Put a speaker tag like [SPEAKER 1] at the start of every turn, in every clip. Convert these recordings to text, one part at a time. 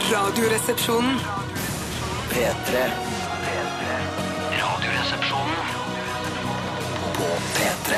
[SPEAKER 1] Radioresepsjonen.
[SPEAKER 2] P3 Radioresepsjonen På P3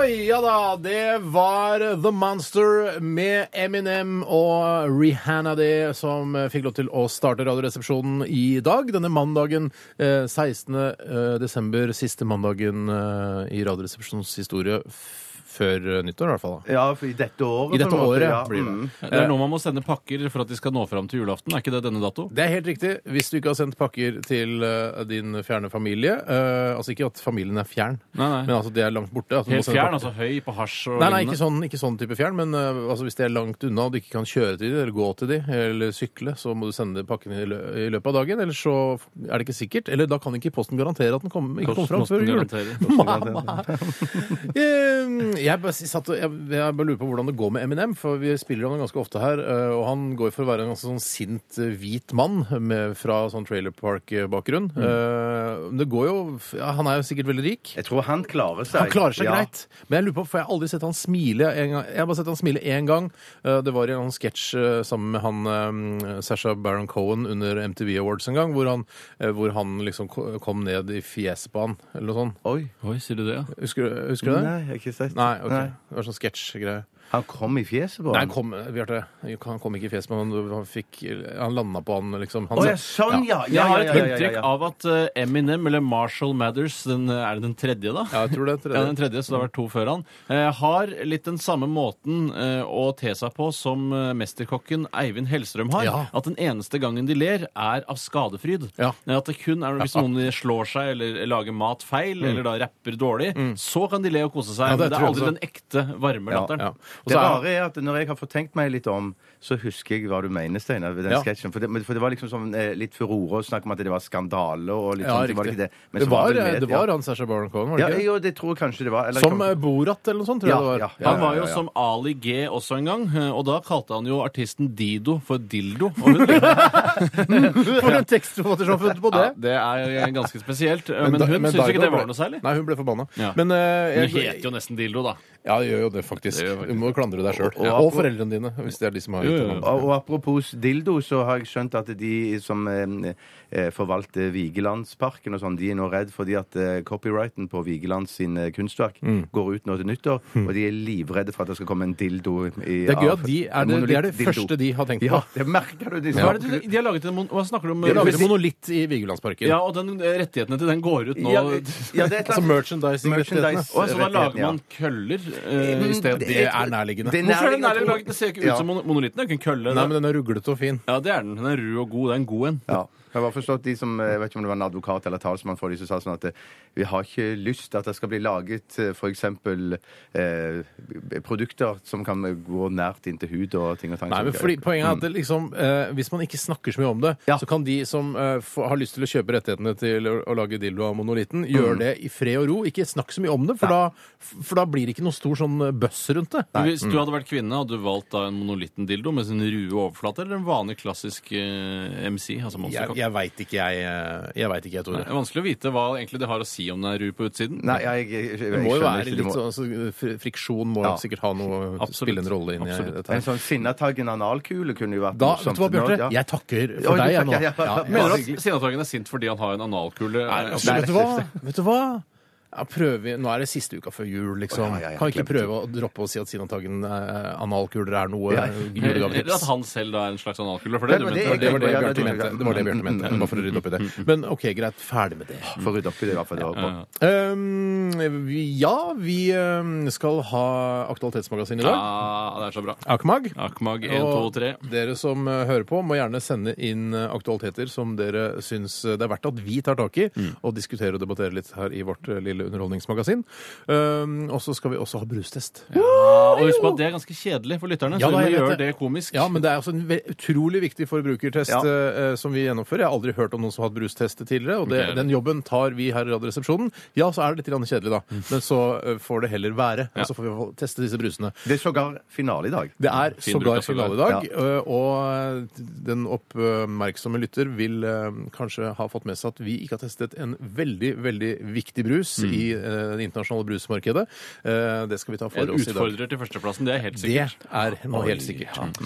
[SPEAKER 3] Oi, ja da! Det var The Monster med Eminem og Rihanna det som fikk lov til å starte Radioresepsjonen i dag. Denne mandagen, eh, 16. eh, desember, siste mandagen eh, i Radioresepsjonens historie f- før eh, nyttår, i hvert fall. da.
[SPEAKER 4] Ja, for i dette
[SPEAKER 3] I
[SPEAKER 4] året. på en
[SPEAKER 3] dette
[SPEAKER 4] måte,
[SPEAKER 3] året
[SPEAKER 4] ja.
[SPEAKER 3] blir det.
[SPEAKER 4] Mm.
[SPEAKER 5] Det er nå man må sende pakker for at de skal nå fram til julaften. Er ikke det denne dato?
[SPEAKER 3] Det er helt riktig. Hvis du ikke har sendt pakker til eh, din fjerne familie eh, Altså ikke at familien er fjern,
[SPEAKER 5] Nei, nei.
[SPEAKER 3] men altså at de er langt borte. At du må
[SPEAKER 5] Helt
[SPEAKER 3] sende pakker.
[SPEAKER 5] fjern, altså høy på hasj og
[SPEAKER 3] Nei, nei, ikke sånn, ikke sånn type fjern, men eh, altså, hvis det er langt unna og du ikke kan kjøre til dem, eller gå til dem, eller sykle, så må du sende pakkene i, lø i løpet av dagen, ellers så er det ikke sikkert. Eller da kan ikke Posten garantere at den kommer, sånn, ikke kommer fram
[SPEAKER 5] Posten
[SPEAKER 3] før jul.
[SPEAKER 5] garanterer.
[SPEAKER 3] Mamma! Eh, jeg, bare, s- satt, og- jeg, jeg bare lurer på hvordan det går med Eminem, for vi spiller ham ganske ofte her, eh, og han går for å være en ganske sånn sint, eh, hvit mann med, fra sånn trailer park-bakgrunn. Eh, men det går jo, f- ja, han er jo sikkert veldig rik.
[SPEAKER 4] Jeg tror han klarer seg.
[SPEAKER 3] Han klarer seg
[SPEAKER 4] Ja.
[SPEAKER 3] greit. Men jeg lurer på, for jeg har aldri sett han smile en gang. Jeg har bare sett han smile én gang. Eh, Det var i en sketsj eh, sammen med han eh, Sacha Baron Cohen under MTV Awards en gang, hvor han, eh, hvor han liksom ko- kom ned i fjeset på han, eller noe sånt.
[SPEAKER 4] Oi.
[SPEAKER 5] Oi, sier du det, ja?
[SPEAKER 3] Husker, du- husker du det?
[SPEAKER 4] Nei, jeg har ikke sett
[SPEAKER 3] Nei, ok. Det var sånn sketsjgreie.
[SPEAKER 4] Han kom i fjeset på
[SPEAKER 3] Nei, han
[SPEAKER 4] ham.
[SPEAKER 3] kom, Bjarte. Han kom ikke i fjeset, men han, han, fikk, han landa på han, liksom. Han,
[SPEAKER 4] Å ja, sånn, ja.
[SPEAKER 5] Jeg
[SPEAKER 4] Ja,
[SPEAKER 5] har
[SPEAKER 4] ja,
[SPEAKER 5] et
[SPEAKER 4] ja, ja, ja,
[SPEAKER 5] inntrykk
[SPEAKER 4] ja.
[SPEAKER 5] av at eh, Eminem, eller Marshall Mathers, den, eh, er det den tredje, da?
[SPEAKER 3] Ja, jeg tror det.
[SPEAKER 5] Ja, den tredje, så det har vært to før han. Eh, har litt den samme måten eh, å te seg på som eh, mesterkokken Eivind Hellstrøm har.
[SPEAKER 3] Ja.
[SPEAKER 5] At den eneste gangen de ler, er av skadefryd.
[SPEAKER 3] Ja.
[SPEAKER 5] Eh, At det kun er hvis noen slår seg eller lager mat feil, eller da rapper dårlig, så kan de le og kose
[SPEAKER 3] Mm.
[SPEAKER 5] seg.
[SPEAKER 3] Ja, det
[SPEAKER 5] men det er
[SPEAKER 3] tror jeg
[SPEAKER 5] aldri
[SPEAKER 3] også.
[SPEAKER 5] den ekte, varme
[SPEAKER 4] Ja,
[SPEAKER 5] latteren.
[SPEAKER 3] Ja. Og
[SPEAKER 4] Det
[SPEAKER 3] så er-
[SPEAKER 4] rare er at når jeg har fått tenkt meg litt om, så husker jeg hva du mener, Steinar, ved den
[SPEAKER 3] Ja.
[SPEAKER 4] sketsjen. For det, men- for det var liksom sånn eh, litt furore å snakke om at det var skandale og litt
[SPEAKER 3] ja,
[SPEAKER 4] sånn. så Var det,
[SPEAKER 3] riktig.
[SPEAKER 4] ikke det. Men
[SPEAKER 3] Det
[SPEAKER 4] så
[SPEAKER 3] var, eh,
[SPEAKER 4] det vel med-
[SPEAKER 3] det var han Sacha Baron Cohen, var
[SPEAKER 4] Ja,
[SPEAKER 3] det
[SPEAKER 4] ja,
[SPEAKER 3] ikke?
[SPEAKER 4] jo, det tror jeg kanskje det var. Eller,
[SPEAKER 3] Som
[SPEAKER 4] kan-
[SPEAKER 3] eh, Borat eller noe sånt, tror jeg
[SPEAKER 4] Ja,
[SPEAKER 3] det var.
[SPEAKER 4] ja, ja.
[SPEAKER 5] Han var jo som Ali G også en gang, eh, og da kalte han jo artisten Dido for Dildo. Og hun
[SPEAKER 3] For en tekstforfatter som har funnet på det!
[SPEAKER 5] ja, det er ganske spesielt. eh, Men,
[SPEAKER 3] da-
[SPEAKER 5] hun syntes
[SPEAKER 3] Daigo
[SPEAKER 5] ikke det
[SPEAKER 3] ble-
[SPEAKER 5] var noe særlig.
[SPEAKER 3] Nei, hun ble forbanna.
[SPEAKER 5] Ja.
[SPEAKER 3] Men eh,
[SPEAKER 5] Hun
[SPEAKER 3] jeg,
[SPEAKER 5] heter jo nesten Dildo, da.
[SPEAKER 3] Ja, det gjør jo det, faktisk.
[SPEAKER 5] Det gjør faktisk
[SPEAKER 3] Du må jo klandre deg sjøl.
[SPEAKER 4] Ja.
[SPEAKER 3] Og foreldrene dine, hvis det er de som har
[SPEAKER 5] Jo,
[SPEAKER 3] gitt
[SPEAKER 5] jo,
[SPEAKER 3] dem
[SPEAKER 5] jo.
[SPEAKER 3] opp.
[SPEAKER 4] Og, og apropos dildo, så har jeg skjønt at de som eh, eh, forvalter Vigelandsparken og sånn, de er nå redd fordi at eh, copyrighten på Vigelands sine kunstverk
[SPEAKER 3] Mm.
[SPEAKER 4] går ut nå til nyttår, og de er livredde for at det skal komme en dildo i
[SPEAKER 3] Det er gøy
[SPEAKER 4] av-
[SPEAKER 3] at de er
[SPEAKER 4] en
[SPEAKER 3] det, det, er det
[SPEAKER 4] monolitt-dildo.
[SPEAKER 3] første de har tenkt på.
[SPEAKER 4] Ja, det merker du. De,
[SPEAKER 5] Hva, er det, de- de har laget en, mon- hva snakker du om?
[SPEAKER 3] De har laget en
[SPEAKER 5] Hvis-
[SPEAKER 3] monolitt i Vigelandsparken.
[SPEAKER 5] Ja, og den, rettighetene til den går ut nå.
[SPEAKER 4] Ja,
[SPEAKER 5] Og
[SPEAKER 4] ja, det er et eller
[SPEAKER 3] Altså
[SPEAKER 4] annet-
[SPEAKER 3] merchandising-rettighetene.
[SPEAKER 4] Merchandise.
[SPEAKER 5] så da lager man køller eh, i stedet.
[SPEAKER 3] Det er nærliggende.
[SPEAKER 4] Det
[SPEAKER 5] Hvorfor er den
[SPEAKER 4] nærliggende,
[SPEAKER 5] der
[SPEAKER 4] tror-
[SPEAKER 5] laget? Det ser ikke ut
[SPEAKER 4] Ja.
[SPEAKER 5] som mon- monolitten. Det er jo ikke en
[SPEAKER 3] Nei,
[SPEAKER 5] kølle. det.
[SPEAKER 3] men den er ruglete og fin.
[SPEAKER 5] Ja, det er den. Den er ru og god. Det er en god en.
[SPEAKER 4] Ja. Jeg har forstått de som, eh, jeg vet ikke om det var en advokat eller talsmann for de som sa sånn at eh, vi har ikke lyst til at det skal bli laget f.eks. Eh, produkter som kan gå nært inntil hud og ting og tang.
[SPEAKER 3] Nei, men fordi Poenget er at det liksom, eh, hvis man ikke snakker så mye om det,
[SPEAKER 4] Mm. Ja.
[SPEAKER 3] så kan de som eh, får- har lyst til å kjøpe rettighetene til å, å lage dildo av monolitten, gjøre
[SPEAKER 4] Mm.
[SPEAKER 3] det i fred og ro. Ikke snakk så mye om det, for, da, for da blir det ikke noe stor sånn eh, bøss rundt det.
[SPEAKER 5] Hvis du hadde vært kvinne, hadde du valgt da en monolitten dildo med sin rue overflate, eller en vanlig klassisk eh, MC? altså
[SPEAKER 3] Jeg,
[SPEAKER 5] monsterkokk?
[SPEAKER 3] jeg veit ikke, jeg, eh, jeg, vet ikke, jeg,
[SPEAKER 5] Det
[SPEAKER 3] Tore.
[SPEAKER 5] er vanskelig å vite hva egentlig det har å si om den er ru på utsiden.
[SPEAKER 4] Nei, jeg, jeg, jeg, jeg,
[SPEAKER 3] Det må jo
[SPEAKER 4] skjønner
[SPEAKER 3] være
[SPEAKER 4] ikke,
[SPEAKER 3] litt
[SPEAKER 4] må-
[SPEAKER 3] sånn altså, fri- Friksjon må
[SPEAKER 4] Ja.
[SPEAKER 3] sikkert ha noe
[SPEAKER 5] Absolutt.
[SPEAKER 3] spille en rolle inn i
[SPEAKER 5] Absolutt.
[SPEAKER 3] dette.
[SPEAKER 4] En
[SPEAKER 3] her.
[SPEAKER 4] sånn sinnataggen analkule kunne jo vært
[SPEAKER 3] Da,
[SPEAKER 4] morsomt.
[SPEAKER 3] vet du hva, Bjarte?
[SPEAKER 4] Ja.
[SPEAKER 3] Jeg takker for
[SPEAKER 4] Oi, du
[SPEAKER 3] deg, jeg nå.
[SPEAKER 4] takker, ja, ja, ja.
[SPEAKER 3] Ja,
[SPEAKER 5] Mener du at Sinnataggen er sint fordi han har en
[SPEAKER 3] Nei,
[SPEAKER 5] analkule? Eh,
[SPEAKER 3] altså,
[SPEAKER 4] Nei,
[SPEAKER 3] vet du hva? Vet du hva? Ja, prøver vi. Nå er det siste uka før jul, liksom.
[SPEAKER 4] Å, ja, ja, ja,
[SPEAKER 3] Kan vi ikke
[SPEAKER 4] glemte.
[SPEAKER 3] prøve å droppe å si at Sinnataggen eh, analkuler er noe
[SPEAKER 4] Ja.
[SPEAKER 3] eh,
[SPEAKER 5] Eller at
[SPEAKER 3] julegavetips?
[SPEAKER 5] han selv da er en slags analkule? For det,
[SPEAKER 4] Nei, men
[SPEAKER 5] du
[SPEAKER 4] det Mm, er
[SPEAKER 5] mente,
[SPEAKER 3] Det var det,
[SPEAKER 5] vel?
[SPEAKER 4] Ja, ja,
[SPEAKER 3] Bjarte
[SPEAKER 4] ja, ja,
[SPEAKER 3] mente.
[SPEAKER 4] ja.
[SPEAKER 3] Det var det Bjarte mente. Bare for å rydde opp i det. Men OK, greit. Ferdig med det.
[SPEAKER 4] For å rydde opp i det, i hvert fall. Det var bra.
[SPEAKER 3] Um, vi- ja, vi um, skal ha Aktualitetsmagasin i dag.
[SPEAKER 5] Ja, det er så bra.
[SPEAKER 3] Akmag.
[SPEAKER 5] Akmag 1, 2,
[SPEAKER 3] Og
[SPEAKER 5] 3.
[SPEAKER 3] Dere som eh, hører på, må gjerne sende inn eh, aktualiteter som dere syns eh, det er verdt at vi tar tak i, og diskutere og debattere litt her i vårt eh, lille underholdningsmagasin. Um, og så skal vi også ha brustest. Ja,
[SPEAKER 5] Ja, Ah, og husk på at det er ganske kjedelig for lytterne,
[SPEAKER 3] Ja,
[SPEAKER 5] så
[SPEAKER 3] da,
[SPEAKER 5] vi må
[SPEAKER 3] jeg vet
[SPEAKER 5] gjøre
[SPEAKER 3] det.
[SPEAKER 5] det komisk.
[SPEAKER 3] men det er også en ve- utrolig viktig forbrukertest
[SPEAKER 4] Ja.
[SPEAKER 3] eh, eh, som vi gjennomfører. Jeg har aldri hørt om noen som har hatt brustest tidligere, og det,
[SPEAKER 5] Ok.
[SPEAKER 3] den jobben tar vi her i Radioresepsjonen. Ja, så er det litt grann kjedelig, da, men så eh, får det heller være.
[SPEAKER 5] Ja.
[SPEAKER 3] Og så får vi få teste disse brusene.
[SPEAKER 4] Det er sågar finale i dag.
[SPEAKER 3] Det er
[SPEAKER 5] Fin bruk
[SPEAKER 3] sågar
[SPEAKER 5] av sågar.
[SPEAKER 3] finale i dag, ø, og den oppmerksomme lytter vil ø, kanskje ha fått med seg at vi ikke har testet en veldig, veldig viktig brus
[SPEAKER 5] Mm.
[SPEAKER 3] i ø, det internasjonale brusmarkedet. Eh, Det skal vi ta for
[SPEAKER 5] En
[SPEAKER 3] oss i dag.
[SPEAKER 5] utfordrer til førsteplassen, det er helt
[SPEAKER 3] Det
[SPEAKER 5] sikkert. Mm.
[SPEAKER 3] er nå helt sikkert.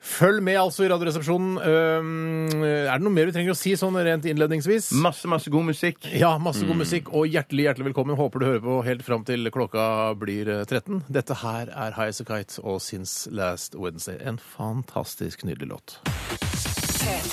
[SPEAKER 3] Følg med altså i Radioresepsjonen. Øhm, Er det noe mer vi trenger å si sånn rent innledningsvis?
[SPEAKER 4] Masse, masse god musikk.
[SPEAKER 3] Ja, masse
[SPEAKER 4] Mm.
[SPEAKER 3] god musikk, og hjertelig hjertelig velkommen. Håper du hører på helt fram til klokka blir eh, 13. Dette her er High As A Kite og Since Last Wednesday. En fantastisk nydelig låt.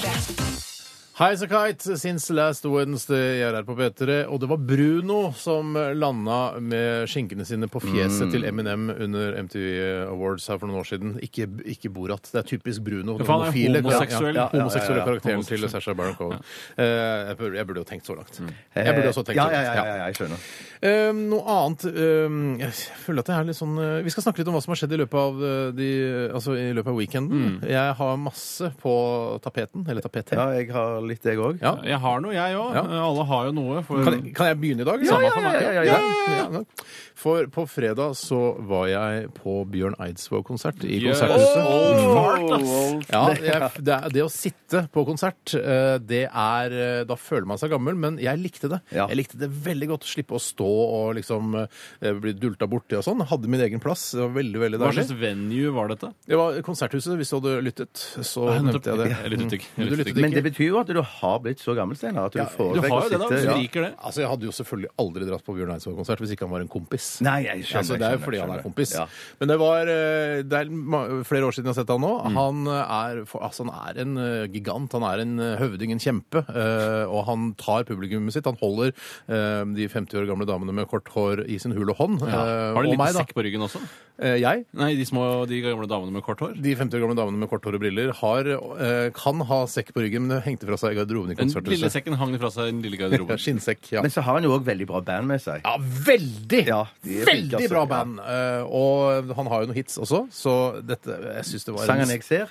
[SPEAKER 3] High As A Kite, Since Last Wednesday, jeg er her på P3. Og det var Bruno som landa med skinkene sine på fjeset
[SPEAKER 4] Mm.
[SPEAKER 3] til Eminem under MTV Awards her for noen år siden. Ikke, ikke Borat. Det er typisk Bruno.
[SPEAKER 5] Ja, for han er
[SPEAKER 3] Homofile-
[SPEAKER 5] homoseksuell.
[SPEAKER 3] Ja, ja, ja, ja, homoseksuelle karakteren
[SPEAKER 5] Homoseksuell.
[SPEAKER 3] til Sasha Baron Cohen. Mm. Eh, jeg, burde, jeg burde jo tenkt så langt. Jeg burde også sånn. tenkt
[SPEAKER 4] Eh, ja,
[SPEAKER 3] så
[SPEAKER 4] ja,
[SPEAKER 3] langt. ja.
[SPEAKER 4] ja, ja, ja, jeg skjønner.
[SPEAKER 3] Eh, noe annet eh, Jeg føler at jeg er litt sånn eh, Vi skal snakke litt om hva som har skjedd i løpet av, eh, de, altså, i løpet av weekenden. Jeg har masse på tapeten. Eller tapetet.
[SPEAKER 4] Ja, jeg har litt, jeg òg.
[SPEAKER 3] Ja.
[SPEAKER 5] Jeg har noe, jeg òg.
[SPEAKER 3] Ja.
[SPEAKER 5] Alle har jo noe. For
[SPEAKER 3] Kan, jeg, kan jeg begynne i dag? eller?
[SPEAKER 5] Samme for meg.
[SPEAKER 3] ja, ja, ja. For på fredag så var jeg på Bjørn Eidsvåg-konsert i
[SPEAKER 5] Yes.
[SPEAKER 3] Konserthuset.
[SPEAKER 5] Old fart, ass.
[SPEAKER 3] Ja, jeg, det, er- det å sitte på konsert, eh, det er eh, Da føler man seg gammel, men jeg likte det.
[SPEAKER 4] Ja.
[SPEAKER 3] Jeg likte det veldig godt. Slippe å stå og liksom eh, bli dulta borti og sånn. Hadde min egen plass. Det var veldig, veldig
[SPEAKER 5] Hva slags
[SPEAKER 3] deilig.
[SPEAKER 5] venue var dette?
[SPEAKER 3] Det var Konserthuset, hvis du hadde lyttet, så nevnte jeg det.
[SPEAKER 5] Jeg lyttet ikke.
[SPEAKER 3] Mm.
[SPEAKER 5] Jeg
[SPEAKER 3] Du
[SPEAKER 5] lyttet
[SPEAKER 3] lyttet
[SPEAKER 5] ikke.
[SPEAKER 4] Men det betyr jo at du har blitt så gammel, Steinar, at du
[SPEAKER 3] Ja,
[SPEAKER 5] Du
[SPEAKER 4] foretrekker
[SPEAKER 5] har
[SPEAKER 4] å
[SPEAKER 5] jo det, da.
[SPEAKER 4] sitte
[SPEAKER 5] Hvis du
[SPEAKER 4] ja.
[SPEAKER 5] liker det.
[SPEAKER 3] Altså, Jeg hadde jo selvfølgelig aldri dratt på Bjørn Eidsvåg-konsert hvis ikke han var en kompis.
[SPEAKER 4] Nei, jeg skjønner.
[SPEAKER 3] altså, det er jo
[SPEAKER 4] skjønner,
[SPEAKER 3] fordi han
[SPEAKER 4] skjønner.
[SPEAKER 3] er kompis.
[SPEAKER 4] Ja.
[SPEAKER 3] Men det var eh, det er ma- flere år siden jeg har sett han nå.
[SPEAKER 4] Mm.
[SPEAKER 3] Han, er, for- altså, han er en eh, gigant. Han er en eh, høvding, en kjempe. eh, Og han tar publikummet sitt. Han holder eh, de 50 år gamle damene med kort hår i sin hule hånd.
[SPEAKER 5] Ja.
[SPEAKER 3] eh,
[SPEAKER 5] Har du
[SPEAKER 3] og
[SPEAKER 5] en liten
[SPEAKER 3] meg, da.
[SPEAKER 5] sekk på ryggen også?
[SPEAKER 3] Eh, Jeg
[SPEAKER 5] Nei, de små, de gamle damene med kort hår?
[SPEAKER 3] de 50 år gamle damene med kort hår og briller har, eh, kan ha sekk på ryggen, men det hengte fra seg i garderoben i
[SPEAKER 5] Den lille
[SPEAKER 3] konserthuset.
[SPEAKER 5] sekken hang fra seg i den lille
[SPEAKER 3] Ja,
[SPEAKER 5] garderoben.
[SPEAKER 3] Skinnsekk, ja.
[SPEAKER 4] Men så har han jo òg veldig bra band med seg.
[SPEAKER 3] Ja, veldig!
[SPEAKER 4] Ja, de er
[SPEAKER 3] veldig
[SPEAKER 4] flinke, altså.
[SPEAKER 3] bra
[SPEAKER 4] Ja.
[SPEAKER 3] band. Eh, og han har jo noen hits også, så dette Jeg syns det var en-
[SPEAKER 4] Sangen jeg ser.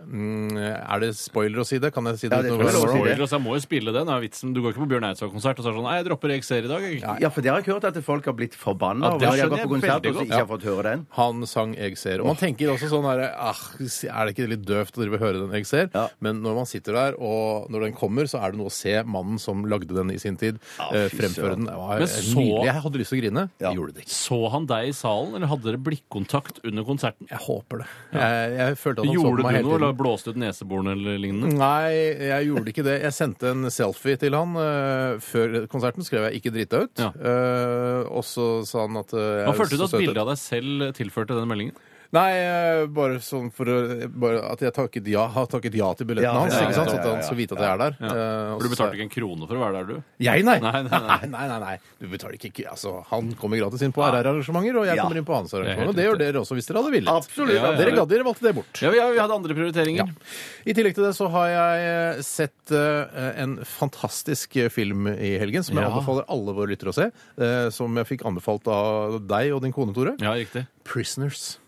[SPEAKER 3] Mm, Er det spoiler å si det? Kan jeg si det?
[SPEAKER 4] Ja, det
[SPEAKER 3] uten å
[SPEAKER 4] tror
[SPEAKER 3] være
[SPEAKER 4] jeg er lov å si
[SPEAKER 3] overall?
[SPEAKER 4] det.
[SPEAKER 5] Spoiler, altså, jeg må jo spille den. Er vitsen. Du går ikke på Bjørn Eidsvåg-konsert og så er det sånn Nei, jeg dropper EXR i dag. jeg».
[SPEAKER 4] Ja, for dere har ikke hørt at folk har blitt forbanna
[SPEAKER 5] Ja, det
[SPEAKER 4] over at de har
[SPEAKER 5] skjønner
[SPEAKER 4] gått på
[SPEAKER 5] jeg
[SPEAKER 4] konsert
[SPEAKER 5] veldig
[SPEAKER 4] og så
[SPEAKER 5] godt.
[SPEAKER 4] ikke har fått høre den.
[SPEAKER 3] Han sang 'Jeg ser'. Og man tenker også sånn her ah, Er det ikke litt døvt å drive og høre den 'Jeg ser'?
[SPEAKER 4] Ja.
[SPEAKER 3] Men når man sitter der, og når den kommer, så er det noe å se mannen som lagde den i sin tid,
[SPEAKER 4] Ja,
[SPEAKER 3] eh,
[SPEAKER 4] fy
[SPEAKER 3] fremføre den. Det var
[SPEAKER 5] Men så-
[SPEAKER 3] nydelig. Jeg hadde lyst til å grine.
[SPEAKER 4] Ja.
[SPEAKER 3] Jeg Gjorde det ikke.
[SPEAKER 5] Så han deg i salen, eller hadde dere blikkontakt under konserten?
[SPEAKER 3] Jeg håper det. Jeg, jeg følte at han så på
[SPEAKER 5] Gjorde
[SPEAKER 3] meg Mm,
[SPEAKER 5] du
[SPEAKER 3] hele
[SPEAKER 5] noe?
[SPEAKER 3] tiden.
[SPEAKER 5] Eller blåste ut neseborene eller lignende?
[SPEAKER 3] Nei, jeg gjorde ikke det. Jeg sendte en selfie til han eh, før konserten. Skrev jeg 'ikke drita ut'.
[SPEAKER 5] Ja.
[SPEAKER 3] Eh, og så sa han at uh,
[SPEAKER 5] Hva følte du at bildet av deg selv tilførte den meldingen?
[SPEAKER 3] Nei, eh, bare sånn for å bare At jeg takket ja, har takket ja til billetten
[SPEAKER 4] Ja,
[SPEAKER 3] hans.
[SPEAKER 4] ja,
[SPEAKER 3] ikke
[SPEAKER 4] ja,
[SPEAKER 3] sant?
[SPEAKER 4] ja,
[SPEAKER 3] Så at
[SPEAKER 4] ja,
[SPEAKER 3] han
[SPEAKER 4] ja.
[SPEAKER 3] skal vite at jeg er der. Eh, og
[SPEAKER 5] For
[SPEAKER 3] så
[SPEAKER 5] du
[SPEAKER 3] sa
[SPEAKER 5] betalte
[SPEAKER 3] jeg-
[SPEAKER 5] ikke en krone for å være der, du.
[SPEAKER 3] Jeg, nei.
[SPEAKER 5] Nei, nei, nei.
[SPEAKER 3] nei, nei, nei. Du betaler ikke ikke- Altså, han kommer gratis inn på RR-arrangementer, og jeg
[SPEAKER 4] Ja.
[SPEAKER 3] kommer inn på hans
[SPEAKER 5] er
[SPEAKER 3] arrangementer.
[SPEAKER 5] helt
[SPEAKER 3] Og det gjør dere også, hvis dere hadde villet.
[SPEAKER 4] Absolutt.
[SPEAKER 5] Ja, ja, ja.
[SPEAKER 3] Dere gadd dere valgte det bort.
[SPEAKER 5] Ja, vi, ja, vi hadde andre prioriteringer.
[SPEAKER 3] I tillegg til det så har jeg eh, sett eh, en fantastisk eh, film i helgen som jeg
[SPEAKER 5] Ja.
[SPEAKER 3] anbefaler alle våre lyttere å se. eh, Som jeg fikk anbefalt av deg og din kone, Tore.
[SPEAKER 5] Ja, riktig.
[SPEAKER 3] 'Prisoners'.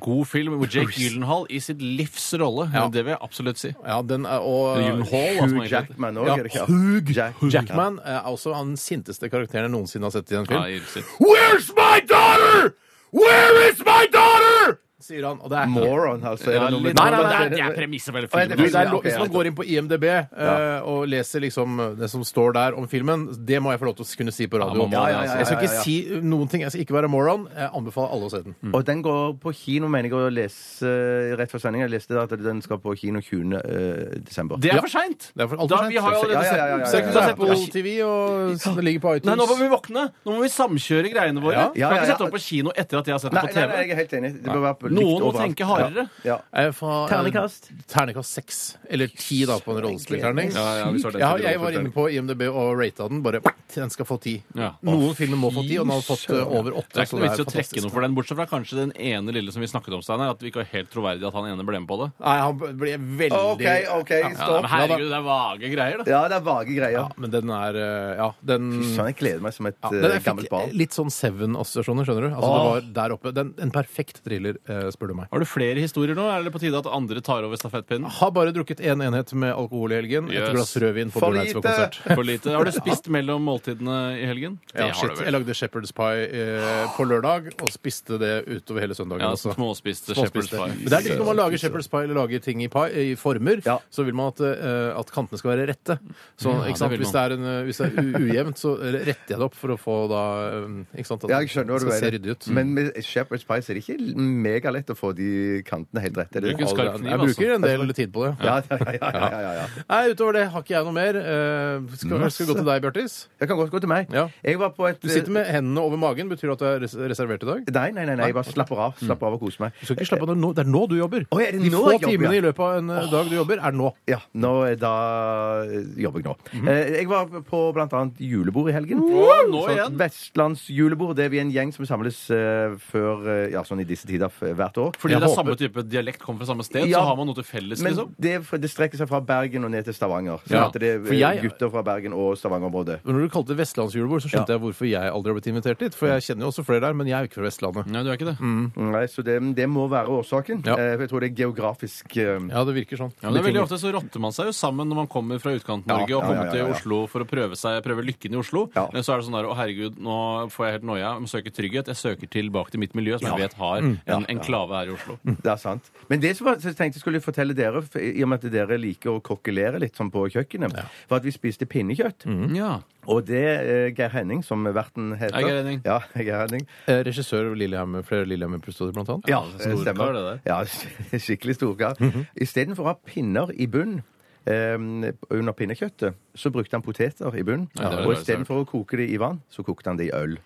[SPEAKER 5] God film med Jake Gyllenhaal i sitt livs rolle.
[SPEAKER 3] Ja.
[SPEAKER 5] Det vil jeg absolutt si.
[SPEAKER 3] Ja, den er, og
[SPEAKER 5] Gyllenhaal, altså,
[SPEAKER 4] Hugh
[SPEAKER 5] man egentlig-
[SPEAKER 4] Jackman òg,
[SPEAKER 3] Ja,
[SPEAKER 4] er det ikke?
[SPEAKER 3] Hugh
[SPEAKER 4] Jack-
[SPEAKER 3] Jackman er også den sinteste karakteren jeg noensinne har sett i en
[SPEAKER 5] Ja,
[SPEAKER 3] film.
[SPEAKER 5] irrsitt.
[SPEAKER 3] Where's my daughter?! Where is my daughter?! sier han. Og det er
[SPEAKER 4] Moron, altså.
[SPEAKER 5] Ja,
[SPEAKER 4] Er det noe med-
[SPEAKER 5] litt- Nei, nei, nei, det er premisset for
[SPEAKER 4] Å,
[SPEAKER 5] hele
[SPEAKER 4] ja, det
[SPEAKER 5] filmen.
[SPEAKER 3] Du, det er,
[SPEAKER 4] Ja,
[SPEAKER 3] lo-
[SPEAKER 4] ok,
[SPEAKER 3] hvis man
[SPEAKER 4] nettopp.
[SPEAKER 3] går inn på IMDb eh, og leser liksom det som står der om filmen, det må jeg få lov til å kunne si på radio.
[SPEAKER 5] man må Ja, ja, ja,
[SPEAKER 3] Jeg skal
[SPEAKER 4] ja, ja,
[SPEAKER 3] ikke
[SPEAKER 4] ja.
[SPEAKER 3] si noen ting. Jeg skal ikke være moron. Jeg anbefaler alle å se den.
[SPEAKER 4] Og den går på kino, mener jeg, å lese eh, rett før sending. Jeg leste at den skal på kino 20. eh, desember.
[SPEAKER 5] Det
[SPEAKER 3] Ja.
[SPEAKER 5] er for seint!
[SPEAKER 3] Det er for alt for
[SPEAKER 5] Vi har jo
[SPEAKER 3] sent.
[SPEAKER 5] allerede
[SPEAKER 4] Ja, ja, ja, ja, ja,
[SPEAKER 5] sett den. Så
[SPEAKER 4] ja, ja, ja.
[SPEAKER 5] jeg
[SPEAKER 3] Apple
[SPEAKER 5] kunne sett den.
[SPEAKER 3] TV og så det ligger på iTunes.
[SPEAKER 5] Nei, nå må vi våkne! Nå må vi samkjøre greiene våre.
[SPEAKER 3] Ja.
[SPEAKER 4] Ja,
[SPEAKER 5] Kan
[SPEAKER 4] ja,
[SPEAKER 5] ikke
[SPEAKER 4] ja.
[SPEAKER 5] sette den opp på kino etter at jeg har sett
[SPEAKER 4] Nei,
[SPEAKER 5] den på
[SPEAKER 4] nei, nei,
[SPEAKER 5] TV.
[SPEAKER 4] jeg er helt enig. Det bør være på- likt
[SPEAKER 5] Noen må
[SPEAKER 4] overalt.
[SPEAKER 5] tenke hardere.
[SPEAKER 4] Ja. ja.
[SPEAKER 3] Eh, fra-
[SPEAKER 4] Ternekast.
[SPEAKER 3] Ternekast seks. Eller ti, da, på en rollespillterning.
[SPEAKER 5] Ja, ja, hvis det er det.
[SPEAKER 3] Ja, jeg var inne på IMDb og rata den. Bare den skal få ti.
[SPEAKER 5] Ja.
[SPEAKER 3] Noen filmer må få ti, og den har fått eh, over åtte.
[SPEAKER 5] Det er ikke
[SPEAKER 3] så
[SPEAKER 5] noe vits i å trekke
[SPEAKER 3] fantastisk.
[SPEAKER 5] noe for den, bortsett fra kanskje den ene lille som vi snakket om, Steinar. At vi ikke var helt troverdig at han ene ble med på det.
[SPEAKER 3] Nei, han ble veldig
[SPEAKER 4] OK, OK,
[SPEAKER 5] Ja, men
[SPEAKER 4] stopp.
[SPEAKER 5] herregud, det er vage greier, da.
[SPEAKER 4] Ja, det er vage greier.
[SPEAKER 3] Ja, men den er eh, Ja, den
[SPEAKER 4] Sånn, jeg gleder meg som et
[SPEAKER 3] Ja,
[SPEAKER 4] eh,
[SPEAKER 3] den jeg fikk
[SPEAKER 4] gammelt barn.
[SPEAKER 3] litt sånn Seven-assosiasjoner, skjønner du. Altså, det var der oppe. Den, en perfekt thriller, eh, spør du meg.
[SPEAKER 5] Har du flere historier nå? Er det på tide at andre tar over stafettpinnen?
[SPEAKER 3] Har bare drukket én en enhet med alkohol i helgen.
[SPEAKER 5] Yes.
[SPEAKER 3] Et glass rødvin på
[SPEAKER 4] For
[SPEAKER 3] Bjørn Eidsvåg-konsert.
[SPEAKER 5] For lite. Har du spist mellom måltidene i helgen?
[SPEAKER 3] Ah. Ja, shit. Jeg lagde shepherd's pie eh, på lørdag, og spiste det utover hele søndagen.
[SPEAKER 5] Ja,
[SPEAKER 3] også.
[SPEAKER 5] småspiste shepherd's
[SPEAKER 3] Småspiste. Men
[SPEAKER 5] pie.
[SPEAKER 3] det er litt Når man lager shepherd's pie eller lager ting i, pie, i former,
[SPEAKER 4] Ja. Mm,
[SPEAKER 3] så vil man at, eh, at kantene skal være rette. Så
[SPEAKER 5] Ja, det
[SPEAKER 3] ikke sant?
[SPEAKER 5] vil
[SPEAKER 3] Hvis, det er en, eh, hvis det er u- ujevnt, så retter jeg det opp for å få da eh, ikke sant? at
[SPEAKER 4] Ja, jeg skjønner hva
[SPEAKER 3] det
[SPEAKER 4] du
[SPEAKER 3] skal se
[SPEAKER 4] mener.
[SPEAKER 3] ryddig ut. Mm.
[SPEAKER 4] Men med Shepherd's Pie så er det ikke lett å få de kantene helt rett. Er det
[SPEAKER 5] Bruk en
[SPEAKER 4] det?
[SPEAKER 5] skarp kniv,
[SPEAKER 3] Jeg bruker en del tid på det.
[SPEAKER 4] altså. Ja, ja, ja, ja, ja, ja, ja.
[SPEAKER 3] Nei, utover det har ikke jeg noe mer. Eh, Skal, skal vi gå til deg, Bjartis?
[SPEAKER 4] Jeg kan godt gå til meg.
[SPEAKER 3] Ja.
[SPEAKER 4] Jeg var på et eh,
[SPEAKER 3] Du sitter med hendene over magen. Betyr det at du er res- reservert i dag?
[SPEAKER 4] Nei, nei, nei, nei, jeg bare slapper av. Slapper av og koser meg.
[SPEAKER 3] Mm. Du skal ikke slappe av. Det er nå, det er nå du jobber.
[SPEAKER 4] Å, er det
[SPEAKER 3] De
[SPEAKER 4] nå
[SPEAKER 3] få
[SPEAKER 4] jeg jobber,
[SPEAKER 3] timene
[SPEAKER 4] ja?
[SPEAKER 3] i løpet av en eh, dag du jobber, er nå.
[SPEAKER 4] Ja, nå, er- da jobber jeg nå.
[SPEAKER 3] Mhm.
[SPEAKER 4] Eh, Jeg var på blant annet julebord i helgen.
[SPEAKER 5] Wow, nå
[SPEAKER 4] Sånn
[SPEAKER 5] igjen?
[SPEAKER 4] Vestlandsjulebord. Det er vi en gjeng som samles eh, før eh, Ja, sånn i disse tider f- hvert år.
[SPEAKER 5] Fordi
[SPEAKER 4] Jeg
[SPEAKER 5] det er
[SPEAKER 4] håper-
[SPEAKER 5] samme type dialekt, kommer fra samme sted,
[SPEAKER 4] Ja.
[SPEAKER 5] så har man noe til felles,
[SPEAKER 4] Men
[SPEAKER 5] liksom.
[SPEAKER 4] det, er- det strekker seg fra Bergen og ned til Stavanger. Så
[SPEAKER 5] Ja,
[SPEAKER 4] at det er
[SPEAKER 3] for jeg-
[SPEAKER 4] eh, gutter fra Bergen og Stavanger-området.
[SPEAKER 3] Men Når du kalte det vestlandsjulebord, så skjønte jeg hvorfor jeg aldri har blitt invitert dit. For jeg kjenner jo også flere der, men jeg er jo ikke fra Vestlandet.
[SPEAKER 5] Nei, du er ikke det.
[SPEAKER 4] Mm, Nei, så det, det må være årsaken.
[SPEAKER 3] Ja.
[SPEAKER 4] Eh, for Jeg tror det er geografisk eh,
[SPEAKER 3] Ja, det virker sånn.
[SPEAKER 5] Ja, men det er veldig ofte så rotter man seg jo sammen når man kommer fra Utkant-Norge
[SPEAKER 4] Ja,
[SPEAKER 5] og
[SPEAKER 4] ja,
[SPEAKER 5] kommer
[SPEAKER 4] ja, ja, ja.
[SPEAKER 5] til Oslo for å prøve, seg, prøve lykken i Oslo.
[SPEAKER 4] Ja.
[SPEAKER 5] Men Så er det sånn der Å, herregud, nå får jeg helt noia. Jeg søker trygghet. Jeg søker tilbake til mitt miljø, som jeg vet
[SPEAKER 4] Mm.
[SPEAKER 5] har en enklave her i Oslo.
[SPEAKER 4] Det er sant. Men det som var, så jeg tenkte jeg skulle fortelle dere, for- i og med at dere liker å kokkelere litt sånn på kjøkkenet, var at vi spiste pinnekjøtt.
[SPEAKER 5] Ja.
[SPEAKER 4] Og det eh, Geir Henning, som verten heter.
[SPEAKER 5] Mm. Hei, Geir Henning.
[SPEAKER 4] Ja, Geir Henning.
[SPEAKER 3] Eh, Regissør Lillehammer, flere Lillehammer-episoder, blant annet. Eh,
[SPEAKER 4] Ja,
[SPEAKER 5] altså, storkar,
[SPEAKER 4] stemmer.
[SPEAKER 5] det der. Mhm.
[SPEAKER 4] Ja, skikkelig storkar. Istedenfor å ha pinner i bunnen eh, under pinnekjøttet, så brukte han poteter i bunnen.
[SPEAKER 5] Ja, det er
[SPEAKER 4] og
[SPEAKER 5] det
[SPEAKER 4] istedenfor å koke det i vann, så kokte han det i øl.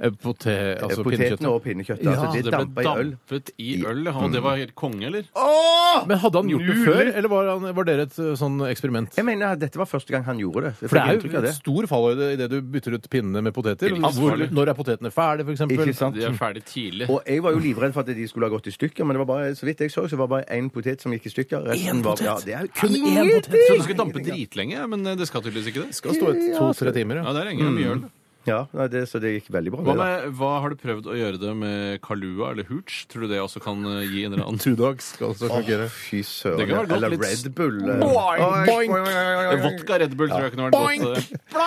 [SPEAKER 3] Eh, Pote, altså
[SPEAKER 4] Potetene
[SPEAKER 3] pinnekjøttet.
[SPEAKER 4] og pinnekjøttet.
[SPEAKER 3] Ja,
[SPEAKER 4] altså,
[SPEAKER 5] Så
[SPEAKER 4] det,
[SPEAKER 5] det
[SPEAKER 4] dampa i
[SPEAKER 5] ble
[SPEAKER 4] Mm. øl.
[SPEAKER 5] dampet i øl. ja. Og det var helt konge, eller?
[SPEAKER 3] Men hadde han gjort det
[SPEAKER 4] Nuler.
[SPEAKER 3] før, eller var, han, var dere et eh, sånn eksperiment?
[SPEAKER 4] Jeg mener at dette var første gang han gjorde det. Jeg
[SPEAKER 3] For
[SPEAKER 4] fikk
[SPEAKER 3] det
[SPEAKER 4] inntrykk
[SPEAKER 3] er
[SPEAKER 4] av
[SPEAKER 3] jo stor fallhøyde idet du bytter ut pinnene med poteter. Hvor,
[SPEAKER 5] Livsfarlig.
[SPEAKER 3] når er potetene ferdig, for eksempel?
[SPEAKER 4] Ikke sant?
[SPEAKER 5] De er ferdig tidlig.
[SPEAKER 4] Og jeg var jo livredd for at de skulle ha gått i stykker, men det var bare, så vidt jeg så, så var det bare én potet som gikk i stykker. Resten var, ja, det er jo kun én
[SPEAKER 5] Jeg trodde du skulle dampe dritlenge, men eh, det skal tydeligvis ikke det.
[SPEAKER 3] Skal stå et to-tre timer, ja.
[SPEAKER 5] Ja, det er lenge. Mye øl.
[SPEAKER 4] Ja, nei, det, så det gikk veldig bra.
[SPEAKER 5] Hva,
[SPEAKER 4] Mm. det, da.
[SPEAKER 5] med, hva har du prøvd å gjøre det med Kalua eller Hooch? Tror du det også kan eh, gi en eller annen
[SPEAKER 3] Tudags skal også fungere.
[SPEAKER 4] Fy søren.
[SPEAKER 5] Det kan være godt,
[SPEAKER 4] Eller
[SPEAKER 5] litt
[SPEAKER 4] Red Bull. eh. Oi,
[SPEAKER 5] Boing, boing.
[SPEAKER 4] boing, boing, boing.
[SPEAKER 5] Vodka Red Bull tror jeg kunne vært godt. eh.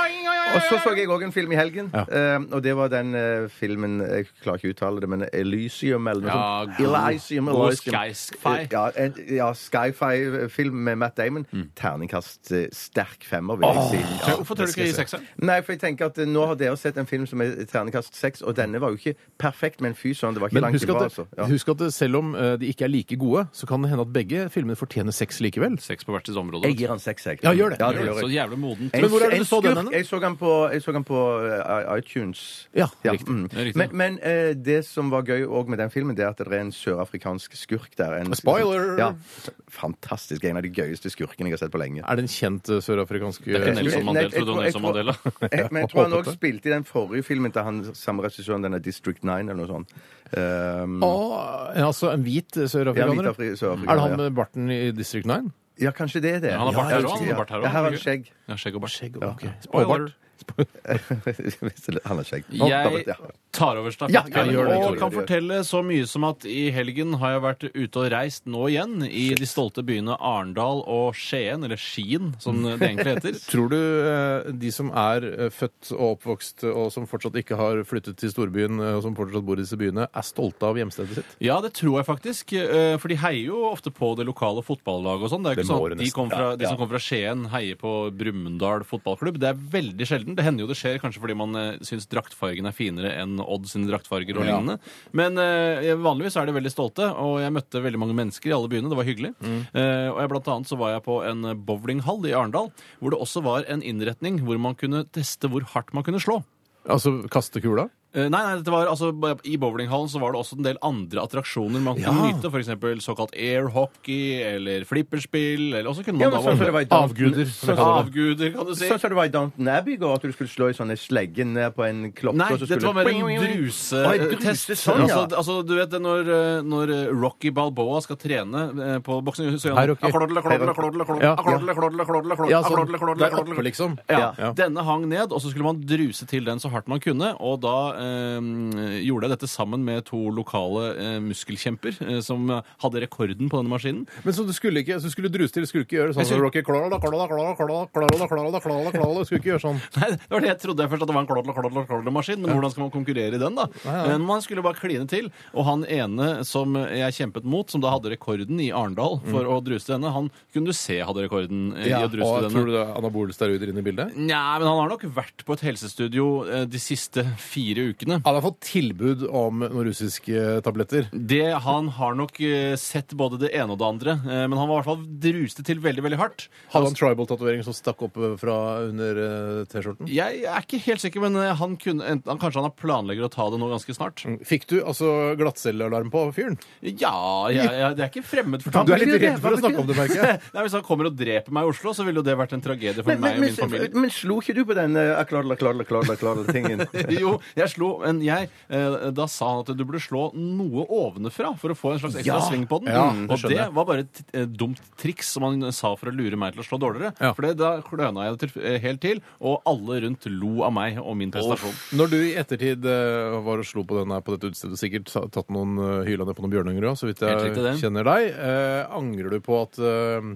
[SPEAKER 4] Og så så jeg òg en film i helgen,
[SPEAKER 3] Ja.
[SPEAKER 4] eh, og det var den eh, filmen Jeg klarer ikke å uttale det, men Elysium eller noe
[SPEAKER 5] Ja,
[SPEAKER 4] sånt.
[SPEAKER 5] god-
[SPEAKER 4] Elysium,
[SPEAKER 5] god
[SPEAKER 4] Elysium.
[SPEAKER 5] sky-fi.
[SPEAKER 4] Ja, en, ja sci-fi-film med Matt Damon.
[SPEAKER 3] Mm.
[SPEAKER 4] Terningkast eh, sterk femmer, vil jeg si. Ja.
[SPEAKER 5] Hvorfor tør du ikke gi sekseren?
[SPEAKER 4] Nei, for jeg tenker at eh, nå har dere sett en film som er terningkast seks, og denne var jo ikke perfekt, men fy søren, det var ikke
[SPEAKER 3] Men
[SPEAKER 4] langt
[SPEAKER 3] husk
[SPEAKER 4] ifra,
[SPEAKER 3] at,
[SPEAKER 4] altså.
[SPEAKER 3] det,
[SPEAKER 4] Ja.
[SPEAKER 3] husk at det, selv om eh, de ikke er like gode, så kan det hende at begge filmene fortjener seks likevel.
[SPEAKER 5] Seks på hvert sitt område.
[SPEAKER 4] Jeg gir han seks, jeg.
[SPEAKER 3] Ja, gjør det.
[SPEAKER 4] Ja,
[SPEAKER 5] Det
[SPEAKER 4] det
[SPEAKER 5] er
[SPEAKER 4] gjør jeg.
[SPEAKER 5] Så jævlig modent.
[SPEAKER 4] En-
[SPEAKER 3] Men hvor er det
[SPEAKER 4] en
[SPEAKER 3] du så den
[SPEAKER 4] skurk-
[SPEAKER 3] henne?
[SPEAKER 4] Jeg så den på, jeg så den på eh, i- iTunes.
[SPEAKER 3] Ja, riktig.
[SPEAKER 4] mm.
[SPEAKER 5] Det er riktig.
[SPEAKER 4] Men, men eh, det som var gøy òg med den filmen, det er at det er en sørafrikansk skurk der. En,
[SPEAKER 3] Spoiler!
[SPEAKER 4] Ja, fantastisk. En av de gøyeste skurkene jeg har sett på lenge.
[SPEAKER 3] Er det en kjent eh, sørafrikansk eh,
[SPEAKER 5] Nelson
[SPEAKER 4] Nei, jeg
[SPEAKER 5] Mandela,
[SPEAKER 4] tror-
[SPEAKER 5] trodde Nelson
[SPEAKER 4] jeg tror-
[SPEAKER 5] Mandela.
[SPEAKER 4] Jeg, men jeg tror han
[SPEAKER 3] håpet
[SPEAKER 4] òg
[SPEAKER 3] det.
[SPEAKER 4] spilte i den forrige filmen til han samme regissøren, denne District 9 eller noe sånt. Um,
[SPEAKER 3] Å, ja, altså en hvit eh,
[SPEAKER 4] ja, hvit
[SPEAKER 3] sørafrikaner?
[SPEAKER 4] afri-
[SPEAKER 3] Er det
[SPEAKER 4] sørafrikaner,
[SPEAKER 3] han med barten i District 9?
[SPEAKER 4] Ja, Ja, kanskje det er det.
[SPEAKER 5] Han har
[SPEAKER 4] Ja,
[SPEAKER 5] bart her
[SPEAKER 4] jeg
[SPEAKER 5] også, han
[SPEAKER 4] husker-
[SPEAKER 5] har bart her
[SPEAKER 4] Ja, her har han
[SPEAKER 5] også.
[SPEAKER 4] skjegg.
[SPEAKER 5] Ja, skjegg og bart.
[SPEAKER 3] ok.
[SPEAKER 5] Spoiler.
[SPEAKER 4] han har skjegg.
[SPEAKER 5] Jeg
[SPEAKER 4] Ja.
[SPEAKER 5] tar over
[SPEAKER 4] Ja, ja, gjør det, gjør
[SPEAKER 5] stafettpinnen og
[SPEAKER 4] det,
[SPEAKER 5] kan
[SPEAKER 4] gjør det.
[SPEAKER 5] fortelle så mye som at i helgen har jeg vært ute og reist nå igjen i de stolte byene Arendal og Skien, eller Skien som det egentlig heter.
[SPEAKER 3] Tror du eh, de som er eh, født og oppvokst og som fortsatt ikke har flyttet til storbyen, eh, og som fortsatt bor i disse byene, er stolte av hjemstedet sitt?
[SPEAKER 5] Ja, det tror jeg faktisk. eh, For de heier jo ofte på det lokale fotballaget og sånn. Det er jo
[SPEAKER 3] Det
[SPEAKER 5] ikke
[SPEAKER 3] må
[SPEAKER 5] sånn
[SPEAKER 3] det
[SPEAKER 5] at de,
[SPEAKER 3] nesten-
[SPEAKER 5] kom fra, de som kommer fra Skien, heier på Brumunddal fotballklubb. Det er veldig sjelden. Det hender jo det skjer, kanskje fordi man eh, syns draktfargen er finere enn Odd sine draktfarger og
[SPEAKER 3] Ja.
[SPEAKER 5] lignende. Men eh, vanligvis er de veldig stolte, og jeg møtte veldig mange mennesker i alle byene. Det var hyggelig.
[SPEAKER 3] Mm.
[SPEAKER 5] Eh, og jeg, blant annet så var jeg på en bowlinghall i Arendal, hvor det også var en innretning hvor man kunne teste hvor hardt man kunne slå.
[SPEAKER 3] Altså kaste kula?
[SPEAKER 5] Eh, Nei, nei, dette var, altså, I bowlinghallen så var det også en del andre attraksjoner man kunne nyte. For eksempel såkalt air hockey eller flipperspill. Eller også kunne man
[SPEAKER 4] Ja,
[SPEAKER 5] da
[SPEAKER 4] men sånn som det
[SPEAKER 5] være-
[SPEAKER 4] var i Downton-
[SPEAKER 3] Avguder, som jeg kaller det.
[SPEAKER 5] Avguder, kan du si.
[SPEAKER 4] Sånn som det var i Downton Abbey i går, at du skulle slå i sånne slegger ned på en klokke
[SPEAKER 5] Nei,
[SPEAKER 4] og så
[SPEAKER 5] dette
[SPEAKER 4] skulle
[SPEAKER 5] var mer en
[SPEAKER 4] Å, en
[SPEAKER 5] drusetest.
[SPEAKER 4] druse, sånn, ja.
[SPEAKER 5] altså, altså, du vet det når, eh, når eh, Rocky Balboa skal trene eh, på boksing så gjør
[SPEAKER 3] Hei,
[SPEAKER 5] han
[SPEAKER 3] Rocky.
[SPEAKER 5] aklodle, aklodle, aklodle, aklodle,
[SPEAKER 3] Ja.
[SPEAKER 5] aklodle, aklodle, aklodle, aklodle,
[SPEAKER 3] Ja, sånn,
[SPEAKER 5] aklodle, aklodle,
[SPEAKER 3] det er
[SPEAKER 5] aklodle.
[SPEAKER 3] oppe, liksom.
[SPEAKER 5] Ja.
[SPEAKER 3] Ja.
[SPEAKER 5] Denne hang ned, og så skulle man druse til den så hardt man kunne. Og da eh, gjorde jeg dette sammen med to lokale eh, muskelkjemper eh, som hadde rekorden på denne maskinen.
[SPEAKER 3] Men så du skulle ikke, så du skulle druse til, du skulle ikke gjøre sånn
[SPEAKER 5] Jeg
[SPEAKER 3] som
[SPEAKER 5] skulle-
[SPEAKER 3] Rocky Klala, klala, klala, klala, klala, klala, klala, klala, skulle ikke gjøre sånn.
[SPEAKER 5] Nei, det var det jeg trodde jeg først, at det var en klodle, klodle, klodle-maskin. Men hvordan skal man konkurrere i den, da? Men man skulle bare kline til. Og han ene som jeg kjempet mot, som da hadde rekorden i Arendal
[SPEAKER 3] Mm.
[SPEAKER 5] for å druse denne, han kunne du se hadde rekorden eh, i å druse til
[SPEAKER 3] og
[SPEAKER 5] denne.
[SPEAKER 3] tror du det er anabole steroider inne i bildet?
[SPEAKER 5] Nei, men han har nok vært på et helsestudio eh, de siste fire ukene.
[SPEAKER 3] Han har fått tilbud om noen russiske tabletter.
[SPEAKER 5] Det, han har nok eh, sett både det ene og det andre, eh, men han var i hvert fall druste til veldig veldig hardt.
[SPEAKER 3] Hadde han tribal-tatovering som stakk opp eh, fra under eh, T-skjorten?
[SPEAKER 5] Altså, Jeg er ikke helt sikker, men eh, han kunne, enten- han, kanskje han har planlegger å ta det nå ganske snart.
[SPEAKER 3] Fikk du altså glattcellealarm på fyren?
[SPEAKER 5] Ja, jeg, jeg, det er ikke fremmed for
[SPEAKER 3] Du er litt redd for å snakke om det, merker jeg.
[SPEAKER 5] Nei, Hvis han kommer og dreper meg i Oslo, så ville jo det vært en tragedie for
[SPEAKER 4] Men, men,
[SPEAKER 5] meg og
[SPEAKER 4] men,
[SPEAKER 5] min familie.
[SPEAKER 4] men slo ikke du på den eh, akladla-kladla-kladla-tingen?
[SPEAKER 5] Jo, jeg slo, men jeg eh, Da sa han at du burde slå noe ovenfra for å få en slags ekstra
[SPEAKER 4] Ja.
[SPEAKER 5] sving på den. Mm.
[SPEAKER 3] Ja, det
[SPEAKER 5] og
[SPEAKER 3] skjønner
[SPEAKER 5] det
[SPEAKER 3] jeg.
[SPEAKER 5] var bare et eh, dumt triks som han sa for å lure meg til å slå dårligere.
[SPEAKER 3] Ja.
[SPEAKER 5] For det- da kløna jeg det til, eh, helt til, og alle rundt lo av meg og min prestasjon.
[SPEAKER 3] Når du i ettertid eh, var og slo på den her på dette utestedet, sikkert sa- tatt noen eh, hyla ned på noen bjørnunger òg, så vidt
[SPEAKER 5] Helt
[SPEAKER 3] jeg
[SPEAKER 5] riktig, det.
[SPEAKER 3] kjenner deg, eh, angrer du på at eh,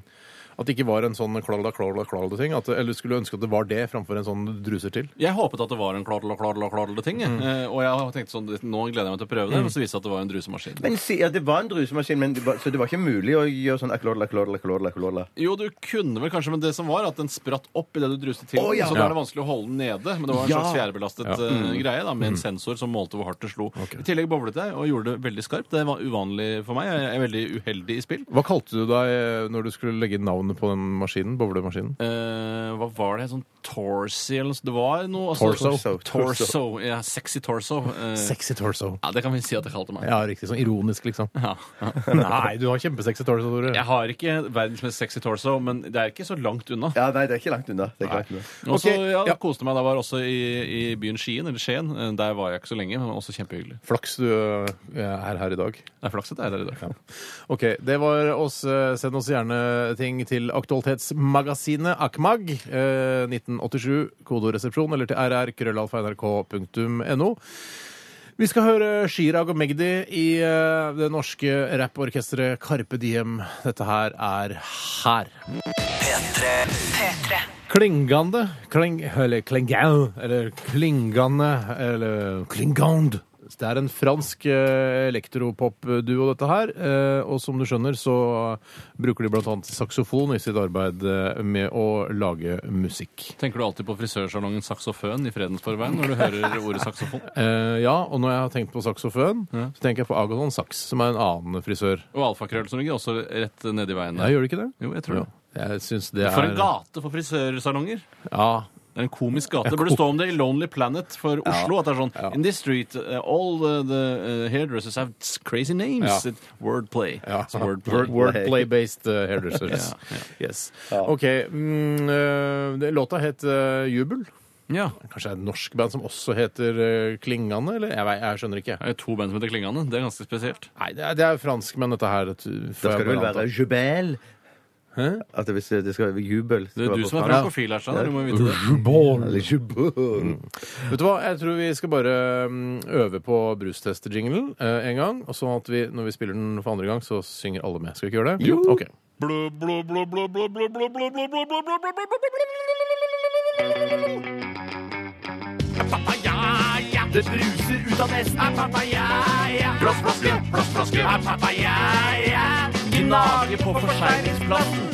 [SPEAKER 3] at det ikke var en sånn klalda, klalda, klalda ting? At, eller skulle du ønske at det var det, framfor en sånn du druser til?
[SPEAKER 5] Jeg håpet at det var en kladla, kladla, kladla ting.
[SPEAKER 3] Mm.
[SPEAKER 5] jeg. Eh, Og jeg tenkte sånn, nå gleder jeg meg til å prøve det, men så viste det seg at det var en drusemaskin.
[SPEAKER 4] Men si, ja, Det var en drusemaskin, men det var, så det var ikke mulig å gjøre sånn akladla-kladla-kladla-kladla?
[SPEAKER 5] Jo, du kunne vel kanskje, men det som var at den spratt opp idet du druste til.
[SPEAKER 4] Å, ja.
[SPEAKER 5] Så da er det vanskelig å holde den nede. Men det var en
[SPEAKER 4] Ja.
[SPEAKER 5] slags fjærbelastet
[SPEAKER 3] Ja. Mm.
[SPEAKER 5] eh, greie da, med en sensor som målte hvor hardt det slo.
[SPEAKER 3] Ok.
[SPEAKER 5] I tillegg boblet jeg og gjorde det veldig skarpt. Det var uvanlig for meg. Jeg er veldig uheldig i spill.
[SPEAKER 3] Hva kalte du deg eh, når du skulle legge navnet på den maskinen? Bowlemaskinen?
[SPEAKER 5] Eh, hva var det? Sånn torsi eller noe sånt? Det var noe altså-
[SPEAKER 4] Torso.
[SPEAKER 5] torso. Ja, sexy torso. Eh,
[SPEAKER 3] Sexy torso.
[SPEAKER 5] ja, det kan vi si at jeg kalte meg.
[SPEAKER 3] Ja, riktig. Sånn ironisk, liksom.
[SPEAKER 5] Ja.
[SPEAKER 3] Nei, du har kjempesexy torso, Tore.
[SPEAKER 5] Jeg har ikke verdens mest sexy torso, men det er ikke så langt unna.
[SPEAKER 4] Ja, nei, det er ikke langt unna. Det er ikke langt unna.
[SPEAKER 5] Og så
[SPEAKER 3] Ok,
[SPEAKER 5] ja,
[SPEAKER 3] ja.
[SPEAKER 5] koste meg da jeg var også i, i byen Skien, eller Skien. Eh, Der var jeg ikke så lenge, men også kjempehyggelig.
[SPEAKER 3] Flaks du eh, er her i dag.
[SPEAKER 5] Det er flaks at jeg er der i dag.
[SPEAKER 3] Ok, det var oss. Eh, Send oss gjerne ting til Aktualitetsmagasinet AKMAG. Eh, 1987, kodoresepsjon, eller til rr.krøllalfa.nrk.no. Vi skal høre Chirag og Magdi i eh, det norske rapporkesteret Carpe Diem. Dette her er her.
[SPEAKER 2] P3.
[SPEAKER 3] Klingande kling, Eller klingau Eller klingande Eller klingand Det er en fransk eh, elektropop-duo dette her eh, Og som du skjønner så bruker de blant annet saksofon i sitt arbeid eh, med å lage musikk
[SPEAKER 5] Tenker du alltid på frisørsalongen Saksoføn i Fredensborgveien når du hører ordet saksofon?
[SPEAKER 3] eh, Ja, og når jeg har tenkt på saksofon
[SPEAKER 5] Ja.
[SPEAKER 3] Så tenker jeg på Agathon Saks Som er en annen frisør
[SPEAKER 5] Og alfakrøll som ligger også rett nedi veien
[SPEAKER 3] Nei,
[SPEAKER 5] der.
[SPEAKER 3] gjør du ikke det?
[SPEAKER 5] Jo, jeg tror det.
[SPEAKER 3] Jeg synes det
[SPEAKER 5] For en
[SPEAKER 3] er
[SPEAKER 5] gate for frisørsalonger!
[SPEAKER 3] Ja,
[SPEAKER 5] Det er en komisk gate. Det burde stå om det i Lonely Planet for Oslo. At det er sånn In this street, uh, all the, the uh, hairdressers have crazy names.
[SPEAKER 3] Ja.
[SPEAKER 5] It's wordplay.
[SPEAKER 3] Ja.
[SPEAKER 5] It's wordplay.
[SPEAKER 3] Wordplay-based uh, hairdressers. Yes. OK. Mm, eh, det- låta het eh, Jubel.
[SPEAKER 5] Ja.
[SPEAKER 3] Kanskje det er et norsk band som også heter eh, Klingane? Eller? Jeg, vet- jeg skjønner ikke.
[SPEAKER 5] Det er to band som heter Klingane. Det er ganske spesielt.
[SPEAKER 3] Nei, det er, det er franskmenn, dette her. Det
[SPEAKER 4] Da skal det vel være jubel? At det, hvis det skal være jubel
[SPEAKER 5] Det er du som er frankofil her, Steinar. Du må vite det.
[SPEAKER 3] Vet du hva, jeg tror vi skal bare mm, øve på brustest-jinglen eh, en gang. Og sånn at vi, når vi spiller den for andre gang, så synger alle med. Skal vi ikke gjøre det? Jo.
[SPEAKER 1] Det bruser ut av nesten Er papaya Blåsflaske, blåsflaske Er papaya Gnager på forsegningsplassen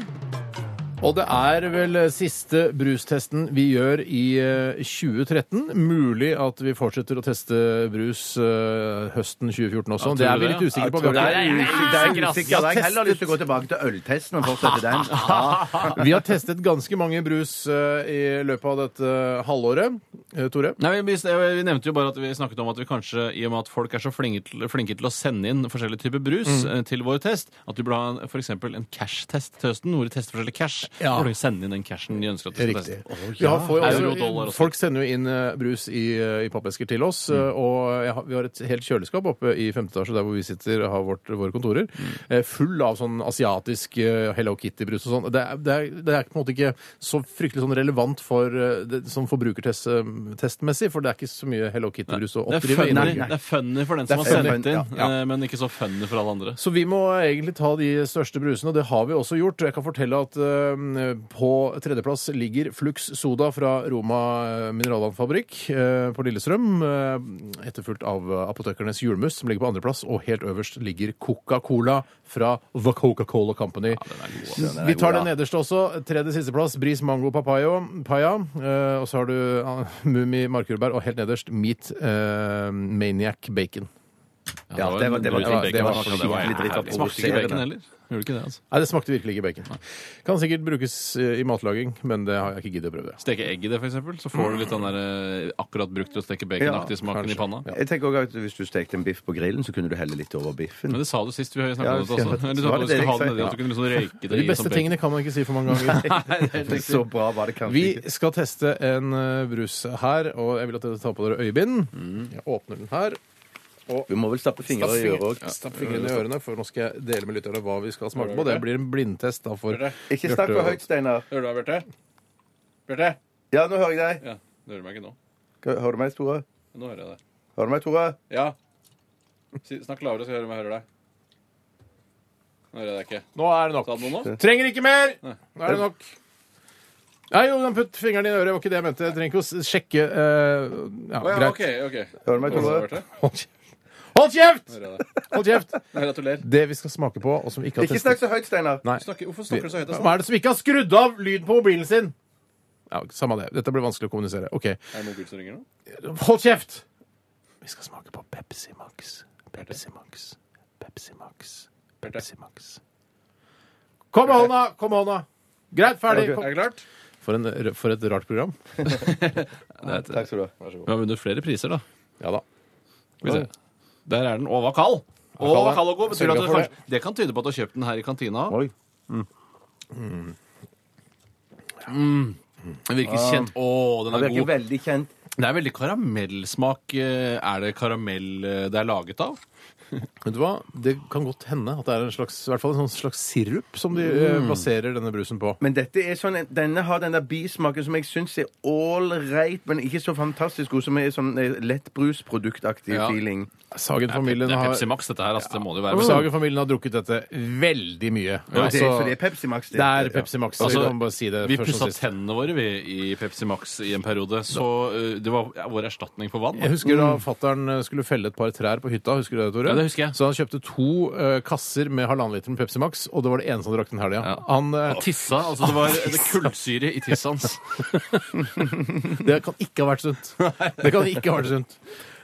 [SPEAKER 3] Og det er vel siste brustesten vi gjør i eh, 2013. Mulig at vi fortsetter å teste brus eh, høsten 2014 også.
[SPEAKER 5] Ja, tror
[SPEAKER 3] det er
[SPEAKER 5] du
[SPEAKER 3] vi
[SPEAKER 5] det?
[SPEAKER 3] litt usikre på. Vi
[SPEAKER 4] Det
[SPEAKER 3] har,
[SPEAKER 4] er usikker. Det er usikker. Jeg har heller lyst til å gå tilbake til øltesten og fortsette den. Ja.
[SPEAKER 3] ikke- vi har testet ganske mange brus eh, i løpet av dette halvåret. Eh, Tore?
[SPEAKER 5] Nei, vi, vi vi nevnte jo bare at vi snakket om at vi kanskje, i og med at folk er så flinke til, flinke til å sende inn forskjellige typer brus
[SPEAKER 3] Mm.
[SPEAKER 5] eh, til vår test, at vi burde ha en- for eksempel en cash-test til høsten, hvor de tester forskjellige cash.
[SPEAKER 3] Ja.
[SPEAKER 5] Hvor de sender inn den cashen de ønsker at de skal
[SPEAKER 3] Riktig.
[SPEAKER 5] teste.
[SPEAKER 3] Vi har- får jo
[SPEAKER 5] Euro,
[SPEAKER 3] også-
[SPEAKER 5] dollar og sånt.
[SPEAKER 3] folk sender jo inn eh, brus i, eh, i pappesker til oss,
[SPEAKER 5] Mm.
[SPEAKER 3] eh, og jeg har, vi har et helt kjøleskap oppe i femte etasje der hvor vi sitter og har vårt, våre kontorer,
[SPEAKER 5] Mm.
[SPEAKER 3] eh, full av sånn asiatisk eh, Hello Kitty-brus og sånn. Det, er- det, er- det er på en måte ikke så fryktelig sånn relevant for, eh, det, sånn forbrukertestmessig, for det er ikke så mye Hello Kitty-brus å
[SPEAKER 5] Det er,
[SPEAKER 3] oppdrive i
[SPEAKER 5] funny,
[SPEAKER 3] Norge.
[SPEAKER 5] det er funny for den
[SPEAKER 3] Det er
[SPEAKER 5] som har sendt
[SPEAKER 3] funny,
[SPEAKER 5] inn,
[SPEAKER 3] ja, ja.
[SPEAKER 5] eh, men ikke så funny for alle andre.
[SPEAKER 3] Så vi må egentlig ta de største brusene, og det har vi også gjort. Jeg kan fortelle at eh, eh, på tredjeplass ligger Flux Soda fra Roma eh, mineralvannfabrikk eh, på Lillestrøm. eh, Etterfulgt av eh, Apotekernes julmus, som ligger på andreplass. Og helt øverst ligger Coca-Cola fra The Coca-Cola Company. Vi tar den nederste også. Tredje sisteplass Bris Mango Papayo, Paya. Eh, Og så har du ah, Mummi Markurberg, og helt nederst Meat eh, Maniac Bacon.
[SPEAKER 4] Ja, det var- det var-
[SPEAKER 5] Bacon,
[SPEAKER 3] det var-
[SPEAKER 5] bacon,
[SPEAKER 4] det var-
[SPEAKER 5] skikkelig dritt av
[SPEAKER 4] herlig.
[SPEAKER 5] Smakte ikke bacon heller. Gjorde ikke det, altså.
[SPEAKER 3] Nei, det smakte virkelig ikke bacon. Kan sikkert brukes eh, i matlaging, men det har jeg ikke giddet å prøve.
[SPEAKER 5] Steke egg i det, for eksempel, så får du litt den der eh, akkurat brukt til å steke baconaktig smaken i panna.
[SPEAKER 4] Jeg tenker også at Hvis du stekte en biff på grillen, så kunne du helle litt over biffen.
[SPEAKER 5] Men det sa du sist vi snakket
[SPEAKER 4] Ja,
[SPEAKER 5] om det også.
[SPEAKER 4] kjempe-
[SPEAKER 5] Eller du sa
[SPEAKER 4] var
[SPEAKER 5] at
[SPEAKER 4] det
[SPEAKER 5] du skulle
[SPEAKER 4] det
[SPEAKER 5] ha
[SPEAKER 4] jeg
[SPEAKER 5] det nedi,
[SPEAKER 4] sa?
[SPEAKER 5] at du kunne liksom røyke det
[SPEAKER 3] De
[SPEAKER 5] i
[SPEAKER 3] beste
[SPEAKER 5] sånn
[SPEAKER 3] tingene kan man ikke si for mange ganger.
[SPEAKER 4] Så bra var det kanskje
[SPEAKER 3] Vi
[SPEAKER 4] ikke.
[SPEAKER 3] skal teste en eh, brus her, og jeg vil at dere tar på dere øyebind. Jeg åpner den her.
[SPEAKER 4] Vi må vel stappe fingre
[SPEAKER 3] Stapp
[SPEAKER 4] i øret
[SPEAKER 3] fingre-
[SPEAKER 4] òg.
[SPEAKER 3] Stapp fingrene i ørene, for nå skal jeg dele med lytterne hva vi skal smake på. Det blir en blindtest da for
[SPEAKER 4] Ikke snakk for høyt, Steinar.
[SPEAKER 5] Hører du meg, Bjarte? Bjarte?
[SPEAKER 4] Ja, nå hører jeg deg.
[SPEAKER 5] Ja, du hører meg ikke nå.
[SPEAKER 4] Hører du meg, Tore?
[SPEAKER 5] Nå hører jeg deg.
[SPEAKER 4] Hører du meg, Tore?
[SPEAKER 5] Ja. Si- Snakk lavere, så jeg hører om jeg hører deg. Nå hører jeg deg ikke.
[SPEAKER 3] Nå er det
[SPEAKER 5] Sa du
[SPEAKER 3] nok.
[SPEAKER 5] noe nå?
[SPEAKER 3] Trenger ikke mer! Nå er det nok. Nei, jo, den putt fingeren i øret. Det var ikke det jeg mente. Jeg trenger ikke å s- sjekke eh, Ja,
[SPEAKER 5] Å, ja, OK.
[SPEAKER 3] greit.
[SPEAKER 5] ok.
[SPEAKER 4] Hører du meg,
[SPEAKER 5] Hva sa du,
[SPEAKER 4] Tore?
[SPEAKER 5] Bjarte?
[SPEAKER 3] Hold kjeft! Hold kjeft!
[SPEAKER 5] Hører jeg deg.
[SPEAKER 3] Hold kjeft!
[SPEAKER 5] Gratulerer.
[SPEAKER 3] Det vi skal smake på, og som vi ikke har
[SPEAKER 4] Ikke snakk
[SPEAKER 3] testet
[SPEAKER 4] så høyt, Steinar.
[SPEAKER 3] Nei.
[SPEAKER 5] Snakker- Hvorfor
[SPEAKER 3] Vi-
[SPEAKER 5] snakker du så høyt?
[SPEAKER 3] Hva er det som ikke har skrudd av lyden på mobilen sin? Ja, Samme det. Dette blir vanskelig å kommunisere. OK.
[SPEAKER 5] Er det mobilen som ringer nå?
[SPEAKER 3] Hold kjeft! Vi skal smake på Pepsi Max. Pepsi Max. Pepsi Max. Pepsi Max. Kom med hånda! Kom med hånda! Greit, ferdig.
[SPEAKER 5] Er det klart?
[SPEAKER 3] For, en, for et rart program.
[SPEAKER 4] Takk skal du ha.
[SPEAKER 5] Vi har vunnet flere priser, da.
[SPEAKER 3] Ja da.
[SPEAKER 5] Skal vi se. Der er den. Og var kald. Og
[SPEAKER 3] kald,
[SPEAKER 5] var
[SPEAKER 3] ja.
[SPEAKER 5] kald og god. Betyr
[SPEAKER 3] Sørga
[SPEAKER 5] at det,
[SPEAKER 3] for
[SPEAKER 5] kanskje, det kan tyde på at du har kjøpt den her i kantina. Mm.
[SPEAKER 4] Oi.
[SPEAKER 5] Mm. Den virker
[SPEAKER 3] Ah.
[SPEAKER 5] kjent. Å, den
[SPEAKER 4] Han
[SPEAKER 5] er
[SPEAKER 4] virker
[SPEAKER 5] god.
[SPEAKER 4] veldig kjent.
[SPEAKER 5] Det er veldig karamellsmak. Eh, Er det karamell eh, det er laget av?
[SPEAKER 3] Vet du hva? Det kan godt hende at det er en slags, i hvert fall en sånn slags sirup som de eh,
[SPEAKER 5] Mm.
[SPEAKER 3] baserer denne brusen på.
[SPEAKER 4] Men dette er sånn, denne har den der bismaken som jeg syns er ålreit, men ikke så fantastisk god, som er sånn eh, lettbrusproduktaktig
[SPEAKER 5] Ja.
[SPEAKER 4] feeling.
[SPEAKER 5] Det
[SPEAKER 3] Sagen-familien
[SPEAKER 5] er
[SPEAKER 3] har,
[SPEAKER 5] Pepsi Max, dette her. Altså, det må det jo være.
[SPEAKER 3] Sagen-familien har drukket dette veldig mye.
[SPEAKER 4] Og det,
[SPEAKER 3] Altså,
[SPEAKER 4] for det er Pepsi Max.
[SPEAKER 3] det er Pepsi Max.
[SPEAKER 5] Altså,
[SPEAKER 3] vi kan bare si det
[SPEAKER 5] Vi
[SPEAKER 3] først
[SPEAKER 5] pussa
[SPEAKER 3] og sist.
[SPEAKER 5] tennene våre vi, i Pepsi Max i en periode, så eh, det var ja, vår erstatning for vann. da.
[SPEAKER 3] Jeg husker da fattern eh, skulle felle et par trær på hytta. husker du det, Tore?
[SPEAKER 5] Mm. Ja, det husker jeg.
[SPEAKER 3] Så han kjøpte to eh, kasser med halvannen liter med Pepsi Max, og det var det eneste han drakk den helga.
[SPEAKER 5] Ja.
[SPEAKER 3] Han, eh,
[SPEAKER 5] Tissa, altså det var det kullsyre i tisset hans.
[SPEAKER 3] det kan ikke ha vært sunt. Det kan ikke ha vært sunt.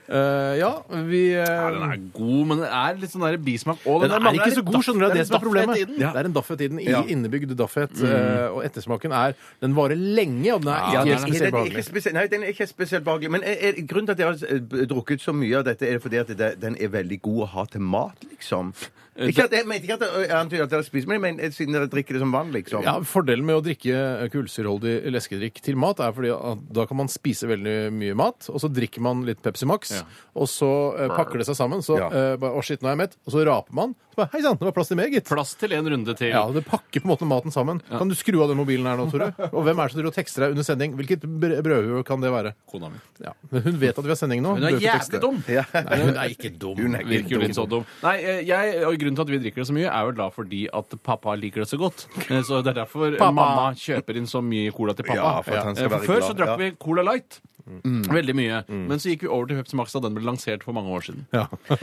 [SPEAKER 3] Eh, ja, vi eh,
[SPEAKER 5] Ja, den er god, men det er litt sånn der bismak. Å,
[SPEAKER 3] den
[SPEAKER 5] der
[SPEAKER 3] er
[SPEAKER 5] mangler
[SPEAKER 3] ikke
[SPEAKER 5] litt
[SPEAKER 3] så god,
[SPEAKER 5] daff.
[SPEAKER 3] skjønner du. Det er det
[SPEAKER 5] litt
[SPEAKER 3] som er
[SPEAKER 5] daffhet
[SPEAKER 3] problemet.
[SPEAKER 5] i den.
[SPEAKER 3] Det er en daffhet i den. I
[SPEAKER 4] Ja.
[SPEAKER 3] innebygd daffhet. eh, og ettersmaken er Den varer lenge, og den er ikke
[SPEAKER 5] Ja, den er-
[SPEAKER 3] spesielt
[SPEAKER 4] Den er ikke
[SPEAKER 3] behagelig.
[SPEAKER 4] spesielt, nei, den er ikke spesielt behagelig. Men er, er, grunnen til at jeg har eh, b- drukket så mye av dette, er det fordi at det, den er veldig god å ha til mat, liksom? Ikke at, jeg mente ikke at det- jeg antyder at dere spiser, men jeg mener, eh, siden dere drikker det som vann, liksom.
[SPEAKER 3] Ja, Fordelen med å drikke kullsyreholdig leskedrikk til mat er fordi at da kan man spise veldig mye mat, og så drikker man litt Pepsi Max,
[SPEAKER 5] Ja.
[SPEAKER 3] og så eh, pakker det seg sammen. Så
[SPEAKER 4] Ja.
[SPEAKER 3] eh, bare, 'Å, shit, nå er jeg mett', og så raper man. Så bare, 'Hei sann, det var plass til meg, gitt'.
[SPEAKER 5] Plass til en runde til.
[SPEAKER 3] Ja, Det pakker på en måte maten sammen. Kan du skru av den mobilen her nå, Tore? Og hvem er det som driver og tekster deg under sending? Hvilket br- brødhue kan det være?
[SPEAKER 5] Kona mi.
[SPEAKER 3] Ja. Men hun vet at vi har sending nå.
[SPEAKER 5] Hun er
[SPEAKER 3] Hun bruker å tekste.
[SPEAKER 5] jævlig dum!
[SPEAKER 3] Nei, hun er ikke dum.
[SPEAKER 4] Hun er ikke
[SPEAKER 5] Virker jo litt så dum. Nei, eh, jeg, og Grunnen til at vi drikker det så mye, er jo da fordi at pappa liker det så godt. Eh, Så Det er derfor eh,
[SPEAKER 3] Pappa.
[SPEAKER 5] mamma kjøper inn så mye cola til pappa.
[SPEAKER 4] Ja, for at han skal
[SPEAKER 5] Eh,
[SPEAKER 4] være
[SPEAKER 5] før
[SPEAKER 4] glad.
[SPEAKER 5] så drakk
[SPEAKER 4] Ja. Mm.
[SPEAKER 5] vi Cola Light. Veldig mye. Men så gikk vi over til Pepsi Max da den ble lansert for mange år siden.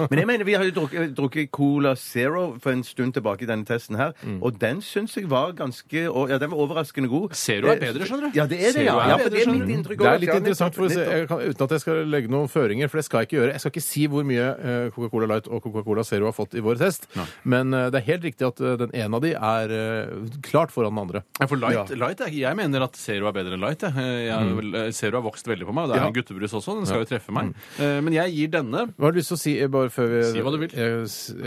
[SPEAKER 4] Men jeg mener, vi har jo drukket, eh, drukket Cola Zero for en stund tilbake i denne testen her, og den syns jeg var ganske og- Ja, den var overraskende god. Eh,
[SPEAKER 5] Zero er bedre, skjønner du.
[SPEAKER 4] Ja, det er det,
[SPEAKER 5] Zero
[SPEAKER 4] ja.
[SPEAKER 5] er sånn.
[SPEAKER 4] ja
[SPEAKER 5] bedre,
[SPEAKER 4] for det er
[SPEAKER 5] skjønner
[SPEAKER 4] mitt
[SPEAKER 5] du.
[SPEAKER 3] Det
[SPEAKER 4] inntrykk også.
[SPEAKER 3] er litt
[SPEAKER 4] Ja,
[SPEAKER 3] interessant, for å se,
[SPEAKER 4] nettopp.
[SPEAKER 3] jeg kan, uten at jeg skal legge noen føringer, for det skal jeg ikke gjøre. Jeg skal ikke si hvor mye eh, Coca-Cola Light og Coca-Cola Zero har fått i vår test, men eh, det er helt riktig at eh, den ene av de er eh, klart foran den andre.
[SPEAKER 5] Ja, Eh, for light, light er, jeg mener at Zero er bedre enn Light. Jeg. Eh, Jeg,
[SPEAKER 4] Mm.
[SPEAKER 5] er vel- eh, Zero har vokst veldig på meg, og det er en guttebrus også. Den skal jo treffe meg.
[SPEAKER 4] Mm.
[SPEAKER 5] Eh, Men jeg gir denne
[SPEAKER 3] Hva har du lyst til å si eh, bare før vi
[SPEAKER 5] Si hva du vil.
[SPEAKER 3] Jeg, jeg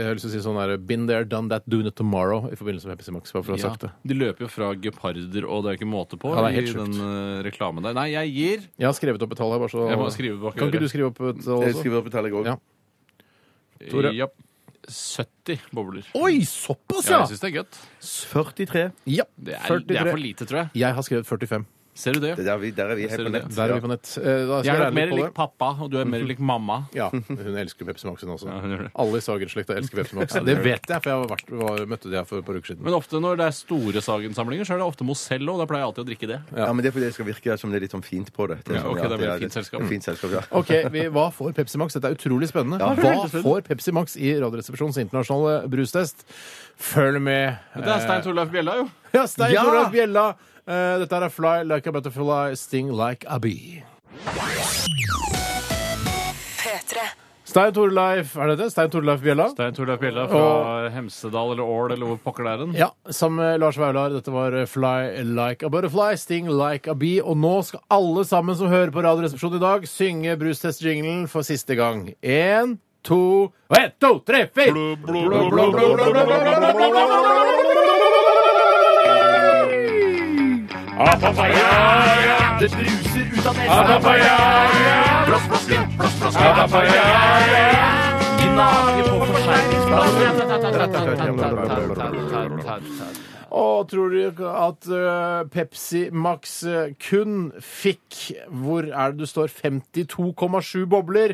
[SPEAKER 3] har lyst til å si sånn her Been there, done that, doing it tomorrow i forbindelse med Pepsi Max. Bare for å ha
[SPEAKER 5] Ja,
[SPEAKER 3] sagt det.
[SPEAKER 5] De løper jo fra geparder, og det er jo ikke måte på
[SPEAKER 3] Ja, det er helt
[SPEAKER 5] i
[SPEAKER 3] sjukt.
[SPEAKER 5] den eh, reklamen der. Nei, jeg gir
[SPEAKER 3] Jeg har skrevet opp et tall her, bare så
[SPEAKER 5] Jeg må skrive bak
[SPEAKER 3] Kan
[SPEAKER 5] øret.
[SPEAKER 3] ikke du skrive opp et tall
[SPEAKER 4] Jeg
[SPEAKER 3] også?
[SPEAKER 4] skriver opp et tall, jeg òg.
[SPEAKER 3] Ja. Tore?
[SPEAKER 5] Ja, 70 bobler.
[SPEAKER 3] Oi, såpass,
[SPEAKER 5] Ja, jeg syns det er godt.
[SPEAKER 4] 43.
[SPEAKER 3] Ja,
[SPEAKER 5] Det er,
[SPEAKER 3] 43.
[SPEAKER 5] det er for lite, tror jeg.
[SPEAKER 3] Jeg har skrevet 45.
[SPEAKER 5] Ser du det?
[SPEAKER 4] Det er der, vi, der er vi helt
[SPEAKER 5] Ser du
[SPEAKER 4] på
[SPEAKER 5] det?
[SPEAKER 4] nett.
[SPEAKER 3] Der er vi på nett. Eh, Da skal
[SPEAKER 5] Jeg
[SPEAKER 3] jeg
[SPEAKER 5] er
[SPEAKER 3] regne
[SPEAKER 5] nok mer
[SPEAKER 3] litt på
[SPEAKER 5] lik
[SPEAKER 3] det.
[SPEAKER 5] pappa, og du er mer lik mamma.
[SPEAKER 3] Ja, hun elsker Pepsi Max, hun også.
[SPEAKER 5] Ja, hun gjør det.
[SPEAKER 3] Alle i Sagen-slekta elsker Pepsi Max. Det vet jeg, for jeg har vært, var, møtte de her for et par uker siden.
[SPEAKER 5] Men ofte når det er store Sagen-samlinger, så er det ofte Mosello. og Da pleier jeg alltid å drikke det.
[SPEAKER 4] Ja, men det er fordi det skal virke som det er litt sånn fint på det.
[SPEAKER 5] Ja,
[SPEAKER 4] sånn,
[SPEAKER 5] ok,
[SPEAKER 4] ja,
[SPEAKER 5] det er veldig
[SPEAKER 4] litt-
[SPEAKER 5] fint selskap.
[SPEAKER 4] Fint selskap, ja.
[SPEAKER 3] Ok, vi, Hva får Pepsi Max? Dette er utrolig spennende.
[SPEAKER 4] Ja,
[SPEAKER 3] hva får Pepsi Max i Radioresepsjonens internasjonale brustest? Følg med. eh,
[SPEAKER 5] Det er Stein Torleif Bjella, jo.
[SPEAKER 3] Ja, Stein
[SPEAKER 4] Ja!
[SPEAKER 3] Torleif Bjella. Eh, Dette her er Fly like a butterfly, sting like a bee.
[SPEAKER 6] P3.
[SPEAKER 3] Stein Torleif Er det det? Stein Torleif Bjella?
[SPEAKER 5] Stein Torleif Bjella fra Hemsedal eller Ål eller hvor pokker det er den.
[SPEAKER 3] Ja, sammen med Lars Vaular. Dette var Fly like a butterfly, sting like a bee. Og nå skal alle sammen som hører på Radioresepsjonen i dag, synge brustest-jinglen for siste gang. Én, to og Én, to, tre, fire!
[SPEAKER 1] Det bruser ut av nesen. Blås, blås, blås, blås, blås. Gnager på forseglingsplassen.
[SPEAKER 3] Og tror du ikke at ø, Pepsi Max ø, kun fikk Hvor er det du står? 52,7 bobler.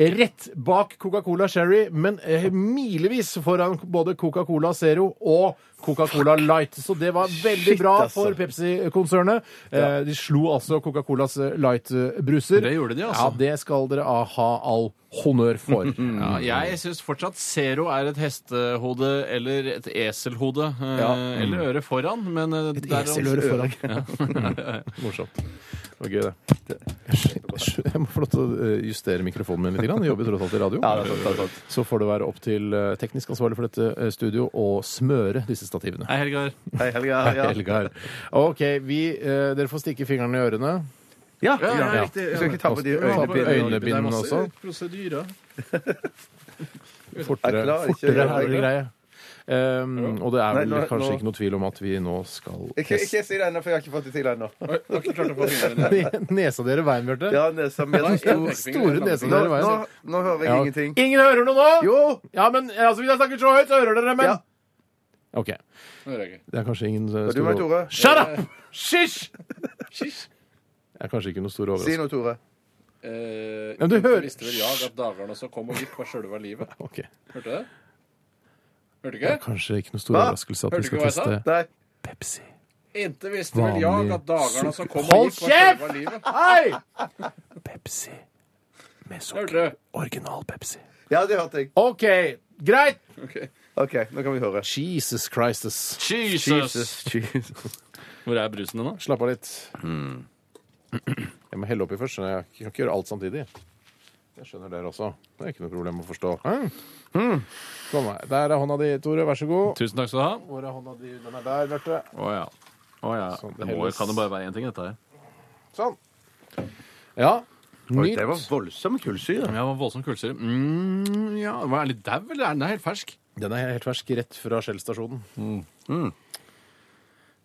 [SPEAKER 3] Rett bak Coca-Cola Sherry, men ø, milevis foran både Coca-Cola Zero og Coca-Cola Light. Så det var veldig bra
[SPEAKER 5] altså.
[SPEAKER 3] for Pepsi-konsernet. Eh, De slo altså Coca-Colas ø, Light-bruser.
[SPEAKER 5] Det gjorde de, altså.
[SPEAKER 3] Ja, det skal dere ah, ha all honnør for.
[SPEAKER 5] Ja, jeg syns fortsatt Zero er et hestehode eller et eselhode. eh, Eller øre foran, men eh, der-
[SPEAKER 3] Eseløre foran. Morsomt. Det var gøy, det. Jeg må få lov til å eh, justere mikrofonen min litt. grann. Jeg jobber tross alt i radio.
[SPEAKER 4] Ja, det er sant, det er sant.
[SPEAKER 3] Så får det være opp til eh, teknisk ansvarlig for dette eh, studio å smøre disse stativene.
[SPEAKER 5] Hei, Helgar.
[SPEAKER 4] Hei, Helga. Ja,
[SPEAKER 3] Helgar. OK, vi, eh, dere får stikke fingrene i ørene.
[SPEAKER 4] ja,
[SPEAKER 5] Ja, ja,
[SPEAKER 4] ja.
[SPEAKER 5] riktig,
[SPEAKER 4] Du skal ikke ta på de
[SPEAKER 3] Ta på
[SPEAKER 4] øynebindene.
[SPEAKER 3] øynebindene også.
[SPEAKER 5] prosedyrer.
[SPEAKER 3] Fortere,
[SPEAKER 4] Jeg klarer ikke å
[SPEAKER 3] fortere
[SPEAKER 4] gjøre
[SPEAKER 3] er
[SPEAKER 4] det.
[SPEAKER 3] vel greie. Ehm, og det er vel
[SPEAKER 4] Nei, nå-
[SPEAKER 3] kanskje
[SPEAKER 4] nå-
[SPEAKER 3] ikke noe tvil om at vi nå skal
[SPEAKER 4] Ikke, ikke si det ennå, for jeg har ikke fått det til ennå.
[SPEAKER 3] Nesa dere veien, Bjarte.
[SPEAKER 4] Ja, nesa med
[SPEAKER 3] Sto- Store nesa
[SPEAKER 4] Nå,
[SPEAKER 3] dere
[SPEAKER 4] nå,
[SPEAKER 3] veien.
[SPEAKER 4] nå hører jeg
[SPEAKER 3] Ja.
[SPEAKER 4] ingenting.
[SPEAKER 3] Ingen hører noe nå!
[SPEAKER 4] Jo!
[SPEAKER 3] Ja, men altså, hvis jeg snakker så høyt, så hører dere, men
[SPEAKER 4] Ja.
[SPEAKER 3] OK. Det er kanskje ingen uh,
[SPEAKER 4] Og du, Tore?
[SPEAKER 3] Shut
[SPEAKER 7] Eh,
[SPEAKER 3] up! Shish! Det er kanskje ikke noe stor
[SPEAKER 4] Si
[SPEAKER 3] overraskelse.
[SPEAKER 4] noe, Tore.
[SPEAKER 3] Men du hører
[SPEAKER 7] visste vel Eh, jag at dagene også kom og gikk på sjølve livet.
[SPEAKER 3] Ok.
[SPEAKER 7] Hørte du det? Hørte du
[SPEAKER 3] Det
[SPEAKER 7] ikke?
[SPEAKER 3] er kanskje ikke noe stor
[SPEAKER 4] Hva?
[SPEAKER 3] overraskelse at
[SPEAKER 7] Hørte
[SPEAKER 3] vi
[SPEAKER 7] du
[SPEAKER 3] skal
[SPEAKER 7] ikke hva jeg
[SPEAKER 3] teste
[SPEAKER 4] Nei.
[SPEAKER 3] Pepsi.
[SPEAKER 7] Inte visste vel jag at dagene som kom og
[SPEAKER 3] Hold
[SPEAKER 7] gikk på sjølve
[SPEAKER 3] kjeft!
[SPEAKER 7] livet.
[SPEAKER 3] Hei! Pepsi med
[SPEAKER 7] Hørte
[SPEAKER 3] sukker.
[SPEAKER 7] du?
[SPEAKER 3] Original Pepsi.
[SPEAKER 4] Ja, det hørte jeg.
[SPEAKER 3] OK, greit.
[SPEAKER 4] OK, nå kan vi høre.
[SPEAKER 3] Jesus Christus.
[SPEAKER 5] Jesus!
[SPEAKER 4] Jesus.
[SPEAKER 5] Hvor er brusen din, da?
[SPEAKER 3] Slapp av litt. Jeg må helle oppi først. skjønner Jeg Jeg kan ikke gjøre alt samtidig. Jeg skjønner dere også. Det er ikke noe problem å forstå. Mm. Kom her. Der er hånda di, Tore. Vær så god.
[SPEAKER 5] Tusen takk skal du ha.
[SPEAKER 3] Hvor er hånda di? Den er der, Bjarte.
[SPEAKER 5] Å ja. Å, ja.
[SPEAKER 3] Sånn,
[SPEAKER 5] Det må,
[SPEAKER 3] Hellas.
[SPEAKER 5] kan det bare være én ting, dette her.
[SPEAKER 3] Sånn. Ja.
[SPEAKER 4] Oi, det var
[SPEAKER 3] Nyt.
[SPEAKER 4] voldsom kullsyre.
[SPEAKER 5] Ja, det var Voldsom kullsyre. Mm, ja. Var den litt dau, eller er den helt fersk?
[SPEAKER 3] Den er helt fersk rett fra Shell-stasjonen. Mm.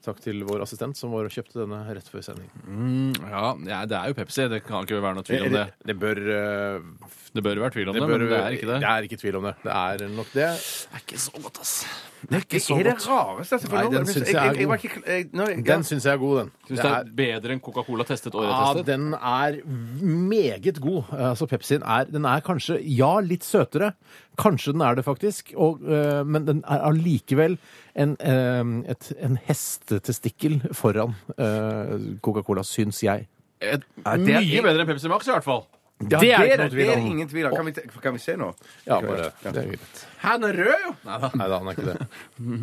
[SPEAKER 3] Takk til vår assistent som var og kjøpte denne rett før sending.
[SPEAKER 5] Ja, ja, det er jo Pepsi. Det kan ikke være noe tvil om det.
[SPEAKER 3] Det, det bør, eh,
[SPEAKER 5] Det bør være tvil om det,
[SPEAKER 3] bør-
[SPEAKER 5] men det er ikke det.
[SPEAKER 3] Det er ikke tvil om det. Det er nok det.
[SPEAKER 5] Det er ikke så godt, ass.
[SPEAKER 4] Det er, det rareste altså, for
[SPEAKER 3] Nei,
[SPEAKER 4] nå-
[SPEAKER 3] den synes jeg er
[SPEAKER 4] jeg var
[SPEAKER 3] god.
[SPEAKER 4] ikke- jeg- nå- jeg-
[SPEAKER 3] Den syns jeg er god, den.
[SPEAKER 5] Syns det
[SPEAKER 3] Det
[SPEAKER 5] er bedre enn Coca-Cola testet og
[SPEAKER 3] Ja,
[SPEAKER 5] retestet?
[SPEAKER 3] den er meget god. Altså, Pepsien er, den er kanskje, ja, litt søtere. Kanskje den er det, faktisk. Og, eh, men den er allikevel en, eh, et, en hestetestikkel foran eh, Coca-Cola, syns jeg.
[SPEAKER 5] Et,
[SPEAKER 4] det er-
[SPEAKER 5] mye bedre enn Pepsi Max, i hvert fall.
[SPEAKER 4] Ja,
[SPEAKER 3] det er ikke noe
[SPEAKER 4] det,
[SPEAKER 3] tvil
[SPEAKER 4] det er
[SPEAKER 3] om.
[SPEAKER 4] ingen tvil om. Kan vi, te- kan vi se nå?
[SPEAKER 3] Ja, bare, det er greit.
[SPEAKER 5] Han er rød, jo! Nei, da.
[SPEAKER 3] Nei da, han er ikke det.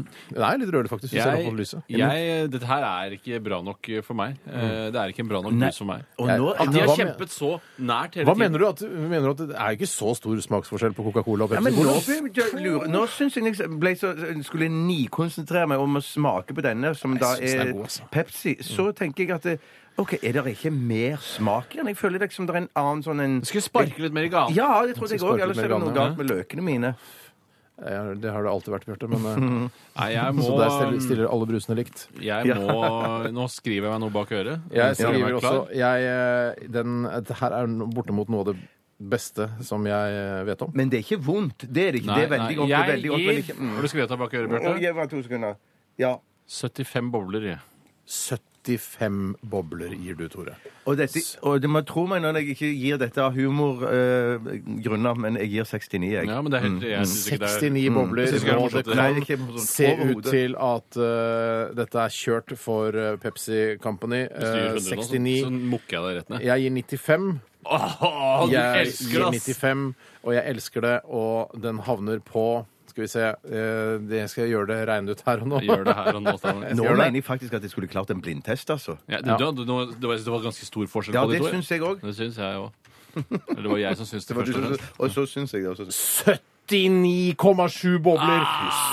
[SPEAKER 3] Den er litt rødlig, faktisk. Hvis jeg, ser på
[SPEAKER 5] Jeg,
[SPEAKER 3] lyset.
[SPEAKER 5] jeg, dette her er ikke bra nok for meg. Eh, Det er ikke en bra nok brus for meg.
[SPEAKER 4] Og
[SPEAKER 3] Jeg-
[SPEAKER 4] nå,
[SPEAKER 3] Ja,
[SPEAKER 5] At de har
[SPEAKER 3] Mm. hva med-
[SPEAKER 5] kjempet så nært hele
[SPEAKER 3] Hva
[SPEAKER 5] tiden.
[SPEAKER 3] mener du? At, mener du at det er ikke så stor smaksforskjell på Coca-Cola og
[SPEAKER 4] ja,
[SPEAKER 3] Pepsi?
[SPEAKER 4] men nå,
[SPEAKER 3] Hvordan-
[SPEAKER 4] begynte jeg å lure. nå syns jeg liksom ble så, skulle jeg nikonsentrere meg om å smake på denne, som da
[SPEAKER 3] synes den er
[SPEAKER 4] er
[SPEAKER 3] god, altså.
[SPEAKER 4] Pepsi. Så tenker jeg at det, OK, er det ikke mer smak i den? Jeg føler det som det er en annen sånn en
[SPEAKER 5] Skulle sparke litt mer i ganen.
[SPEAKER 4] Ja, det trodde jeg
[SPEAKER 3] sparke
[SPEAKER 4] òg.
[SPEAKER 3] litt
[SPEAKER 4] Ellers
[SPEAKER 3] mer
[SPEAKER 4] er det
[SPEAKER 3] i
[SPEAKER 4] noe
[SPEAKER 3] ganen,
[SPEAKER 4] galt med løkene mine.
[SPEAKER 3] Ja, det har det alltid vært, Bjarte. Men,
[SPEAKER 5] Nei, jeg
[SPEAKER 3] eh,
[SPEAKER 5] må,
[SPEAKER 3] så der stiller- stiller alle brusene likt.
[SPEAKER 5] jeg må Nå skriver jeg meg noe bak øret.
[SPEAKER 3] Jeg
[SPEAKER 5] Gjør meg
[SPEAKER 3] skriver også
[SPEAKER 5] klar.
[SPEAKER 3] jeg, eh, den, det Her er no- bortimot noe av det beste som jeg eh, vet om.
[SPEAKER 4] Men det er ikke vondt. Det er det ikke.
[SPEAKER 5] Nei,
[SPEAKER 4] det er veldig
[SPEAKER 5] nei,
[SPEAKER 4] godt. det er
[SPEAKER 5] jeg
[SPEAKER 4] veldig godt, men ikke
[SPEAKER 5] gir Har du skrevet deg bak øret,
[SPEAKER 4] mm. Å,
[SPEAKER 5] Bjarte?
[SPEAKER 4] Gi meg to sekunder. Ja.
[SPEAKER 5] 75 bobler. jeg.
[SPEAKER 3] 70 75 bobler gir du, Tore.
[SPEAKER 4] Og, dette, og du må tro meg når jeg ikke gir dette av humorgrunner, men jeg gir 69, jeg.
[SPEAKER 5] Ja, men det er
[SPEAKER 3] Mm.
[SPEAKER 5] helt, jeg synes ikke det er Mm.
[SPEAKER 3] 69 bobler,
[SPEAKER 5] Jeg synes ikke det er
[SPEAKER 3] og det
[SPEAKER 5] morsomt. Sånn
[SPEAKER 4] Nei,
[SPEAKER 3] kan
[SPEAKER 4] det er ikke morsomt
[SPEAKER 3] se ut
[SPEAKER 4] overhodet.
[SPEAKER 3] til at eh, dette er kjørt for eh, Pepsi Company. Eh,
[SPEAKER 5] Styrer hundre nå, så-
[SPEAKER 3] 69.
[SPEAKER 5] Så mukker jeg deg rett ned.
[SPEAKER 3] Jeg gir 95.
[SPEAKER 5] Åh, du
[SPEAKER 3] Jeg
[SPEAKER 5] elsker
[SPEAKER 3] gir
[SPEAKER 5] det, ass!
[SPEAKER 3] 95, og jeg elsker det, og den havner på Skal vi se eh, det Skal jeg gjøre det regnet ut her og nå?
[SPEAKER 5] Jeg Gjør det her og nå. Stavanger.
[SPEAKER 4] Nå
[SPEAKER 3] Gjør det.
[SPEAKER 4] mener jeg faktisk at jeg skulle klart en blindtest, altså.
[SPEAKER 5] Ja, du, du, du, nå- det var, det var ganske stor forskjell
[SPEAKER 4] Ja,
[SPEAKER 5] på de
[SPEAKER 4] det
[SPEAKER 5] to. ja.
[SPEAKER 4] syns jeg òg.
[SPEAKER 5] Det syns jeg òg. Eller det var jeg som syntes det, først og fremst.
[SPEAKER 4] Og så syns jeg det også.
[SPEAKER 3] 79,7 bobler!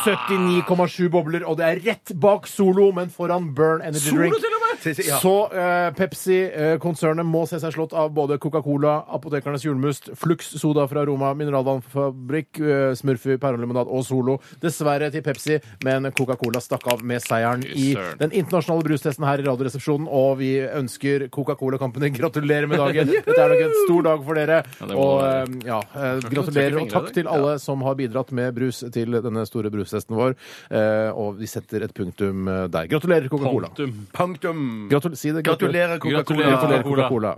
[SPEAKER 3] 79,7 bobler, og det er rett bak Solo, men foran Burn Energy Drink.
[SPEAKER 4] Ja.
[SPEAKER 3] Så eh, Pepsi-konsernet må se seg slått av både Coca-Cola, Apotekernes julmust, Flux Soda fra Roma Mineralvannfabrikk, eh, Smurfy Perlelimonade og Solo. Dessverre til Pepsi, men Coca-Cola stakk av med seieren i
[SPEAKER 5] søren.
[SPEAKER 3] den internasjonale brustesten her i Radioresepsjonen, og vi ønsker Coca-Cola Company gratulerer med dagen. Dette er nok en stor dag for dere.
[SPEAKER 5] Ja, det må
[SPEAKER 3] og
[SPEAKER 5] det være.
[SPEAKER 3] eh, ja, eh, gratulerer, og takk til alle som har bidratt med brus til denne store brustesten vår. Eh, og vi setter et punktum eh, der. Gratulerer, Coca-Cola.
[SPEAKER 5] Punktum.
[SPEAKER 4] Punktum.
[SPEAKER 3] Gratul si det.
[SPEAKER 4] Gratulerer, Coca-Cola.
[SPEAKER 5] Gratulerer,
[SPEAKER 3] Gratulerer,
[SPEAKER 5] Coca-Cola.
[SPEAKER 3] Coca-Cola.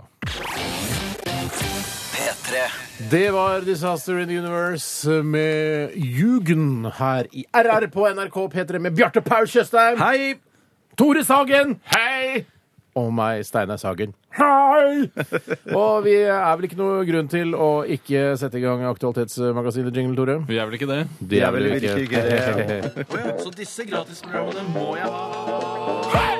[SPEAKER 2] P3.
[SPEAKER 3] Det var Disaster in the Universe med Jugend her i RR på NRK P3 med Bjarte Paul Tjøstheim,
[SPEAKER 4] Hei!
[SPEAKER 3] Tore Sagen
[SPEAKER 5] Hei!
[SPEAKER 3] og meg, Steinar Sagen. Hei! Og vi er vel ikke noe grunn til å ikke sette i gang Aktualitetsmagasinet Jingle, Tore?
[SPEAKER 5] Vi er vel ikke det?
[SPEAKER 3] Det
[SPEAKER 4] er vel ikke det.
[SPEAKER 5] Så disse gratisprogrammene må jeg ha.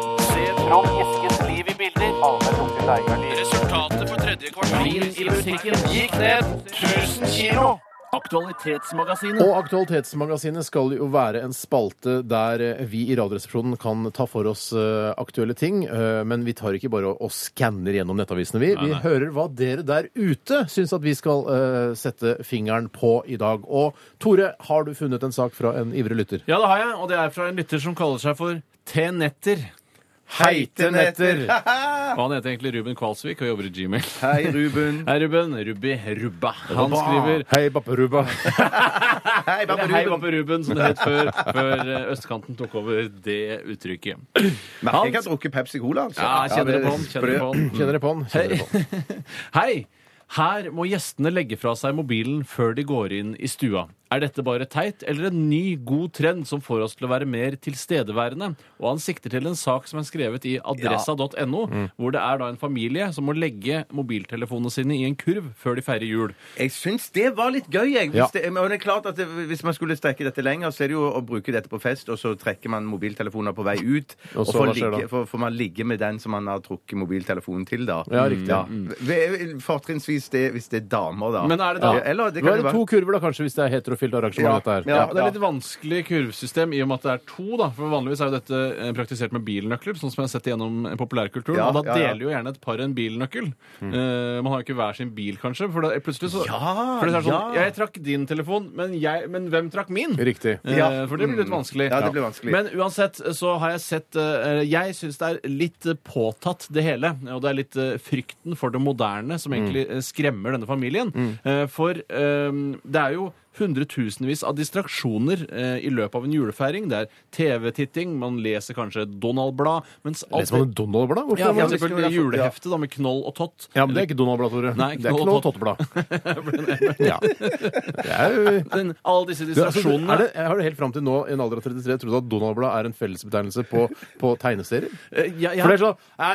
[SPEAKER 5] Resultatet på tredje kvartal i musikken gikk ned 1000 kilo. Aktualitetsmagasinet.
[SPEAKER 3] Og Aktualitetsmagasinet skal jo være en spalte der eh, vi i Radioresepsjonen kan ta for oss eh, aktuelle ting, eh, men vi tar ikke bare og- og skanner gjennom nettavisene, vi. Vi hører hva dere der ute syns at vi skal eh, sette fingeren på i dag. Og Tore, har du funnet en sak fra en ivrig lytter?
[SPEAKER 5] Ja, det har jeg, og det er fra en lytter som kaller seg for T-Netter.
[SPEAKER 3] Heitenetter!
[SPEAKER 5] Og han heter egentlig Ruben Kvalsvik og jobber i Gmail.
[SPEAKER 4] Hei, Ruben.
[SPEAKER 5] Hei, Ruben. Rubi. Rubba. Han skriver
[SPEAKER 3] Hei, Bapperuba.
[SPEAKER 4] Hei,
[SPEAKER 5] Eller Hei, Vappe Ruben, som det het før, før eh, østkanten tok over det uttrykket.
[SPEAKER 4] Merker jeg har drukket Pepsi Cola, altså.
[SPEAKER 5] Ja, kjenner dere på han? Kjenner dere på han?
[SPEAKER 3] Kjenner dere på han? Kjenner dere på han?
[SPEAKER 5] Hei! Her må gjestene legge fra seg mobilen før de går inn i stua. Er dette bare teit, eller en ny, god trend som får oss til å være mer tilstedeværende? Og han sikter til en sak som er skrevet i adressa.no, hvor det er da en familie som må legge mobiltelefonene sine i en kurv før de feirer jul.
[SPEAKER 4] Jeg syns det var litt gøy, jeg. Hvis,
[SPEAKER 3] Ja.
[SPEAKER 4] det, men det er klart at det, hvis man skulle strekke dette lenger, så er det jo å bruke dette på fest, og så trekker man mobiltelefoner på vei ut.
[SPEAKER 3] Og
[SPEAKER 4] Og,
[SPEAKER 3] så
[SPEAKER 4] får,
[SPEAKER 3] hva skjer da?
[SPEAKER 4] ligge, får, får man ligge med den som man har trukket mobiltelefonen til, da.
[SPEAKER 3] Ja, riktig.
[SPEAKER 4] Ve- Fortrinnsvis det, hvis det er damer, da.
[SPEAKER 5] Men er det da-
[SPEAKER 4] Ja, Eller det
[SPEAKER 3] Nå
[SPEAKER 4] kan
[SPEAKER 3] er
[SPEAKER 4] jo
[SPEAKER 3] det
[SPEAKER 4] være
[SPEAKER 3] to kurver, da, kanskje, hvis det er heterofilt
[SPEAKER 4] Ja,
[SPEAKER 3] arrangement, dette her.
[SPEAKER 5] Ja,
[SPEAKER 4] Ja,
[SPEAKER 5] det er litt vanskelig kurvsystem i og med at det er to. da, for Vanligvis er jo dette eh, praktisert med bilnøkler, sånn som jeg har sett gjennom populærkulturen.
[SPEAKER 4] Ja,
[SPEAKER 5] og da
[SPEAKER 4] ja, ja. Mm.
[SPEAKER 5] deler jo gjerne et par en bilnøkkel. Eh, man har jo ikke hver sin bil, kanskje. For da er plutselig så
[SPEAKER 4] Ja,
[SPEAKER 5] for det er
[SPEAKER 4] ja.
[SPEAKER 5] sånn, Jeg trakk din telefon, men, jeg, men hvem trakk min?
[SPEAKER 3] Riktig.
[SPEAKER 5] Eh,
[SPEAKER 4] Ja.
[SPEAKER 5] For det blir litt
[SPEAKER 3] Mm.
[SPEAKER 5] vanskelig.
[SPEAKER 4] Ja, det blir vanskelig.
[SPEAKER 5] Men uansett så har jeg sett eh, Jeg syns det er litt eh, påtatt, det hele. Og det er litt eh, frykten for det
[SPEAKER 3] Mm.
[SPEAKER 5] moderne som egentlig eh, skremmer denne familien. Eh, For eh, det er jo hundretusenvis av distraksjoner eh, i løpet av en julefeiring. Det er TV-titting, man leser kanskje et Donald-blad, mens alt
[SPEAKER 3] Leser man et Donald-blad? Hvorfor
[SPEAKER 5] ja,
[SPEAKER 3] er
[SPEAKER 5] for
[SPEAKER 3] man-
[SPEAKER 5] eksempel det juleheftet da, med knoll og tott.
[SPEAKER 3] Ja, men det er ikke Donald-blad, Tore.
[SPEAKER 5] Nei, ikke
[SPEAKER 3] det er ikke noe
[SPEAKER 5] Donald
[SPEAKER 3] Tott-blad. ja. Det er jo...
[SPEAKER 5] Den, alle disse
[SPEAKER 3] Du, altså,
[SPEAKER 5] distraksjonene
[SPEAKER 3] er det, jeg har det helt fram til nå, i en alder av 33, trodd at Donald-blad er en fellesbetegnelse på, på tegneserier.
[SPEAKER 5] Eh, ja, ja.
[SPEAKER 3] For det er sånn nei,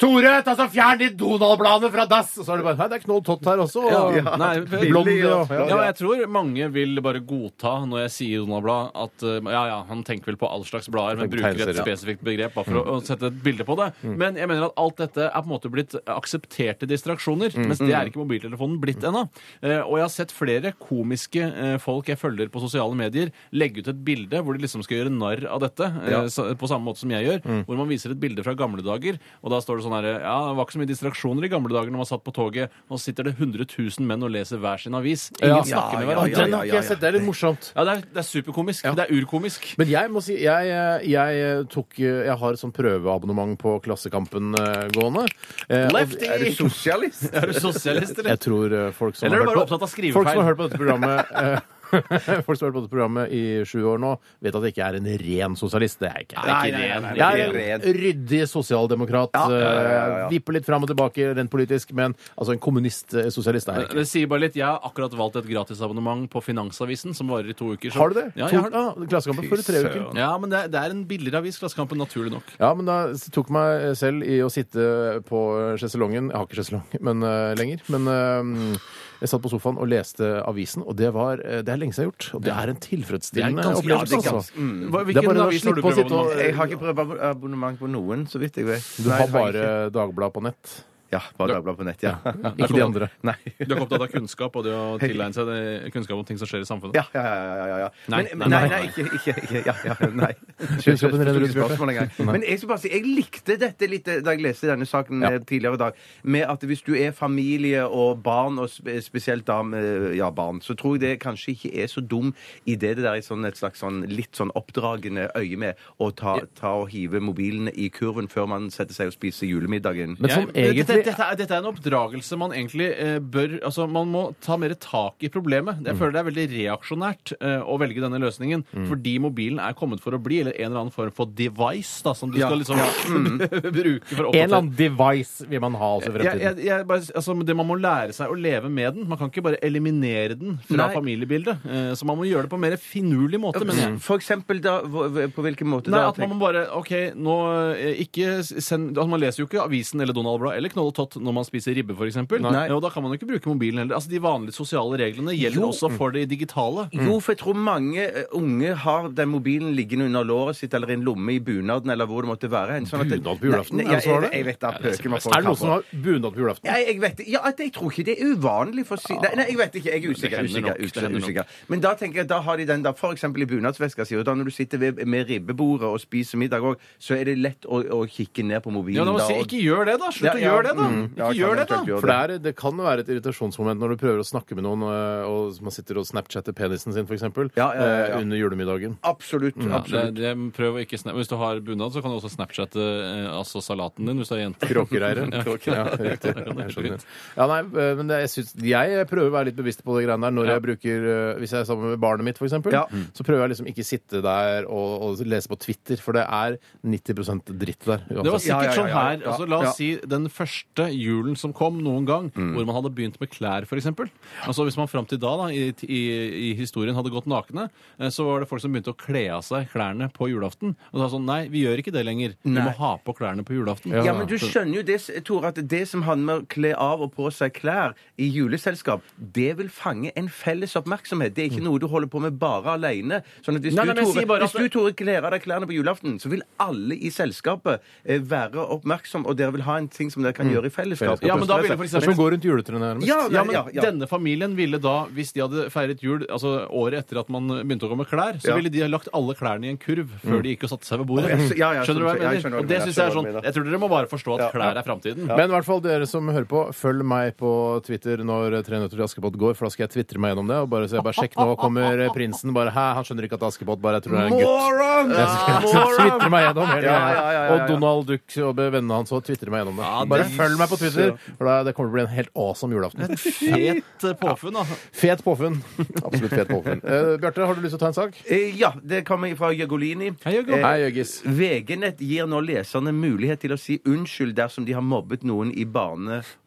[SPEAKER 3] Tore, ta så fjern de Donald-bladene fra dass! Og så er det bare Nei, det er Knoll Tott her også. Og,
[SPEAKER 5] Ja, nei,
[SPEAKER 3] Blondie og
[SPEAKER 5] Ja, men jeg tror mange vil bare godta når jeg sier Donald-blad at eh, ja, ja, han tenker vel på all slags blader, men
[SPEAKER 3] Tenker på
[SPEAKER 5] bruker et
[SPEAKER 3] tegneserier, Mm. ja.
[SPEAKER 5] spesifikt begrep bare for å, å sette et bilde på det. Men jeg mener at alt dette er på en måte blitt aksepterte distraksjoner,
[SPEAKER 3] Mm.
[SPEAKER 5] mens det er ikke mobiltelefonen blitt ennå. Eh, Og jeg har sett flere komiske eh, folk jeg følger på sosiale medier, legge ut et bilde hvor de liksom skal gjøre narr av dette, eh,
[SPEAKER 4] Ja.
[SPEAKER 5] sa- på samme måte som jeg gjør,
[SPEAKER 3] Mm.
[SPEAKER 5] hvor man viser et bilde fra gamle dager, og da står det sånn her Ja, det var ikke så mye distraksjoner i gamle dager når man satt på toget, og så sitter det 100 000 menn og leser hver sin avis. Ingen
[SPEAKER 3] Ja.
[SPEAKER 5] snakker
[SPEAKER 3] Og
[SPEAKER 4] Ja,
[SPEAKER 5] med hverandre.
[SPEAKER 4] ja,
[SPEAKER 3] Den har ikke jeg sett. Det er litt morsomt.
[SPEAKER 5] Ja, det er, det er superkomisk. Det er urkomisk.
[SPEAKER 3] Men jeg må si, jeg, eh, jeg tok Jeg har et sånn prøveabonnement på Klassekampen eh, gående. Eh, og-
[SPEAKER 5] Lefty!
[SPEAKER 4] Er du sosialist?
[SPEAKER 5] Er du sosialist, eller?
[SPEAKER 3] Jeg tror eh, folk som
[SPEAKER 5] Eller er du
[SPEAKER 3] har
[SPEAKER 5] bare
[SPEAKER 3] hørt på-
[SPEAKER 5] opptatt av skrivefeil?
[SPEAKER 3] Folk som har hørt på dette programmet eh, Folk som har vært på dette programmet i sju år nå, vet at jeg ikke er en ren sosialist. Det er jeg ikke.
[SPEAKER 5] Nei, nei, nei, nei.
[SPEAKER 3] Jeg er en ryddig sosialdemokrat. eh, Vipper litt fram og tilbake rent politisk, men altså en kommunist-sosialist er jeg
[SPEAKER 5] Det,
[SPEAKER 3] ikke.
[SPEAKER 5] det sier bare litt. Jeg har akkurat valgt et gratisabonnement på Finansavisen som varer i to uker. så-
[SPEAKER 3] Har du det?
[SPEAKER 5] Ja, jeg har det.
[SPEAKER 3] Ah, Klassekampen for tre uker.
[SPEAKER 4] søren.
[SPEAKER 5] Ja, men det, er- det er en billigere avis, Klassekampen, naturlig nok.
[SPEAKER 3] Ja, men da tok meg selv i å sitte på sjeselongen Jeg har ikke sjeselong men, eh, lenger. Men eh, jeg satt på sofaen og leste avisen, og det, var, eh, det er lenge siden jeg har gjort. Og det er en tilfredsstillende
[SPEAKER 5] ganske- ja,
[SPEAKER 3] opplevelse.
[SPEAKER 5] det er
[SPEAKER 3] altså.
[SPEAKER 5] Hva-
[SPEAKER 3] Det er
[SPEAKER 5] Mm. Hvilken
[SPEAKER 3] bare å
[SPEAKER 5] avis har du
[SPEAKER 3] slippe å
[SPEAKER 5] prøvd
[SPEAKER 3] sitte
[SPEAKER 5] abonnement?
[SPEAKER 3] og
[SPEAKER 4] Jeg har ikke prøvd ab- abonnement på noen, så vidt jeg vet.
[SPEAKER 3] Eh, Du
[SPEAKER 4] Nei,
[SPEAKER 3] har
[SPEAKER 4] jeg
[SPEAKER 3] bare
[SPEAKER 4] ikke.
[SPEAKER 3] Dagbladet på nett.
[SPEAKER 4] Ja, bare Dagbladet på nett, ja.
[SPEAKER 3] Ikke de andre.
[SPEAKER 4] Nei.
[SPEAKER 5] Du er ikke opptatt av kunnskap og det å tilegne seg det, kunnskap om ting som skjer i samfunnet?
[SPEAKER 4] Ja, ja, ja. ja, ja, ja.
[SPEAKER 5] Nei,
[SPEAKER 4] Men-
[SPEAKER 5] nei,
[SPEAKER 4] men, nei,
[SPEAKER 5] nei.
[SPEAKER 4] nei, ikke, ikke, ikke ja, ja, nei.
[SPEAKER 3] Kunnskapen renner ut i
[SPEAKER 4] Spørsmål
[SPEAKER 3] spørsmål.
[SPEAKER 4] engang.
[SPEAKER 3] Nei.
[SPEAKER 4] Men jeg skal bare si, jeg likte dette litt eh, da jeg leste denne saken
[SPEAKER 3] Ja.
[SPEAKER 4] eh, tidligere i dag, med at hvis du er familie og barn, og spe- spesielt da med ja, barn, så tror jeg det kanskje ikke er så dum i det det der i sånn et slags sånn litt sånn oppdragende øye med å ta, ta og hive mobilen i kurven før man setter seg og spiser julemiddagen.
[SPEAKER 3] Men
[SPEAKER 5] Jeg-
[SPEAKER 3] som egentlig
[SPEAKER 5] dette, dette, er, dette er en oppdragelse man egentlig eh, bør Altså, Man må ta mer tak i problemet. Jeg føler det er veldig reaksjonært eh, å velge denne løsningen fordi mobilen er kommet for å bli, eller en eller annen form for device da, som du skal liksom bruke for å
[SPEAKER 3] En eller
[SPEAKER 5] oppdatere.
[SPEAKER 3] annen device vil man ha også i
[SPEAKER 5] Jeg,
[SPEAKER 3] fremtiden.
[SPEAKER 5] jeg, jeg bare, altså, det Man må lære seg å leve med den. Man kan ikke bare eliminere den fra
[SPEAKER 4] Nei.
[SPEAKER 5] familiebildet. Eh, Så man må gjøre det på en mer finurlig måte. Men
[SPEAKER 4] For eksempel da, hva- på hvilken måte
[SPEAKER 5] Nei,
[SPEAKER 4] da?
[SPEAKER 5] at man må bare OK, nå eh, ikke s- send altså, Man leser jo ikke avisen eller Donald Blad eller Knoll og Tott når man spiser ribbe, f.eks. Og da kan man jo ikke bruke mobilen heller. Altså, De vanlige sosiale reglene gjelder
[SPEAKER 4] Jo. Mm.
[SPEAKER 5] også for det digitale.
[SPEAKER 4] Jo, for jeg tror mange eh, unge har den mobilen liggende under låret sitt eller i en lomme i bunaden eller hvor det måtte være. En, sånn at det-
[SPEAKER 3] Bunad på julaften?
[SPEAKER 4] Nei,
[SPEAKER 3] Er
[SPEAKER 4] nei,
[SPEAKER 3] det så var
[SPEAKER 4] jeg,
[SPEAKER 3] det?
[SPEAKER 4] jeg, jeg vet da, pøken var
[SPEAKER 3] Er det noen som har bunad på julaften?
[SPEAKER 4] Nei, jeg vet ikke. Ja, at jeg tror ikke det er uvanlig for å si Nei, nei jeg vet ikke. Jeg er usikker.
[SPEAKER 5] hender
[SPEAKER 4] usikker,
[SPEAKER 5] nok, det
[SPEAKER 4] usikker,
[SPEAKER 5] hender nok.
[SPEAKER 4] usikker. Men da tenker jeg, da har de den da, f.eks. i bunadsveska si. Og da når du sitter ved, med ribbebordet og spiser middag òg, så er det lett å, å kikke ned på mobilen
[SPEAKER 5] Ja, da må
[SPEAKER 4] da.
[SPEAKER 5] jeg si,
[SPEAKER 4] og-
[SPEAKER 5] ikke gjør det, da! Slutt
[SPEAKER 4] Mm. Ja, ja,
[SPEAKER 5] å gjøre det, da!
[SPEAKER 4] mm. Ja, jeg
[SPEAKER 5] ikke
[SPEAKER 4] kan
[SPEAKER 5] gjør det, da!
[SPEAKER 4] eventuelt gjøre
[SPEAKER 3] For det, er, det kan være et irritasjonsmoment når du prøver å snakke med noen, øh, og man sitter og snapchatter penisen sin, f.eks.,
[SPEAKER 4] Ja, ja, ja, ja.
[SPEAKER 3] under julemiddagen.
[SPEAKER 4] Absolutt.
[SPEAKER 5] Mm,
[SPEAKER 4] absolutt.
[SPEAKER 5] prøv å ikke snap Hvis du har bunad, så kan du også Snapchatte salaten din hvis du er jente.
[SPEAKER 3] Kråkereire. Ja, riktig. Jeg skjønner. Ja, nei, øh, men det, jeg, synes, jeg prøver å være litt bevisst på de greiene der når jeg bruker øh, Hvis jeg er sammen med barnet mitt, f.eks.,
[SPEAKER 4] Ja.
[SPEAKER 3] så prøver jeg liksom ikke sitte der og, og lese på Twitter, for det er 90 dritt der.
[SPEAKER 5] Det var
[SPEAKER 3] Uansett.
[SPEAKER 5] sikkert
[SPEAKER 4] Ja, ja, ja,
[SPEAKER 5] sånn
[SPEAKER 4] ja.
[SPEAKER 5] her. Altså, la
[SPEAKER 4] Ja.
[SPEAKER 5] oss
[SPEAKER 4] Mm.
[SPEAKER 5] si den første julen som kom noen gang, hvor man hadde begynt med klær, f.eks. Altså, hvis man fram til da da, i, i, i historien hadde gått nakne, eh, så var det folk som begynte å kle av seg klærne på julaften. Og da var det sånn Nei, vi gjør ikke det lenger. Vi må ha på klærne på julaften.
[SPEAKER 4] Ja, men du skjønner jo det, Tore, at det som handler med å kle av og på seg klær i juleselskap, det vil fange en felles oppmerksomhet. Det er ikke noe du holder på med bare alene. Sånn at hvis,
[SPEAKER 5] Mm. Nei,
[SPEAKER 4] du,
[SPEAKER 5] nei, men jeg
[SPEAKER 4] Tore,
[SPEAKER 5] sier bare at-
[SPEAKER 4] hvis du, Tore, kler av deg klærne på julaften, så vil alle i selskapet eh, være oppmerksom, og dere vil ha en ting som dere kan gjøre i fellesskap.
[SPEAKER 5] Mm. Ja, men da ville for
[SPEAKER 3] Det er som
[SPEAKER 5] eksempel
[SPEAKER 3] å gå rundt juletreet nærmest.
[SPEAKER 4] Ja, nei,
[SPEAKER 5] ja, men
[SPEAKER 4] ja, ja.
[SPEAKER 5] Denne familien ville da, hvis de hadde feiret jul altså året etter at man begynte å gå med klær, så
[SPEAKER 4] Ja. Mm.
[SPEAKER 5] ville de ha lagt alle klærne i en kurv før de gikk og satte seg ved bordet.
[SPEAKER 4] Ja, så- ja, ja,
[SPEAKER 5] skjønner du hva jeg
[SPEAKER 4] ja,
[SPEAKER 5] mener?
[SPEAKER 4] jeg skjønner hva du
[SPEAKER 5] og det
[SPEAKER 4] mener, jeg
[SPEAKER 5] synes jeg er
[SPEAKER 4] skjønner hva
[SPEAKER 5] sånn
[SPEAKER 4] du mener.
[SPEAKER 5] Jeg tror dere må bare forstå at
[SPEAKER 4] Ja, ja.
[SPEAKER 5] klær er framtiden.
[SPEAKER 3] Men i hvert fall dere som hører på, følg meg på Twitter når Tre nøtter til Askepott går, for da skal jeg tvitre meg gjennom det. Og bare, så jeg bare sjekk, nå kommer prinsen bare Hæ, han skjønner ikke at Askepott bare jeg tror det er en gutt.
[SPEAKER 4] Moron!
[SPEAKER 3] Jeg skal tvitre meg gjennom hele
[SPEAKER 4] Ah, Ja, ja, ja, ja, ja.
[SPEAKER 3] Og Donald Duck og vennene hans òg tvitrer meg gjennom det.
[SPEAKER 5] Ja,
[SPEAKER 3] Bare
[SPEAKER 5] det-
[SPEAKER 3] følg meg på Twitter, for da, det kommer til å bli en helt awesome julaften.
[SPEAKER 5] Fet påfunn, da.
[SPEAKER 3] Fet påfunn. Absolutt fet påfunn. Eh, Bjarte, har du lyst til å ta en sak?
[SPEAKER 4] Eh, Ja, det kommer fra Eh, Jøgolini.
[SPEAKER 5] Hei, Jørgen.
[SPEAKER 3] Hei, Jørgis.
[SPEAKER 4] VG-nett gir nå leserne mulighet til å si unnskyld dersom de har mobbet noen i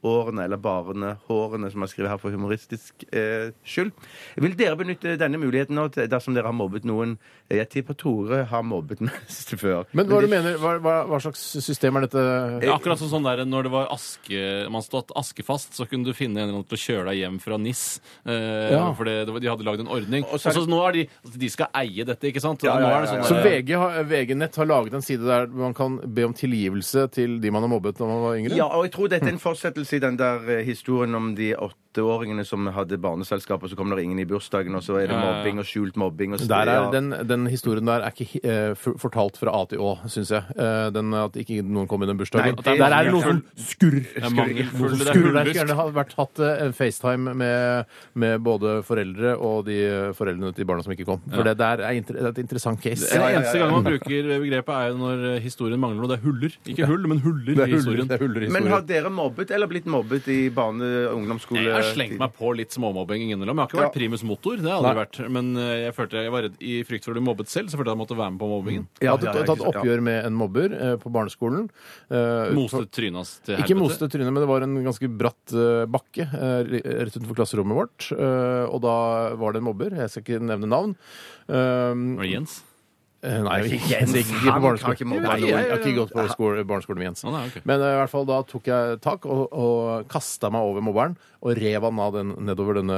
[SPEAKER 4] barneårene, eller barnehårene, som jeg skriver her for humoristisk eh, skyld. Vil dere benytte denne muligheten nå til- dersom dere har mobbet noen? Eh, Jeg tipper Tore har mobbet mest før.
[SPEAKER 3] Men hva
[SPEAKER 4] det-
[SPEAKER 3] du mener, hva, hva, hva slags system er dette?
[SPEAKER 5] Det er Akkurat som sånn der, når det var aske, man stod askefast, så kunne du finne en eller annen til å kjøre deg hjem fra NIS. Eh,
[SPEAKER 3] Ja.
[SPEAKER 5] For det, det var- de hadde lagd en ordning. Og
[SPEAKER 4] så
[SPEAKER 5] så,
[SPEAKER 4] er det-
[SPEAKER 5] nå er de altså, De skal eie dette, ikke sant?
[SPEAKER 4] Ja, ja,
[SPEAKER 5] Nå er det
[SPEAKER 4] ja, ja,
[SPEAKER 5] sånn
[SPEAKER 3] Så
[SPEAKER 5] der-
[SPEAKER 3] VG har- VG-nett har laget en side der man kan be om tilgivelse til de man har mobbet når man var yngre?
[SPEAKER 4] Ja, og jeg tror dette er en fortsettelse i den der eh, historien om de åtteåringene som hadde barneselskap, og så kom det ingen i bursdagen, og så er det
[SPEAKER 5] Ja, ja, ja.
[SPEAKER 4] mobbing og skjult mobbing. Og så-
[SPEAKER 3] Der er,
[SPEAKER 4] ja.
[SPEAKER 3] den, den historien der er ikke hi- eh, for- fortalt fra A til Å, syns jeg. Eh, den At ikke noen kom innom bursdagen.
[SPEAKER 4] Nei, det-
[SPEAKER 3] der er det noen som skurrer.
[SPEAKER 5] er mangelfull,
[SPEAKER 3] Noen som
[SPEAKER 5] det er
[SPEAKER 3] skurrer der. Skulle
[SPEAKER 5] hullusk.
[SPEAKER 3] gjerne ha vært hatt eh, en FaceTime med, med både foreldre og de eh, foreldrene til barna som ikke kom. For det der er inter, det er et interessant case.
[SPEAKER 5] Den eneste gangen man bruker begrepet, er jo når eh, historien mangler noe. Det er huller. Ikke hull, men huller
[SPEAKER 3] Det
[SPEAKER 5] i
[SPEAKER 3] er huller,
[SPEAKER 5] historien.
[SPEAKER 3] det er huller i
[SPEAKER 4] Men har
[SPEAKER 3] historien.
[SPEAKER 4] dere mobbet eller blitt mobbet i barne- og ungdomsskole?
[SPEAKER 5] Jeg jeg har slengt meg på litt småmobbing innimellom. Jeg har ikke vært primus motor, det har jeg aldri vært. Men eh, jeg følte jeg var redd i frykt for å bli mobbet selv, så følte jeg at jeg måtte være med på mobbingen.
[SPEAKER 4] Mm.
[SPEAKER 3] Jeg hadde tatt oppgjør med en mobber eh, på barneskolen. Eh,
[SPEAKER 5] Moste trynet hans til helvete.
[SPEAKER 3] Ikke moste trynet, men det var en ganske bratt eh, bakke eh, rett utenfor klasserommet vårt. Eh, Og da var det en mobber. Jeg skal ikke nevne navn. Eh,
[SPEAKER 5] Var det Jens?
[SPEAKER 3] Eh, Nei, jeg gikk
[SPEAKER 4] Jens,
[SPEAKER 3] jeg gikk ikke
[SPEAKER 4] han
[SPEAKER 3] på
[SPEAKER 4] kan ikke
[SPEAKER 3] barneskolen.
[SPEAKER 4] mobbe
[SPEAKER 3] Nei,
[SPEAKER 4] noen.
[SPEAKER 3] jeg jeg har ikke gått på skole, barneskolen med Jens.
[SPEAKER 5] Å, nei, ok.
[SPEAKER 3] Men eh, i hvert fall da tok jeg tak og, og kasta meg over mobberen og rev han av den nedover denne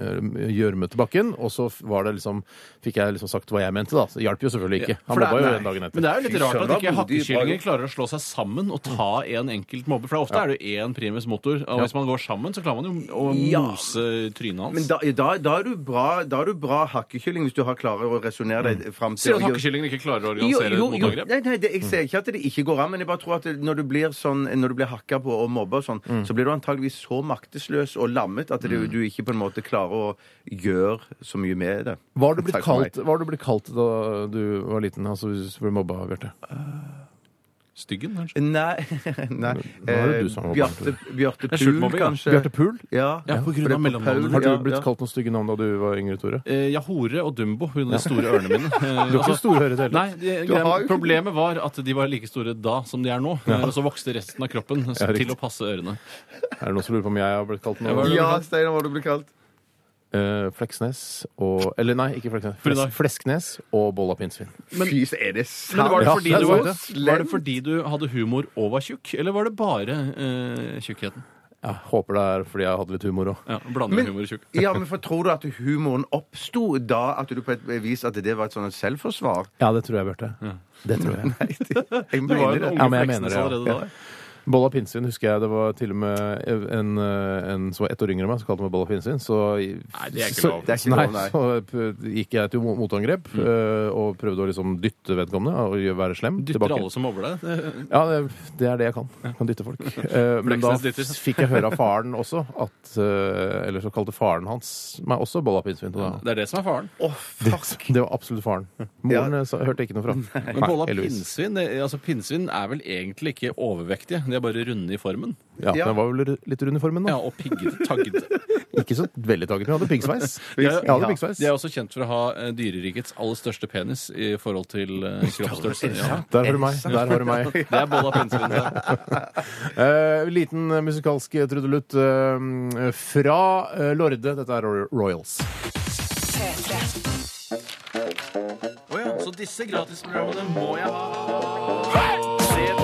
[SPEAKER 3] eh, gjørmete bakken. Og så f- var det liksom, fikk jeg liksom sagt hva jeg mente, da. Så det hjalp jo selvfølgelig ikke. Han
[SPEAKER 4] for det er-
[SPEAKER 3] mobba jo
[SPEAKER 4] nei.
[SPEAKER 3] den dagen
[SPEAKER 5] Men
[SPEAKER 3] etter.
[SPEAKER 5] det er jo litt
[SPEAKER 4] Fy
[SPEAKER 5] rart
[SPEAKER 4] søren,
[SPEAKER 5] at ikke
[SPEAKER 4] da, modig
[SPEAKER 5] hakkekyllinger
[SPEAKER 4] bare-
[SPEAKER 5] klarer å slå seg sammen og ta en enkelt mobber. For ofte er det jo én primus motor, og hvis man går sammen, så klarer man jo å mose trynet
[SPEAKER 4] Men
[SPEAKER 5] hans.
[SPEAKER 4] da, da, da, er du bra, da er du bra hakkekylling hvis du har klarer å resonnere deg fram
[SPEAKER 5] Mm. Sier
[SPEAKER 4] til
[SPEAKER 5] at hakkekyllingen ikke klarer å
[SPEAKER 4] Jo, jo,
[SPEAKER 5] organisere et
[SPEAKER 4] jo.
[SPEAKER 5] motangrep?
[SPEAKER 4] Nei, nei, det, jeg ser ikke at det ikke går an, men jeg bare tror at det, når du blir sånn, når du blir hakka på og mobba og sånn,
[SPEAKER 5] Mm.
[SPEAKER 4] så blir du antageligvis så maktesløs og lammet at det, du ikke på en måte klarer å gjøre så mye med det.
[SPEAKER 3] Hva har du blitt
[SPEAKER 4] Takk for
[SPEAKER 3] kalt, hva har du blitt kalt da du var liten? Altså hvis du ble mobba, Bjarte?
[SPEAKER 5] Styggen, kanskje?
[SPEAKER 4] Nei, nei.
[SPEAKER 3] er det
[SPEAKER 4] Eh,
[SPEAKER 3] du som har mobba,
[SPEAKER 4] Bjarte, Bjarte
[SPEAKER 5] er
[SPEAKER 4] Pool,
[SPEAKER 5] skjultmobbing, ja.
[SPEAKER 4] kanskje.
[SPEAKER 3] Bjarte Pool?
[SPEAKER 4] Ja,
[SPEAKER 5] Ja, på grunn
[SPEAKER 4] for det er
[SPEAKER 5] av mellomnavnet.
[SPEAKER 4] Paul,
[SPEAKER 3] Har du
[SPEAKER 4] ja,
[SPEAKER 3] blitt
[SPEAKER 4] ja.
[SPEAKER 3] kalt noen stygge navn da du var yngre, Tore?
[SPEAKER 5] Eh, Ja, hore og Dumbo. Hun med de store ørene mine. Eh,
[SPEAKER 3] Du har ikke
[SPEAKER 5] altså-
[SPEAKER 3] store ører heller.
[SPEAKER 5] Nei, det,
[SPEAKER 4] Du har jo ikke-
[SPEAKER 5] Problemet var at de var like store da som de er nå. eh, Og så vokste resten av kroppen så-
[SPEAKER 3] Ja, riktig.
[SPEAKER 5] til å passe ørene.
[SPEAKER 3] Er det noen som lurer på om jeg har blitt kalt
[SPEAKER 5] Ja,
[SPEAKER 3] noe?
[SPEAKER 5] hva er det?
[SPEAKER 4] Ja, Steinar, hva har du blitt kalt?
[SPEAKER 3] Eh, Fleksnes og Eller nei, ikke Fleksnes.
[SPEAKER 5] Frida.
[SPEAKER 3] Fles, Flesknes og Bolla pinnsvin.
[SPEAKER 4] Fy, så er det
[SPEAKER 5] Men var det,
[SPEAKER 3] Ja,
[SPEAKER 4] sant?
[SPEAKER 5] fordi
[SPEAKER 3] det er
[SPEAKER 5] du var,
[SPEAKER 3] sant.
[SPEAKER 5] var det fordi du hadde humor og var tjukk, eller var det bare eh, tjukkheten?
[SPEAKER 3] Jeg håper det er fordi jeg hadde litt humor òg.
[SPEAKER 5] Ja, Blander
[SPEAKER 4] Men-
[SPEAKER 5] humor og tjukk.
[SPEAKER 4] Ja, men for tror du at humoren oppsto da at du på et vis at det var et sånt selvforsvar?
[SPEAKER 3] Ja, det tror jeg, Bjarte. Det tror jeg.
[SPEAKER 4] Nei, det, jeg
[SPEAKER 5] Du var jo
[SPEAKER 4] mener
[SPEAKER 5] den
[SPEAKER 4] det.
[SPEAKER 3] Ja,
[SPEAKER 5] unge
[SPEAKER 3] men jeg mener
[SPEAKER 5] Fleksnes
[SPEAKER 3] det, ja.
[SPEAKER 5] allerede da.
[SPEAKER 3] Bolla pinnsvin husker jeg det var til og med en, eh, en som var ett år yngre enn meg, som kalte meg Bolla pinnsvin. Så,
[SPEAKER 5] Nei, det er ikke
[SPEAKER 3] så-
[SPEAKER 5] lov. Mm.
[SPEAKER 4] Det er ikke
[SPEAKER 3] nei,
[SPEAKER 4] lov, nei.
[SPEAKER 3] så p- gikk jeg til mo- motangrep eh, og prøvde å liksom dytte vedkommende og gjøre- være slem
[SPEAKER 5] Dytter
[SPEAKER 3] tilbake.
[SPEAKER 5] alle som mobber deg? Det-
[SPEAKER 3] Ja, det, det er det jeg kan. Jeg kan dytte folk. Eh, men da
[SPEAKER 5] Fleksnes dytter.
[SPEAKER 3] fikk jeg høre av faren også at eh, Eller så kalte faren hans meg også Bolla pinnsvin. og da-
[SPEAKER 5] Det er det som er faren.
[SPEAKER 4] Å, fuck!
[SPEAKER 3] Det var absolutt faren. Moren eh, sa, hørte jeg ikke noe fra. Nei,
[SPEAKER 5] Men bolla
[SPEAKER 3] heldigvis.
[SPEAKER 5] pinnsvin det- altså pinnsvin er vel egentlig ikke overvektige. De er bare runde i formen.
[SPEAKER 3] Ja,
[SPEAKER 4] Ja.
[SPEAKER 3] Den var vel litt rund i formen, da.
[SPEAKER 5] Ja, Og piggete, taggete.
[SPEAKER 3] Ikke så veldig taget, men jeg hadde piggsveis.
[SPEAKER 5] Ja,
[SPEAKER 3] Jeg hadde
[SPEAKER 5] ja.
[SPEAKER 3] piggsveis.
[SPEAKER 5] De er også kjent for å ha eh, dyrerikets aller største penis i forhold til eh, kroppsstørrelse. Ja.
[SPEAKER 3] Der har du meg. Der har du meg.
[SPEAKER 5] Det er bolla pinnsvin. det.
[SPEAKER 3] Eh, liten eh, musikalsk trudelutt eh, fra eh, Lorde. Dette er Roy- Royals.
[SPEAKER 6] P3.
[SPEAKER 5] Så disse gratisprogrammene må jeg ha.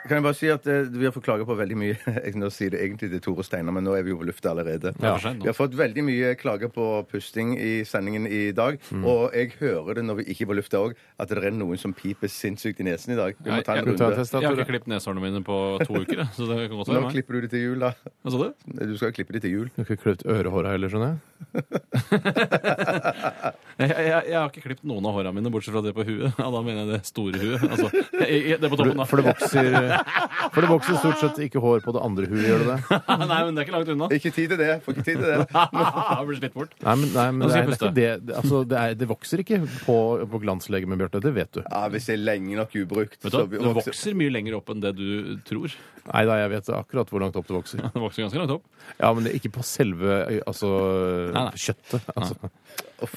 [SPEAKER 4] Kan jeg bare si at eh, vi har fått klage på veldig mye Jeg nå sier det egentlig til Tore Steinar, men nå er vi jo på lufta allerede.
[SPEAKER 5] er for sent nå.
[SPEAKER 4] Vi har fått veldig mye klager på pusting i sendingen i dag.
[SPEAKER 5] Mm.
[SPEAKER 4] Og jeg hører det når vi ikke er på lufta òg, at det er noen som piper sinnssykt i nesen i dag. Vi
[SPEAKER 5] Nei,
[SPEAKER 4] må ta
[SPEAKER 5] jeg
[SPEAKER 4] en
[SPEAKER 5] kan
[SPEAKER 3] Ta en
[SPEAKER 4] runde.
[SPEAKER 3] test, da,
[SPEAKER 5] Jeg har ikke
[SPEAKER 3] Tore.
[SPEAKER 5] klippet neshårene mine på to uker. jeg, Så det kan
[SPEAKER 4] Nå
[SPEAKER 5] godt være meg.
[SPEAKER 4] klipper du det til jul, da.
[SPEAKER 5] Hva sa du?
[SPEAKER 4] Du skal jo klippe det til jul.
[SPEAKER 3] Du har ikke kløpt ørehåra heller, skjønner jeg.
[SPEAKER 5] Jeg, jeg, jeg har ikke klippet noen av hårene mine, bortsett fra det på huet. Ja, da mener jeg det store huet. Altså, jeg, jeg, det på toppen, da.
[SPEAKER 3] For det vokser eh, For det vokser stort sett ikke hår på det andre huet, gjør det det?
[SPEAKER 5] Nei, men det er ikke langt unna.
[SPEAKER 4] Ikke tid til det. Får ikke tid til det.
[SPEAKER 5] Jeg blir slitt bort.
[SPEAKER 3] Nei, men, nei, men
[SPEAKER 5] Nå
[SPEAKER 3] det,
[SPEAKER 5] skal
[SPEAKER 3] er, det, er
[SPEAKER 5] jeg
[SPEAKER 3] ikke det, det, altså, det, er, det vokser ikke på, på glanslegemet, Bjarte. Det vet du.
[SPEAKER 4] Ja, hvis det er lenge nok ubrukt,
[SPEAKER 5] Vet du, hva?
[SPEAKER 4] blir-
[SPEAKER 5] det vokser mye lenger opp enn det du tror.
[SPEAKER 3] Nei da, jeg vet akkurat hvor langt opp det vokser.
[SPEAKER 5] Det vokser ganske langt opp.
[SPEAKER 3] Ja, men det, ikke på selve øy, altså,
[SPEAKER 5] Nei, nei.
[SPEAKER 3] kjøttet. Altså.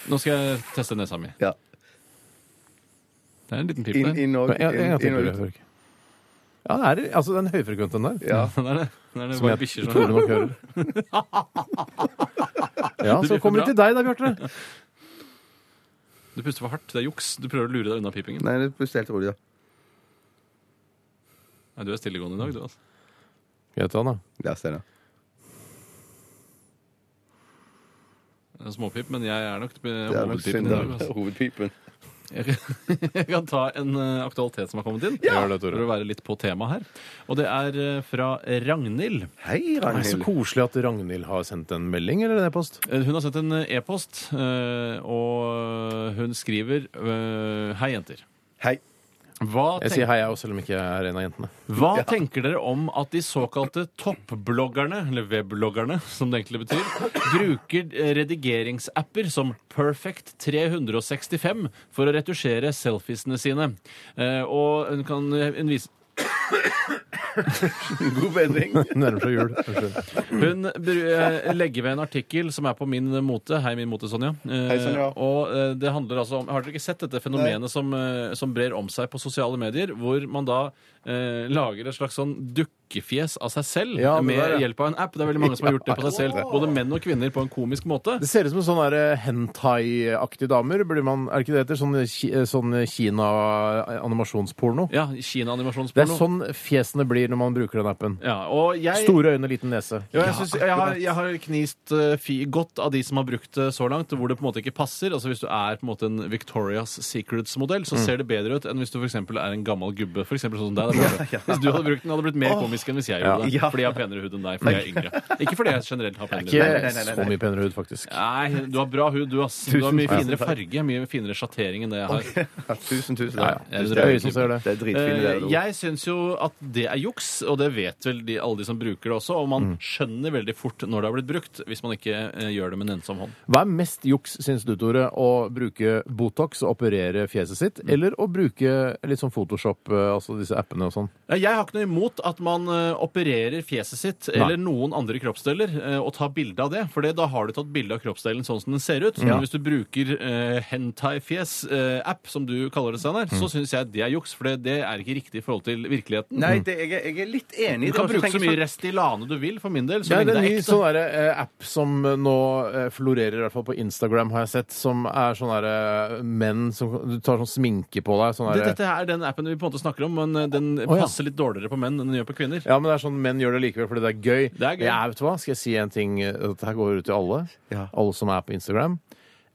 [SPEAKER 5] Nå skal jeg teste nesa mi.
[SPEAKER 4] Ja.
[SPEAKER 5] Det er en liten pip
[SPEAKER 4] Inn,
[SPEAKER 5] der.
[SPEAKER 4] inn og
[SPEAKER 3] Men jeg- jeg- jeg
[SPEAKER 4] inn- inn og
[SPEAKER 3] tenker det,
[SPEAKER 4] ut.
[SPEAKER 3] Børge. Ja, det er altså den høyfrekventen der.
[SPEAKER 4] Ja.
[SPEAKER 5] Det er det. Det er det
[SPEAKER 3] Som
[SPEAKER 5] bare
[SPEAKER 3] jeg
[SPEAKER 5] bikkjer
[SPEAKER 3] tror
[SPEAKER 5] som
[SPEAKER 3] nok hører. Ja,
[SPEAKER 5] Det
[SPEAKER 3] så
[SPEAKER 5] blir
[SPEAKER 3] kommer vi
[SPEAKER 5] bra.
[SPEAKER 3] til deg da, Bjarte.
[SPEAKER 5] Du puster for hardt. Det er juks. Du prøver å lure deg unna pipingen. Nei,
[SPEAKER 4] Nei, det er helt rolig, da.
[SPEAKER 5] du er stillegående i dag, du, altså.
[SPEAKER 3] Greit, da, da.
[SPEAKER 4] Ja, Steinar.
[SPEAKER 5] Det er Småpip, men jeg er nok
[SPEAKER 4] Det er nok
[SPEAKER 5] hovedpipen
[SPEAKER 4] synd,
[SPEAKER 5] i dag.
[SPEAKER 4] da.
[SPEAKER 5] Altså.
[SPEAKER 4] Hovedpipen.
[SPEAKER 5] Jeg jeg kan ta en eh, aktualitet som har kommet inn,
[SPEAKER 3] Ja! Gjør det, Tore.
[SPEAKER 5] for å være litt på tema her. Og det er eh, fra Ragnhild.
[SPEAKER 4] Hei,
[SPEAKER 3] Nei, så
[SPEAKER 4] Ragnhild.
[SPEAKER 3] koselig at Ragnhild har sendt en melding eller en e-post.
[SPEAKER 5] Eh, Hun har sendt en eh, e-post, eh, og hun skriver eh, Hei, jenter.
[SPEAKER 4] Hei.
[SPEAKER 5] Hva,
[SPEAKER 3] Jeg sier hei, jeg også, selv om jeg ikke er en av jentene.
[SPEAKER 5] hva tenker dere om at de såkalte toppbloggerne, eller webloggerne som det egentlig betyr, bruker eh, redigeringsapper som Perfect 365 for å retusjere selfiesene sine? Eh, og en kan eh, en vise
[SPEAKER 4] God bedring.
[SPEAKER 3] Nærmer seg jul. Unnskyld.
[SPEAKER 5] Hun br- eh, legger ved en artikkel som er på Min Mote. Hei, Min Mote, Sonja. Eh,
[SPEAKER 4] Hei, Sonja.
[SPEAKER 5] Og eh, det handler altså om Har dere ikke sett dette fenomenet som, eh, som brer om seg på sosiale medier, hvor man da eh, lager et slags sånn dukkefjes av seg selv
[SPEAKER 3] Ja, det
[SPEAKER 5] med
[SPEAKER 3] der, ja.
[SPEAKER 5] hjelp av en app? Det er veldig mange som har gjort det på seg selv, både menn og kvinner, på en komisk måte.
[SPEAKER 3] Det ser ut som sånne der eh, hentai-aktige damer. Blir man, er det ikke det heter? Sånn, ki- sånn Kina-animasjonsporno.
[SPEAKER 5] Ja,
[SPEAKER 3] Det er
[SPEAKER 5] Kina-animasjonsporno.
[SPEAKER 3] sånn fjesene blir når man bruker den appen.
[SPEAKER 5] Ja, og jeg...
[SPEAKER 3] Store øyne, liten nese.
[SPEAKER 5] Ja, jeg, synes, jeg, har, jeg har knist eh, fi, godt av de som har brukt det så langt, hvor det på en måte ikke passer. Altså Hvis du er på en måte en Victoria's Secrets-modell,
[SPEAKER 4] Mm.
[SPEAKER 5] så ser det bedre ut enn hvis du for eksempel er en gammel gubbe. For eksempel sånn som deg. da, Bjarte. Hvis du hadde brukt den, hadde det blitt mer komisk enn hvis jeg gjorde det.
[SPEAKER 4] Ja.
[SPEAKER 5] Fordi jeg har penere hud enn deg. Fordi jeg er yngre. Ikke fordi jeg generelt har penere hud.
[SPEAKER 3] Ikke så mye penere hud, faktisk.
[SPEAKER 5] Nei, du har bra hud, du, ass. Du har
[SPEAKER 4] Tusen
[SPEAKER 5] mye
[SPEAKER 4] takk.
[SPEAKER 5] finere farge, mye finere sjattering enn det jeg har.
[SPEAKER 4] Tusen, tusen
[SPEAKER 3] Ja, ja.
[SPEAKER 4] takk.
[SPEAKER 3] Det er øyet som ser det.
[SPEAKER 4] Det er
[SPEAKER 5] Eh,
[SPEAKER 4] dritfint. det der,
[SPEAKER 5] jeg syns jo at det er juks, og det vet vel de, alle de som bruker det også. Og man
[SPEAKER 4] Mm.
[SPEAKER 5] skjønner veldig fort når det har blitt brukt, hvis man ikke eh, gjør det med en ensom hånd.
[SPEAKER 3] Hva er mest juks, syns du, Tore? Å bruke Botox og operere fjeset sitt,
[SPEAKER 5] Mm.
[SPEAKER 3] eller å bruke litt sånn Photoshop, eh, altså disse appene og sånn?
[SPEAKER 5] Ja, Jeg har ikke noe imot at man eh, opererer fjeset sitt eller noen andre kroppsdeler eh, og tar bilde av det, for det- da har du tatt bilde av kroppsdelen sånn som den ser ut. Men hvis du bruker eh, hentai-fjes-app, som du kaller det, Steinar,
[SPEAKER 3] Mm.
[SPEAKER 5] så syns jeg det er juks, for det, det er ikke riktig i forhold til virkeligheten.
[SPEAKER 4] Nei, det, jeg, er- jeg er litt enig i
[SPEAKER 5] Du
[SPEAKER 4] det.
[SPEAKER 5] kan
[SPEAKER 4] og så
[SPEAKER 5] bruke
[SPEAKER 4] tenker
[SPEAKER 5] så
[SPEAKER 4] jeg
[SPEAKER 5] mye Restylane du vil, for min del.
[SPEAKER 3] sånn.
[SPEAKER 5] Så
[SPEAKER 3] Ja, det
[SPEAKER 5] lenge
[SPEAKER 3] er en
[SPEAKER 5] det
[SPEAKER 3] ny
[SPEAKER 5] er ekte.
[SPEAKER 3] sånn der, eh, app som eh, nå eh, florerer, i hvert fall på Instagram, har jeg sett, som er sånn derre menn som Du tar sånn sminke på deg. Sånn
[SPEAKER 5] Det,
[SPEAKER 3] derre-
[SPEAKER 5] dette er den appen vi på en måte snakker om, men eh, den
[SPEAKER 3] ja.
[SPEAKER 5] passer litt dårligere på menn enn den gjør på kvinner.
[SPEAKER 3] ja, men det er sånn menn gjør det likevel fordi det er gøy.
[SPEAKER 5] Det er gøy.
[SPEAKER 3] Men Jeg, vet du hva? Skal jeg si en ting? eh, Dette her går ut til alle.
[SPEAKER 4] Ja.
[SPEAKER 3] Alle som er på Instagram.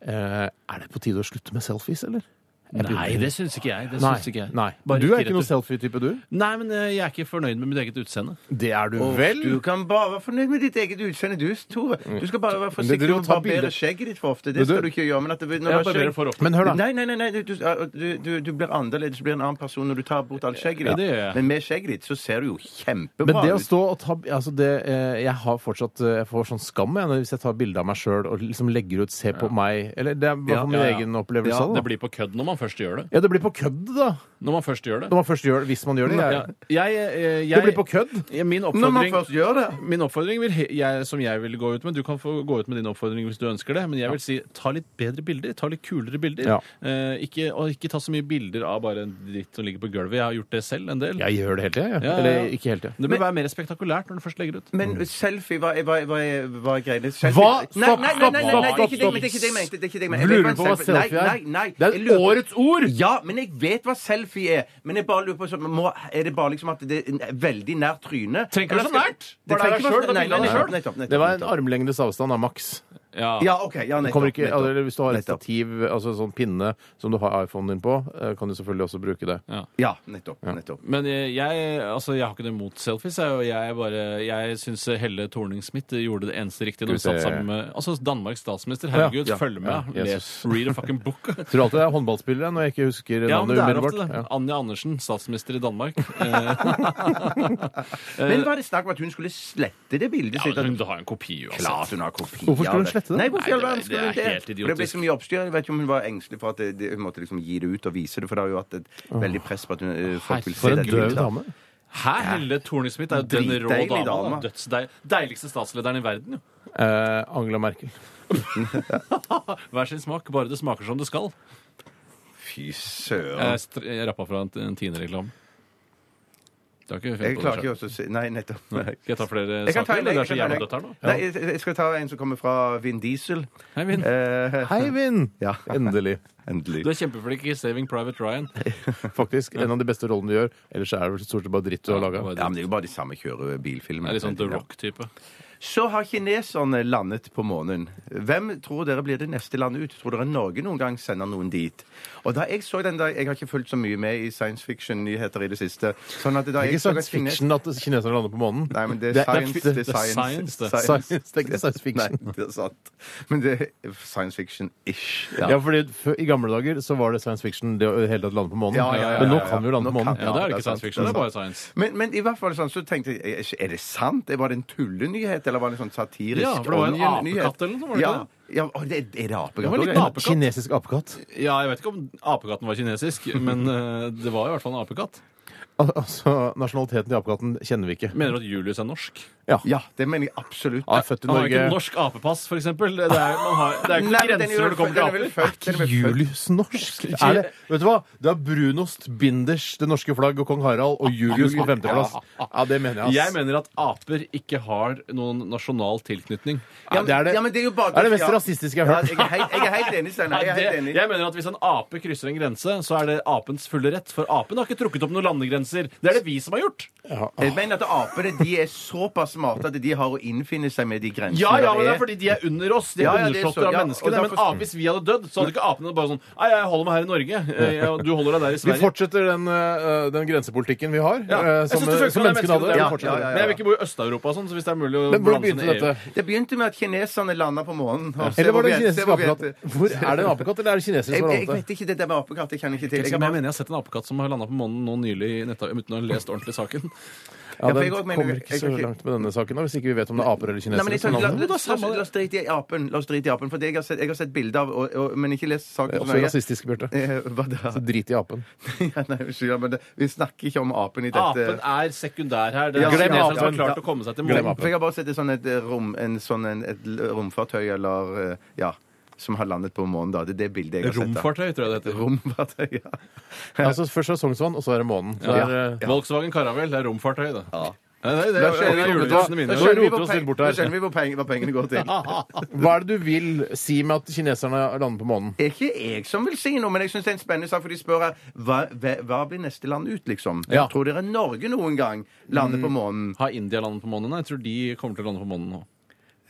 [SPEAKER 3] Eh, er det på tide å slutte med selfies, eller? Jeg
[SPEAKER 5] Nei,
[SPEAKER 3] begynner-
[SPEAKER 5] det syns ikke jeg. Det
[SPEAKER 3] Nei,
[SPEAKER 5] syns ikke jeg.
[SPEAKER 3] nei.
[SPEAKER 5] Bare
[SPEAKER 3] Du er ikke
[SPEAKER 5] ikke
[SPEAKER 3] noen
[SPEAKER 5] retur.
[SPEAKER 3] selfie-type, du?
[SPEAKER 5] Nei, men eh, jeg er ikke fornøyd med mitt eget utseende.
[SPEAKER 3] Det er du
[SPEAKER 4] sånn-
[SPEAKER 3] vel?
[SPEAKER 4] Du kan bare være fornøyd med ditt eget utseende, du, Tore. Mm. Du skal bare være
[SPEAKER 3] Men det-
[SPEAKER 4] forsiktig
[SPEAKER 3] du
[SPEAKER 4] med å
[SPEAKER 3] tar
[SPEAKER 4] barbere
[SPEAKER 3] bilder.
[SPEAKER 4] skjegget ditt for ofte.
[SPEAKER 3] Men
[SPEAKER 4] Det
[SPEAKER 3] du-
[SPEAKER 4] skal du ikke gjøre. Men at det, når
[SPEAKER 5] Jeg
[SPEAKER 4] du har
[SPEAKER 5] barberer
[SPEAKER 4] skjegg-
[SPEAKER 5] for ofte.
[SPEAKER 3] Men hør, da.
[SPEAKER 4] Nei, nei, nei, nei du, du, du, du blir annerledes, du blir en annen person når du tar bort alt skjegget
[SPEAKER 5] Ja,
[SPEAKER 4] ditt.
[SPEAKER 5] det gjør jeg.
[SPEAKER 4] Men med skjegget ditt så ser du jo
[SPEAKER 3] Men
[SPEAKER 4] kjempebra
[SPEAKER 3] det å
[SPEAKER 4] ut.
[SPEAKER 3] stå og ta altså det, eh, Jeg har fortsatt eh, Jeg får sånn skam jeg, når- hvis jeg tar bilde av meg sjøl og liksom legger ut 'se på meg' Eller det er i hvert fall min
[SPEAKER 5] Ja, ja.
[SPEAKER 3] egen opplevelse.
[SPEAKER 5] Ja,
[SPEAKER 3] av
[SPEAKER 5] det
[SPEAKER 3] det, da.
[SPEAKER 5] blir på kødd når man først gjør det.
[SPEAKER 3] ja, det blir på kødd, da.
[SPEAKER 5] Når man først gjør det.
[SPEAKER 3] Når man først gjør det, hvis man gjør det. Jeg,
[SPEAKER 5] Ja, jeg, eh, jeg,
[SPEAKER 3] Det blir på kødd.
[SPEAKER 5] Ja, Min
[SPEAKER 4] Når man
[SPEAKER 5] oppfordring,
[SPEAKER 4] først gjør det.
[SPEAKER 5] min oppfordring vil, he- jeg, som jeg vil gå ut med Du kan få gå ut med din oppfordring hvis du ønsker det. Men jeg vil si ta litt bedre bilder. Ta litt kulere bilder.
[SPEAKER 3] Ja.
[SPEAKER 5] Eh, ikke, og ikke ta så mye bilder av bare en dritt som ligger på gulvet. Jeg har gjort det selv en del.
[SPEAKER 3] Jeg gjør det hele tida, jeg.
[SPEAKER 5] Ja, ja, ja.
[SPEAKER 3] Eller ikke hele tida.
[SPEAKER 5] Det bør være mer spektakulært når du først legger ut.
[SPEAKER 4] Men selfie, hva, hva, hva, hva er greiene? Selfie-
[SPEAKER 3] Mm. Hva? Stopp,
[SPEAKER 4] Nei, nei, nei, nei, nei,
[SPEAKER 3] stopp,
[SPEAKER 4] nei, det er ikke det-
[SPEAKER 3] stopp,
[SPEAKER 4] det er ikke det jeg mente. Det er ikke det jeg mente. Jeg vet
[SPEAKER 3] Lurer du på hva
[SPEAKER 4] selfie-
[SPEAKER 3] selfie er?
[SPEAKER 4] Nei, nei, nei.
[SPEAKER 3] Det
[SPEAKER 4] Jeg
[SPEAKER 3] er
[SPEAKER 4] lurer på-
[SPEAKER 3] årets ord!
[SPEAKER 4] Ja, men jeg vet hva selfie er. Men jeg bare lurer på sånn, må, Er det bare liksom at det er en- veldig nær trynet?
[SPEAKER 5] Trenger ikke
[SPEAKER 4] Eller
[SPEAKER 5] være så
[SPEAKER 4] skal-
[SPEAKER 5] nært.
[SPEAKER 4] Det trenger
[SPEAKER 5] Bare det er deg
[SPEAKER 4] ikke være
[SPEAKER 5] selv, det er
[SPEAKER 4] Nei,
[SPEAKER 5] bildet av
[SPEAKER 4] nei,
[SPEAKER 5] deg selv.
[SPEAKER 4] nettopp, nettopp,
[SPEAKER 3] Det var en
[SPEAKER 4] nettopp.
[SPEAKER 3] armlengdes avstand av maks.
[SPEAKER 4] Ja, OK. Ja,
[SPEAKER 3] Det
[SPEAKER 4] nettopp.
[SPEAKER 3] Kommer ikke,
[SPEAKER 4] nettopp.
[SPEAKER 3] eller hvis du har et
[SPEAKER 4] Nettopp.
[SPEAKER 3] stativ, altså sånn pinne som du har iPhonen din på, eh, kan du selvfølgelig også bruke det.
[SPEAKER 4] Ja, nettopp. nettopp.
[SPEAKER 5] Men jeg, jeg- altså, jeg har ikke noe imot selfies. Jeg, og jeg, bare- jeg syns Helle Thorning-Smith gjorde det eneste riktige når hun
[SPEAKER 3] Skal vi
[SPEAKER 5] satt
[SPEAKER 3] se.
[SPEAKER 5] sammen med altså, Danmarks statsminister. Herregud,
[SPEAKER 3] Ja, ja,
[SPEAKER 5] følg med!
[SPEAKER 3] ja,
[SPEAKER 5] Les,
[SPEAKER 3] Jesus.
[SPEAKER 5] read a fucking book!
[SPEAKER 3] Tror alltid det er håndballspillere når jeg ikke husker
[SPEAKER 5] Ja,
[SPEAKER 3] navnet
[SPEAKER 5] men det er
[SPEAKER 3] umiddelbart.
[SPEAKER 5] ofte det.
[SPEAKER 3] Ja.
[SPEAKER 5] Anja Andersen, statsminister i Danmark. Eh,
[SPEAKER 3] Eh,
[SPEAKER 4] Men var det snakk om at hun skulle slette det bildet sitt?
[SPEAKER 5] ja,
[SPEAKER 4] at-
[SPEAKER 5] altså, hun har en kopi uansett.
[SPEAKER 4] Klart hun har kopi.
[SPEAKER 3] Hvorfor skulle
[SPEAKER 4] av
[SPEAKER 3] hun slette det?
[SPEAKER 4] Nei, hvorfor i all
[SPEAKER 5] Nei, det-
[SPEAKER 4] verden skulle
[SPEAKER 5] det er
[SPEAKER 4] hun det?
[SPEAKER 5] helt idiotisk.
[SPEAKER 4] For det ble så mye oppstyr. Jeg vet ikke om hun var engstelig for at det, det, hun måtte liksom gi det ut og vise det, for det har jo hatt et veldig press på at hun, eh, folk vil
[SPEAKER 3] For
[SPEAKER 4] se
[SPEAKER 3] en
[SPEAKER 4] det.
[SPEAKER 3] døv dame.
[SPEAKER 5] Hæ, Helle Thorning-Smith er jo den rå
[SPEAKER 4] Dritdeilig
[SPEAKER 5] dama.
[SPEAKER 4] dame.
[SPEAKER 5] da. Dødsdeil- Deiligste statslederen i verden, jo.
[SPEAKER 3] Eh, Angela Merkel.
[SPEAKER 5] Hver sin smak, bare det smaker som det skal.
[SPEAKER 4] Fy søren.
[SPEAKER 5] Jeg, str- jeg rappa fra en, en Tine-reklame. Det har ikke funnet
[SPEAKER 4] Jeg
[SPEAKER 5] på det
[SPEAKER 4] klarer
[SPEAKER 5] selv.
[SPEAKER 4] ikke også å si Nei, nettopp. Nei.
[SPEAKER 5] Skal jeg ta flere
[SPEAKER 4] Jeg kan ta
[SPEAKER 5] saker?
[SPEAKER 4] en-
[SPEAKER 5] eller det er så
[SPEAKER 4] jeg kan ta en-
[SPEAKER 5] jævla dødt her nå.
[SPEAKER 4] Nei, jeg- jeg skal ta en som kommer fra Vin Diesel.
[SPEAKER 5] Hei, Vin.
[SPEAKER 4] Eh,
[SPEAKER 3] Hei, Vinn!
[SPEAKER 4] Ja.
[SPEAKER 3] Endelig.
[SPEAKER 4] Endelig.
[SPEAKER 5] Du er kjempeflink i Saving Private Ryan.
[SPEAKER 3] Faktisk. En av de beste rollene du gjør. Ellers er det vel stort sett bare dritt du har laga.
[SPEAKER 5] Det
[SPEAKER 4] Ja, men Det er jo bare de samme kjøre-bilfilmene.
[SPEAKER 5] er litt sånn The Rock-type.
[SPEAKER 4] Så har kineserne landet på månen. Hvem tror dere blir det neste landet ut? Tror dere Norge noen gang sender noen dit? Og da Jeg så den der, jeg har ikke fulgt så mye med i science fiction-nyheter i det siste. sånn at da
[SPEAKER 3] Det er
[SPEAKER 4] jeg
[SPEAKER 3] ikke
[SPEAKER 4] så at
[SPEAKER 3] science
[SPEAKER 4] kines-
[SPEAKER 3] fiction at kineserne lander på månen.
[SPEAKER 4] Nei, men det er science. Det er
[SPEAKER 5] science,
[SPEAKER 4] science.
[SPEAKER 5] det.
[SPEAKER 3] Science, det er ikke science fiction.
[SPEAKER 4] Nei, det er sant. Men det er science fiction-ish.
[SPEAKER 3] Ja, fordi f- I gamle dager så var det science fiction det å i det hele tatt lande på månen.
[SPEAKER 4] Ja, ja, ja, ja,
[SPEAKER 3] Men nå
[SPEAKER 4] ja.
[SPEAKER 3] kan vi jo lande
[SPEAKER 4] Nå
[SPEAKER 3] på månen.
[SPEAKER 4] kan-
[SPEAKER 5] Ja, det er
[SPEAKER 4] det er
[SPEAKER 5] ikke
[SPEAKER 4] sant,
[SPEAKER 5] science fiction,
[SPEAKER 4] det er
[SPEAKER 5] det er bare science.
[SPEAKER 4] Men, men i hvert fall sånn, så tenkte jeg er ikke- Er det sant? Var det en tullenyhet, eller var det en sånn satirisk
[SPEAKER 5] Ja, for det var en
[SPEAKER 4] åndelig nyhet?
[SPEAKER 5] apekatt eller noe sånt, var det
[SPEAKER 4] ja,
[SPEAKER 5] ikke
[SPEAKER 4] ja, og det, er det apekatt?
[SPEAKER 5] var litt
[SPEAKER 4] også, ja?
[SPEAKER 5] apekatt.
[SPEAKER 3] Kinesisk apekatt.
[SPEAKER 5] Ja, jeg vet ikke om apekatten var kinesisk, men eh, det var i hvert fall en apekatt.
[SPEAKER 3] Al altså, Nasjonaliteten til apekatten kjenner vi ikke.
[SPEAKER 5] Mener du at Julius er norsk?
[SPEAKER 3] Ja.
[SPEAKER 4] Ja, det mener jeg absolutt.
[SPEAKER 3] Han er født i
[SPEAKER 5] Han har jo
[SPEAKER 3] Norge.
[SPEAKER 5] ikke norsk apepass, for eksempel. Det er, man har, det er jo
[SPEAKER 4] Nei,
[SPEAKER 5] ikke
[SPEAKER 4] den er
[SPEAKER 5] grenser
[SPEAKER 4] jo-
[SPEAKER 5] når det kommer til
[SPEAKER 4] den er vel
[SPEAKER 5] aper.
[SPEAKER 4] født- den er vel født-
[SPEAKER 3] Julius norsk? Er det, vet du hva? Det er brunost, binders, det norske flagg og kong Harald og Julius på femteplass. Ja, det mener jeg,
[SPEAKER 5] Jeg
[SPEAKER 3] ass.
[SPEAKER 5] mener at aper ikke har noen nasjonal tilknytning.
[SPEAKER 3] Ja, det er det,
[SPEAKER 4] Ja, men det er jo bare-
[SPEAKER 3] er det mest
[SPEAKER 4] ja.
[SPEAKER 3] rasistiske jeg har hørt.
[SPEAKER 4] Ja, jeg, er helt, jeg er helt enig, Steinar. Jeg er helt
[SPEAKER 5] Det,
[SPEAKER 4] enig.
[SPEAKER 5] jeg mener at Hvis en ape krysser en grense, så er det apens fulle rett. For apen har ikke trukket opp noen landegrenser. Det er det vi som har gjort.
[SPEAKER 4] Jeg mener at apene de er såpass smarte at de har å innfinne seg med de grensene
[SPEAKER 5] Ja, ja,
[SPEAKER 4] der
[SPEAKER 5] men det er fordi de er under oss. De er
[SPEAKER 4] Ja, ja, det er
[SPEAKER 5] undersåtter
[SPEAKER 4] så-
[SPEAKER 5] av
[SPEAKER 4] ja, og
[SPEAKER 5] menneskene. Men
[SPEAKER 4] derfor-
[SPEAKER 5] ape, hvis vi hadde dødd, så hadde ikke apene bare sånn Nei, jeg holder meg her i Norge. Eh, ja, Du holder deg der i
[SPEAKER 3] Vi
[SPEAKER 5] Sverige.
[SPEAKER 3] fortsetter den, øh, den grensepolitikken vi har,
[SPEAKER 4] eh,
[SPEAKER 5] Ja.
[SPEAKER 3] øh, som,
[SPEAKER 5] Jeg synes det funker
[SPEAKER 3] som
[SPEAKER 5] med
[SPEAKER 3] menneskene hadde.
[SPEAKER 5] menneskene.
[SPEAKER 3] Vi
[SPEAKER 4] Ja,
[SPEAKER 3] fortsetter
[SPEAKER 4] ja, ja, ja.
[SPEAKER 3] den.
[SPEAKER 5] Men jeg vil ikke bo i Øst-Europa og sånn, så hvis det er mulig å
[SPEAKER 3] Men hvor
[SPEAKER 5] balanse
[SPEAKER 3] begynte
[SPEAKER 5] den i EU.
[SPEAKER 3] dette?
[SPEAKER 4] Det begynte med at kineserne landa på månen. og se
[SPEAKER 3] Eller var
[SPEAKER 4] hvor
[SPEAKER 3] det
[SPEAKER 4] vi-
[SPEAKER 3] en
[SPEAKER 4] se
[SPEAKER 3] kinesisk
[SPEAKER 4] hvor vi
[SPEAKER 3] apekatt?
[SPEAKER 4] endte.
[SPEAKER 3] Hvor, er det en apekatt, eller er det kinesere
[SPEAKER 4] Jeg,
[SPEAKER 3] som har
[SPEAKER 4] jeg
[SPEAKER 3] landet
[SPEAKER 4] vet ikke det der med apekatt. Det kjenner jeg ikke til.
[SPEAKER 5] Jeg,
[SPEAKER 4] Jeg,
[SPEAKER 5] men jeg
[SPEAKER 4] bare,
[SPEAKER 5] mener jeg har sett en apekatt som har landa på månen nå nylig i netta, uten å ha lest ordentlig saken.
[SPEAKER 3] Ja,
[SPEAKER 4] Ja, for jeg
[SPEAKER 3] den
[SPEAKER 4] også mener-
[SPEAKER 3] kommer
[SPEAKER 4] jeg-
[SPEAKER 3] ikke
[SPEAKER 4] jeg
[SPEAKER 3] så
[SPEAKER 4] kan ikke-
[SPEAKER 3] langt med denne saken, da, hvis ikke vi vet om det er aper eller
[SPEAKER 4] Nei, men
[SPEAKER 3] kinesere.
[SPEAKER 4] jeg,
[SPEAKER 3] som
[SPEAKER 4] la, la,
[SPEAKER 3] lander.
[SPEAKER 4] la, oss- la oss drite i apen, La oss drite i apen, for det jeg har sett, jeg har sett bilder av, og, og, men ikke lest
[SPEAKER 3] Det
[SPEAKER 4] saken.
[SPEAKER 3] er
[SPEAKER 4] så
[SPEAKER 3] Også
[SPEAKER 4] nøye.
[SPEAKER 3] rasistisk, Bjarte.
[SPEAKER 4] Eh, Hva da?
[SPEAKER 3] Så drit i apen.
[SPEAKER 4] Ja, nei, unnskyld, ja, men det, vi snakker ikke om apen i dette.
[SPEAKER 5] Apen er sekundær her. Det
[SPEAKER 4] Ja,
[SPEAKER 5] er
[SPEAKER 4] glem
[SPEAKER 5] kinesere som
[SPEAKER 4] apen.
[SPEAKER 5] har klart å komme seg til
[SPEAKER 3] Glem
[SPEAKER 5] månen.
[SPEAKER 3] apen.
[SPEAKER 4] For jeg har bare sett et, sånn et, rom, en, sånn en, et l- romfartøy eller eh, ja, som har landet på månen. da. Det er det bildet jeg har sett. da.
[SPEAKER 5] Romfartøy, tror jeg det heter.
[SPEAKER 4] Romfartøy, ja.
[SPEAKER 3] Altså, først er det Sognsvann, og så er det månen. Så
[SPEAKER 5] Ja.
[SPEAKER 3] det er, øh,
[SPEAKER 5] eh, Volkswagen Caravelle det er romfartøy, det. Nei, det, det,
[SPEAKER 4] Da
[SPEAKER 5] det, det,
[SPEAKER 4] skjønner
[SPEAKER 5] er
[SPEAKER 4] vi-
[SPEAKER 5] julehilsene
[SPEAKER 4] da
[SPEAKER 5] mine.
[SPEAKER 3] skjønner
[SPEAKER 4] skjønner vi
[SPEAKER 3] roter
[SPEAKER 4] hvor
[SPEAKER 3] oss litt
[SPEAKER 4] peng-
[SPEAKER 3] bort
[SPEAKER 4] da
[SPEAKER 3] her.
[SPEAKER 4] skjønner vi hvor peng- hva pengene går til.
[SPEAKER 3] Hva er det du vil si med at kineserne lander på månen?
[SPEAKER 4] Det er ikke jeg som vil si noe, men jeg syns det er en spennende sak, for de spør her hva, hva, hva blir neste land ut, liksom?
[SPEAKER 3] Ja.
[SPEAKER 4] Tror dere Norge noen gang lander på månen?
[SPEAKER 5] Har India landet på månen? Nei, Jeg tror de kommer til å lande på månen nå.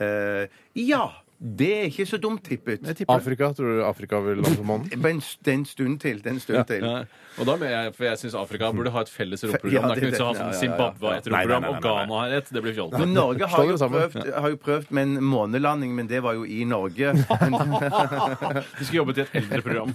[SPEAKER 4] Eh, ja! Det er ikke så dumt tippet.
[SPEAKER 3] Afrika? Tror du Afrika vil lande på månen?
[SPEAKER 4] Men s- det er en stund til. Det er en stund til.
[SPEAKER 5] Ja, og da mener jeg, for jeg syns Afrika burde ha et felles
[SPEAKER 4] Ja, det-
[SPEAKER 5] romprogram. det er ikke vits å ha
[SPEAKER 4] det- ja, ja,
[SPEAKER 5] sånn
[SPEAKER 4] ja.
[SPEAKER 5] Zimbabwe har et
[SPEAKER 3] Nei, nei, nei,
[SPEAKER 5] romprogram,
[SPEAKER 3] nei,
[SPEAKER 5] og Ghana har et. Det blir fjollete.
[SPEAKER 4] Men Norge har
[SPEAKER 3] Slå
[SPEAKER 4] jo,
[SPEAKER 3] dere sammen.
[SPEAKER 4] prøvd, har jo prøvd med en månelanding, men det var jo i Norge.
[SPEAKER 5] De skal jobbe til et eldreprogram.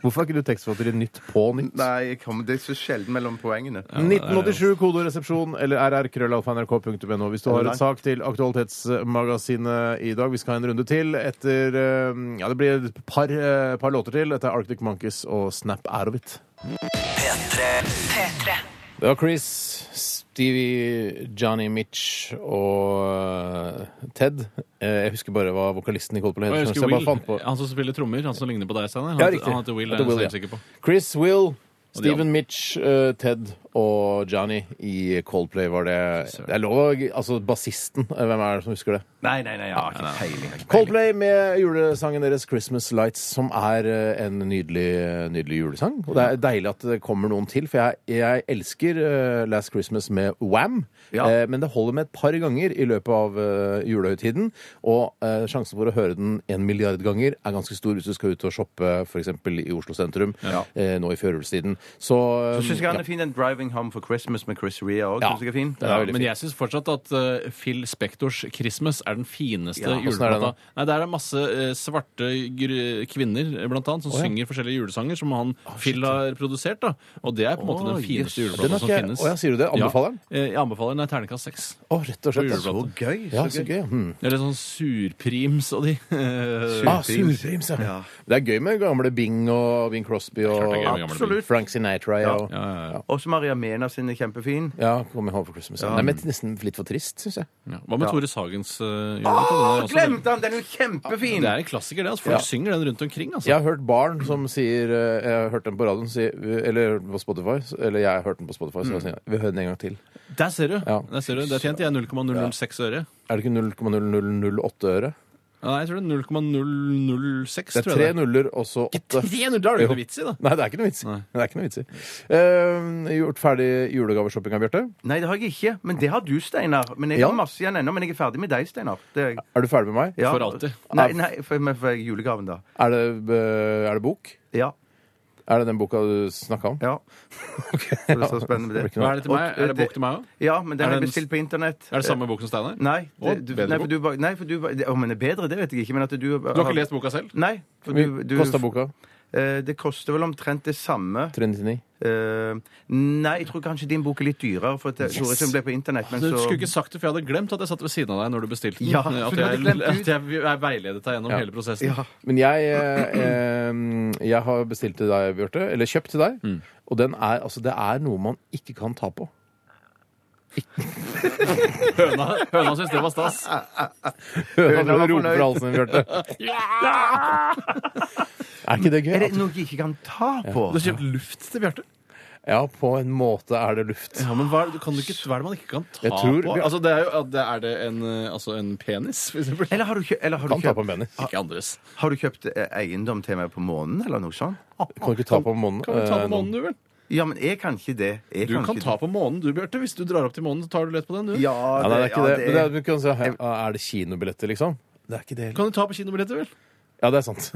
[SPEAKER 3] Hvorfor har ikke du tekstforfatter i Nytt på nytt?
[SPEAKER 4] Nei, jeg kom, det er så sjelden mellom poengene.
[SPEAKER 3] 1987, kodoresepsjon eller rrkrøllalfa.nrk.no hvis du har en sak til Aktualitetsmagasinet i dag. Vi skal ha en runde til etter eh, Ja, det blir et par, eh, par låter til. Dette er Arctic Monkeys og Snap Out of It.
[SPEAKER 6] P3.
[SPEAKER 3] Det var Chris, Stevie, Johnny Mitch og eh, Ted. Eh, Jeg husker bare hva vokalisten i Coldplay
[SPEAKER 5] Og
[SPEAKER 3] heter.
[SPEAKER 5] jeg
[SPEAKER 3] så
[SPEAKER 5] husker
[SPEAKER 3] jeg bare
[SPEAKER 5] Will,
[SPEAKER 3] fant på-
[SPEAKER 5] han som spiller trommer, han som ligner på deg, Steinar. Han,
[SPEAKER 3] Ja, riktig.
[SPEAKER 5] han heter Will,
[SPEAKER 3] Heter
[SPEAKER 5] det er
[SPEAKER 3] Will,
[SPEAKER 5] jeg
[SPEAKER 3] ja.
[SPEAKER 5] helt sikker på.
[SPEAKER 3] Chris Will,
[SPEAKER 5] de
[SPEAKER 3] Steven
[SPEAKER 5] andre.
[SPEAKER 3] Mitch, eh, Ted og Johnny i Coldplay var det. Det er lov å Altså bassisten. eh, Hvem er det som husker det?
[SPEAKER 4] Nei, nei, nei, jeg har ikke peiling. jeg har ikke peiling.
[SPEAKER 3] Coldplay med julesangen deres 'Christmas Lights', som er eh, en nydelig, nydelig julesang. Og det er deilig at det kommer noen til, for jeg, jeg elsker eh, 'Last Christmas' med Wham.
[SPEAKER 4] Ja.
[SPEAKER 3] Eh, men det holder med et par ganger i løpet av eh, julehøytiden. Og eh, sjansen for å høre den en milliard ganger er ganske stor hvis du skal ut og shoppe f.eks. i Oslo sentrum eh, nå i førjulstiden. Så,
[SPEAKER 4] Så
[SPEAKER 3] eh,
[SPEAKER 4] syns jeg han er fin, den 'Driving Home for Christmas' med Chris Rea òg.
[SPEAKER 3] Ja.
[SPEAKER 4] jeg er fin.
[SPEAKER 3] Det er veldig
[SPEAKER 5] men
[SPEAKER 3] fint.
[SPEAKER 5] jeg syns fortsatt at eh, Phil Spectors 'Christmas' er den fineste
[SPEAKER 3] Ja, hvordan er det
[SPEAKER 5] juleplata.
[SPEAKER 3] da?
[SPEAKER 5] Nei, Der er masse eh, svarte gr kvinner eh, blant annet, som synger forskjellige julesanger som han Phil har produsert. da Og det er på en måte den fineste
[SPEAKER 3] Den
[SPEAKER 5] juleplata
[SPEAKER 3] har
[SPEAKER 5] som
[SPEAKER 3] ikke jeg-
[SPEAKER 5] finnes.
[SPEAKER 3] Å, ja, sier du det? Anbefaler den?
[SPEAKER 5] Ja, eh, jeg anbefaler den. Det er terningkast seks.
[SPEAKER 3] Å, rett og slett. altså.
[SPEAKER 5] På juleplaten.
[SPEAKER 4] gøy.
[SPEAKER 3] Ja, så gøy. Hmm.
[SPEAKER 5] Eller sånn surprims og de. Eh,
[SPEAKER 3] Ah, surprims, ja. Det er gøy med gamle Bing og Bing Crosby og
[SPEAKER 5] det er gøy med gamle Absolutt. Bing.
[SPEAKER 3] Frank Sinatra. Ja. Og, ja,
[SPEAKER 4] Også Maria Mena sin er kjempefin.
[SPEAKER 3] Coming Home for Christmas. Nei, men nesten litt for trist, syns jeg.
[SPEAKER 5] ja. Hva med Tore Sagens uh,
[SPEAKER 4] Å,
[SPEAKER 5] juleplate? Den er også-
[SPEAKER 4] glemte han! Den er jo kjempefin!
[SPEAKER 5] Det er en klassiker, det. altså Folk
[SPEAKER 3] Ja.
[SPEAKER 5] synger den rundt omkring. altså
[SPEAKER 3] Jeg har hørt barn som sier eh, Jeg har hørt den på radioen, si, eller hørt den på Spotify. Eller jeg har hørt den på Spotify,
[SPEAKER 5] Mm.
[SPEAKER 3] så jeg sier, vi hører den en gang til.
[SPEAKER 5] Der ser du!
[SPEAKER 3] Ja.
[SPEAKER 5] Der ser du. Der tjente jeg 0,006 øre.
[SPEAKER 3] Er det ikke 0,0008 øre?
[SPEAKER 5] Ja, Nei, jeg tror det er 0,006.
[SPEAKER 3] Det er
[SPEAKER 5] tror jeg
[SPEAKER 3] tre nuller og så åtte.
[SPEAKER 5] Tre null, Da er det jo ikke
[SPEAKER 3] Jo.
[SPEAKER 5] vits i, da.
[SPEAKER 3] Nei, det er ikke noe vits i.
[SPEAKER 5] Nei.
[SPEAKER 3] Det er ikke noe vits i. Eh, gjort ferdig julegaveshoppinga, Bjarte?
[SPEAKER 4] Nei, det har jeg ikke. Men det har du, Steinar. Men jeg
[SPEAKER 3] Ja.
[SPEAKER 4] har masse igjen ennå. Men jeg er ferdig med deg, Steinar. Det er jeg.
[SPEAKER 3] Er du ferdig med meg?
[SPEAKER 4] Ja.
[SPEAKER 5] For alltid.
[SPEAKER 4] Nei, nei for, men for julegaven, da.
[SPEAKER 3] Er det, eh, er det bok?
[SPEAKER 4] Ja.
[SPEAKER 3] Er det den boka du snakka om?
[SPEAKER 4] Ja. Så det er så spennende med det.
[SPEAKER 3] Hva er
[SPEAKER 5] det til meg?
[SPEAKER 4] Og, eh,
[SPEAKER 5] Er det bok til meg også?
[SPEAKER 4] Ja, men den
[SPEAKER 5] Er
[SPEAKER 4] har jeg
[SPEAKER 5] det en-
[SPEAKER 4] bestilt på internett. Eh,
[SPEAKER 5] Er det samme bok som Steinar?
[SPEAKER 4] Nei.
[SPEAKER 5] Å,
[SPEAKER 4] det- du,
[SPEAKER 5] bedre
[SPEAKER 4] nei, for
[SPEAKER 5] bok.
[SPEAKER 4] du, ba- nei, for du ba- det- Om den er bedre, det vet jeg ikke, men at du Du
[SPEAKER 5] Du har ikke lest boka selv?
[SPEAKER 4] Nei. for du- du-
[SPEAKER 3] Kosta boka?
[SPEAKER 4] Eh, Det koster vel omtrent det samme.
[SPEAKER 3] 399.
[SPEAKER 4] Eh, nei, jeg tror kanskje din bok er litt dyrere, for at jeg tror ikke den ble på internett. Men
[SPEAKER 5] Du
[SPEAKER 4] så
[SPEAKER 5] skulle ikke sagt det, for jeg hadde glemt at jeg satt ved siden av deg når du bestilte den.
[SPEAKER 4] Ja, for
[SPEAKER 5] at,
[SPEAKER 4] du hadde
[SPEAKER 5] jeg,
[SPEAKER 4] glemt ut.
[SPEAKER 5] at jeg, jeg veiledet deg gjennom hele prosessen.
[SPEAKER 4] Ja.
[SPEAKER 3] Men jeg, eh, eh, jeg har bestilt til deg, Bjarte. Eller kjøpt til deg. Og den er, altså, det er noe man ikke kan ta på.
[SPEAKER 5] Høna, høna syntes det var stas.
[SPEAKER 3] Høna
[SPEAKER 4] var
[SPEAKER 3] roper
[SPEAKER 4] fornøyd.
[SPEAKER 3] fra halsen din, Bjarte. Er ikke det gøy?
[SPEAKER 4] Er
[SPEAKER 3] at-
[SPEAKER 4] det noe jeg ikke kan ta på?
[SPEAKER 5] Du har kjøpt luft til Bjarte.
[SPEAKER 3] Ja, på en måte er det luft.
[SPEAKER 5] Ja, men hva, er det- kan du ikke, hva er det man ikke kan ta
[SPEAKER 3] Jeg tror-
[SPEAKER 5] på? Altså, det er, jo, at det- er det en, eh, altså en penis, for eksempel?
[SPEAKER 4] Eller har du, kjøpt, eller har, du
[SPEAKER 3] Kan ta på
[SPEAKER 4] kjøpt,
[SPEAKER 3] en penis.
[SPEAKER 5] Ikke andres.
[SPEAKER 4] har du kjøpt eh, eiendom til meg på månen, eller noe sånt?
[SPEAKER 3] Kan du ikke ta på månen?
[SPEAKER 5] Kan du ta
[SPEAKER 3] eh,
[SPEAKER 5] på månen, du vel?
[SPEAKER 4] Ja, men jeg kan ikke det. Jeg
[SPEAKER 5] Du kan
[SPEAKER 4] ikke
[SPEAKER 5] ta på månen, du, Bjarte. Hvis du drar opp til månen, så tar du lett på den, du.
[SPEAKER 4] det. Ja,
[SPEAKER 3] Ja, nei, det er ikke det.
[SPEAKER 4] ja,
[SPEAKER 3] Men det er, du kan si, «Hæ, er det kinobilletter, liksom? Det er ikke det.
[SPEAKER 5] Kan du ta på kinobilletter, vel?
[SPEAKER 3] Ja, det er sant.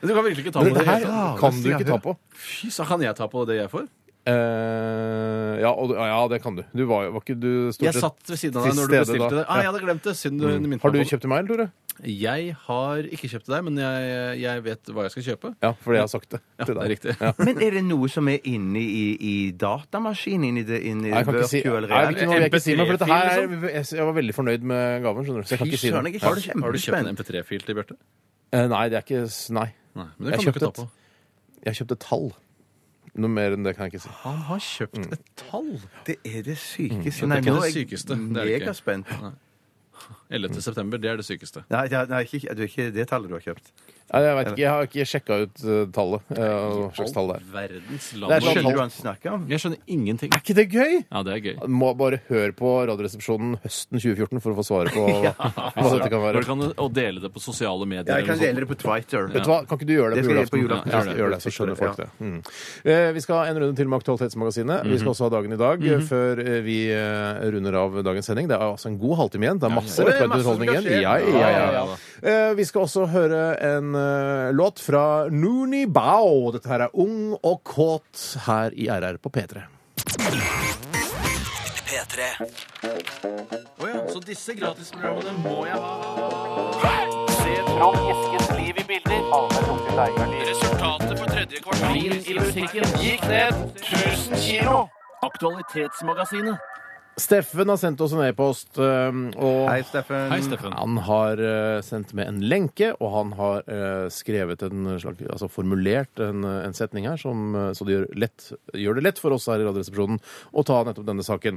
[SPEAKER 5] Du kan virkelig ikke ta på
[SPEAKER 3] Men
[SPEAKER 5] det.
[SPEAKER 3] det her
[SPEAKER 5] hele tatt.
[SPEAKER 3] kan du ikke ta på.
[SPEAKER 5] Fy, så kan jeg ta på det jeg får?
[SPEAKER 3] Eh, ja, og, du- ja, det kan du. Du var, jo- var ikke du stort
[SPEAKER 5] Jeg
[SPEAKER 3] sett
[SPEAKER 5] satt ved siden av
[SPEAKER 3] til
[SPEAKER 5] deg når du
[SPEAKER 3] stede
[SPEAKER 5] bestilte
[SPEAKER 3] da.
[SPEAKER 5] det. Ah,
[SPEAKER 3] Ja.
[SPEAKER 5] jeg hadde glemt det, siden du minnet meg
[SPEAKER 3] Mm. Har du
[SPEAKER 5] på det.
[SPEAKER 3] kjøpt til meg, eller, Tore?
[SPEAKER 5] Jeg har ikke kjøpt til deg, men jeg, jeg vet hva jeg skal kjøpe.
[SPEAKER 3] Ja, fordi jeg har sagt det.
[SPEAKER 5] Ja,
[SPEAKER 3] til
[SPEAKER 5] det
[SPEAKER 3] deg.
[SPEAKER 5] er riktig.
[SPEAKER 4] Men er det noe som er inni i, i datamaskinen? Inni det inni
[SPEAKER 3] Nei, jeg kan ikke si, Nei,
[SPEAKER 4] virtual
[SPEAKER 3] vet du
[SPEAKER 4] reality?
[SPEAKER 3] noe, jeg vil ikke si meg, for dette her
[SPEAKER 5] MP3-fil,
[SPEAKER 3] er, jeg, jeg var veldig fornøyd med gaven, skjønner du. Så jeg kan
[SPEAKER 4] Fy
[SPEAKER 3] ikke si
[SPEAKER 4] søren,
[SPEAKER 3] det.
[SPEAKER 4] jeg
[SPEAKER 5] Har
[SPEAKER 4] er
[SPEAKER 5] du, har du kjøpt en
[SPEAKER 4] kjempespent.
[SPEAKER 5] MP3-fil til Bjarte?
[SPEAKER 3] Eh, Nei, det er ikke s- Nei.
[SPEAKER 5] Nei, men det
[SPEAKER 3] Jeg
[SPEAKER 5] kan du ikke ta
[SPEAKER 3] kjøpte
[SPEAKER 5] på.
[SPEAKER 3] Jeg kjøpte tall. Noe mer enn det kan jeg ikke si.
[SPEAKER 5] Han har kjøpt et tall!
[SPEAKER 4] Det er det sykeste.
[SPEAKER 5] Det er ikke
[SPEAKER 4] nå er
[SPEAKER 5] det
[SPEAKER 4] jeg
[SPEAKER 5] sykeste, det er det ikke.
[SPEAKER 4] megaspent.
[SPEAKER 3] Mm.
[SPEAKER 5] 11. september, det er det sykeste.
[SPEAKER 4] Nei, det er, nei ikke, det er ikke det tallet du har kjøpt.
[SPEAKER 3] Nei, jeg vet ikke, jeg har ikke sjekka ut eh, tallet. eh, Hva slags tall det er.
[SPEAKER 5] Verdens
[SPEAKER 3] Det er
[SPEAKER 5] land.
[SPEAKER 3] sånn-
[SPEAKER 4] Skjønner du hva han snakker om?
[SPEAKER 5] Jeg skjønner ingenting.
[SPEAKER 3] Er ikke det gøy?
[SPEAKER 5] Ja, det er gøy.
[SPEAKER 3] Må bare høre på Radioresepsjonen høsten 2014 for å få svaret på hva dette kan være.
[SPEAKER 5] Hvor kan du, og dele det på sosiale medier.
[SPEAKER 4] Ja, jeg kan
[SPEAKER 5] eller
[SPEAKER 4] dele
[SPEAKER 5] noe sånt.
[SPEAKER 4] det på Twitter.
[SPEAKER 3] Vet du hva? Kan ikke du gjøre det,
[SPEAKER 4] Det skal
[SPEAKER 3] på
[SPEAKER 4] jeg gjøre på
[SPEAKER 3] julaften?
[SPEAKER 5] julaften.
[SPEAKER 3] Ja, gjør det, så skjønner folk det. Mm. Eh, Vi skal ha en runde til med Aktualitetsmagasinet. Vi
[SPEAKER 4] Mhm.
[SPEAKER 3] skal også ha dagen i dag eh, før eh, vi eh, runder av dagens sending. Det er altså en god halvtime igjen. Det er masse
[SPEAKER 4] ja.
[SPEAKER 3] lett
[SPEAKER 4] Oi, masse som
[SPEAKER 3] underholdning
[SPEAKER 4] skal
[SPEAKER 3] igjen.
[SPEAKER 4] skje.
[SPEAKER 3] Ja, ja, ja, ja. Eh, Vi skal også høre en eh, låt fra Nooni Bao. Dette her er Ung og kåt her i RR på P3.
[SPEAKER 6] P3.
[SPEAKER 5] Så disse gratisprogrammene må jeg ha. Se Trond Eskens liv i bilder. Resultatet på tredje kvartal i musikken gikk ned 1000 kilo. Aktualitetsmagasinet.
[SPEAKER 3] Steffen har sendt oss en e-post, eh, og
[SPEAKER 4] Hei, Steffen.
[SPEAKER 5] Hei, Steffen.
[SPEAKER 3] Han har eh, sendt med en lenke, og han har eh, skrevet en slags, altså formulert en, eh, en setning her, som, eh, så det gjør, lett, gjør det lett for oss her i Radioresepsjonen å ta nettopp denne saken.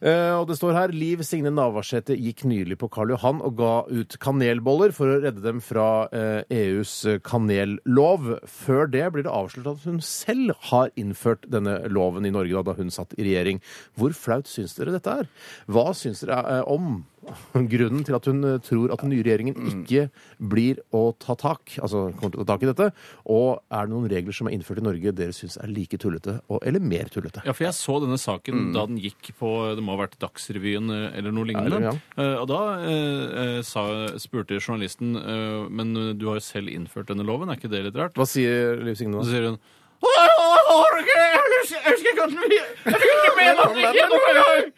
[SPEAKER 3] Eh, og det står her Liv Signe Navarsete gikk nylig på Karl Johan og ga ut kanelboller for å redde dem fra eh, EUs kanellov. Før det blir det avslørt at hun selv har innført denne loven i Norge da, da hun satt i regjering. Hvor flaut syns dere dette er? Hva syns dere eh, om grunnen til at hun eh, tror at den nye regjeringen ikke blir å ta tak, altså kommer til å ta tak i dette? Og er det noen regler som er innført i Norge dere syns er like tullete, og, eller mer tullete?
[SPEAKER 5] Ja, for jeg så denne saken da den gikk på det må ha vært Dagsrevyen eh, eller noe lignende.
[SPEAKER 3] Mm. Ja,
[SPEAKER 5] Eh, Og da eh, eh, sa, spurte journalisten eh, men du har jo selv innført denne loven, er ikke det litt rart?
[SPEAKER 3] Hva sier Liv Signe
[SPEAKER 5] Så
[SPEAKER 3] da?
[SPEAKER 5] sier hun «Å, jeg orker ikke, jeg husker- jeg husker ikke at vi- jeg fikk ikke med meg at vi ikke- nå er jeg-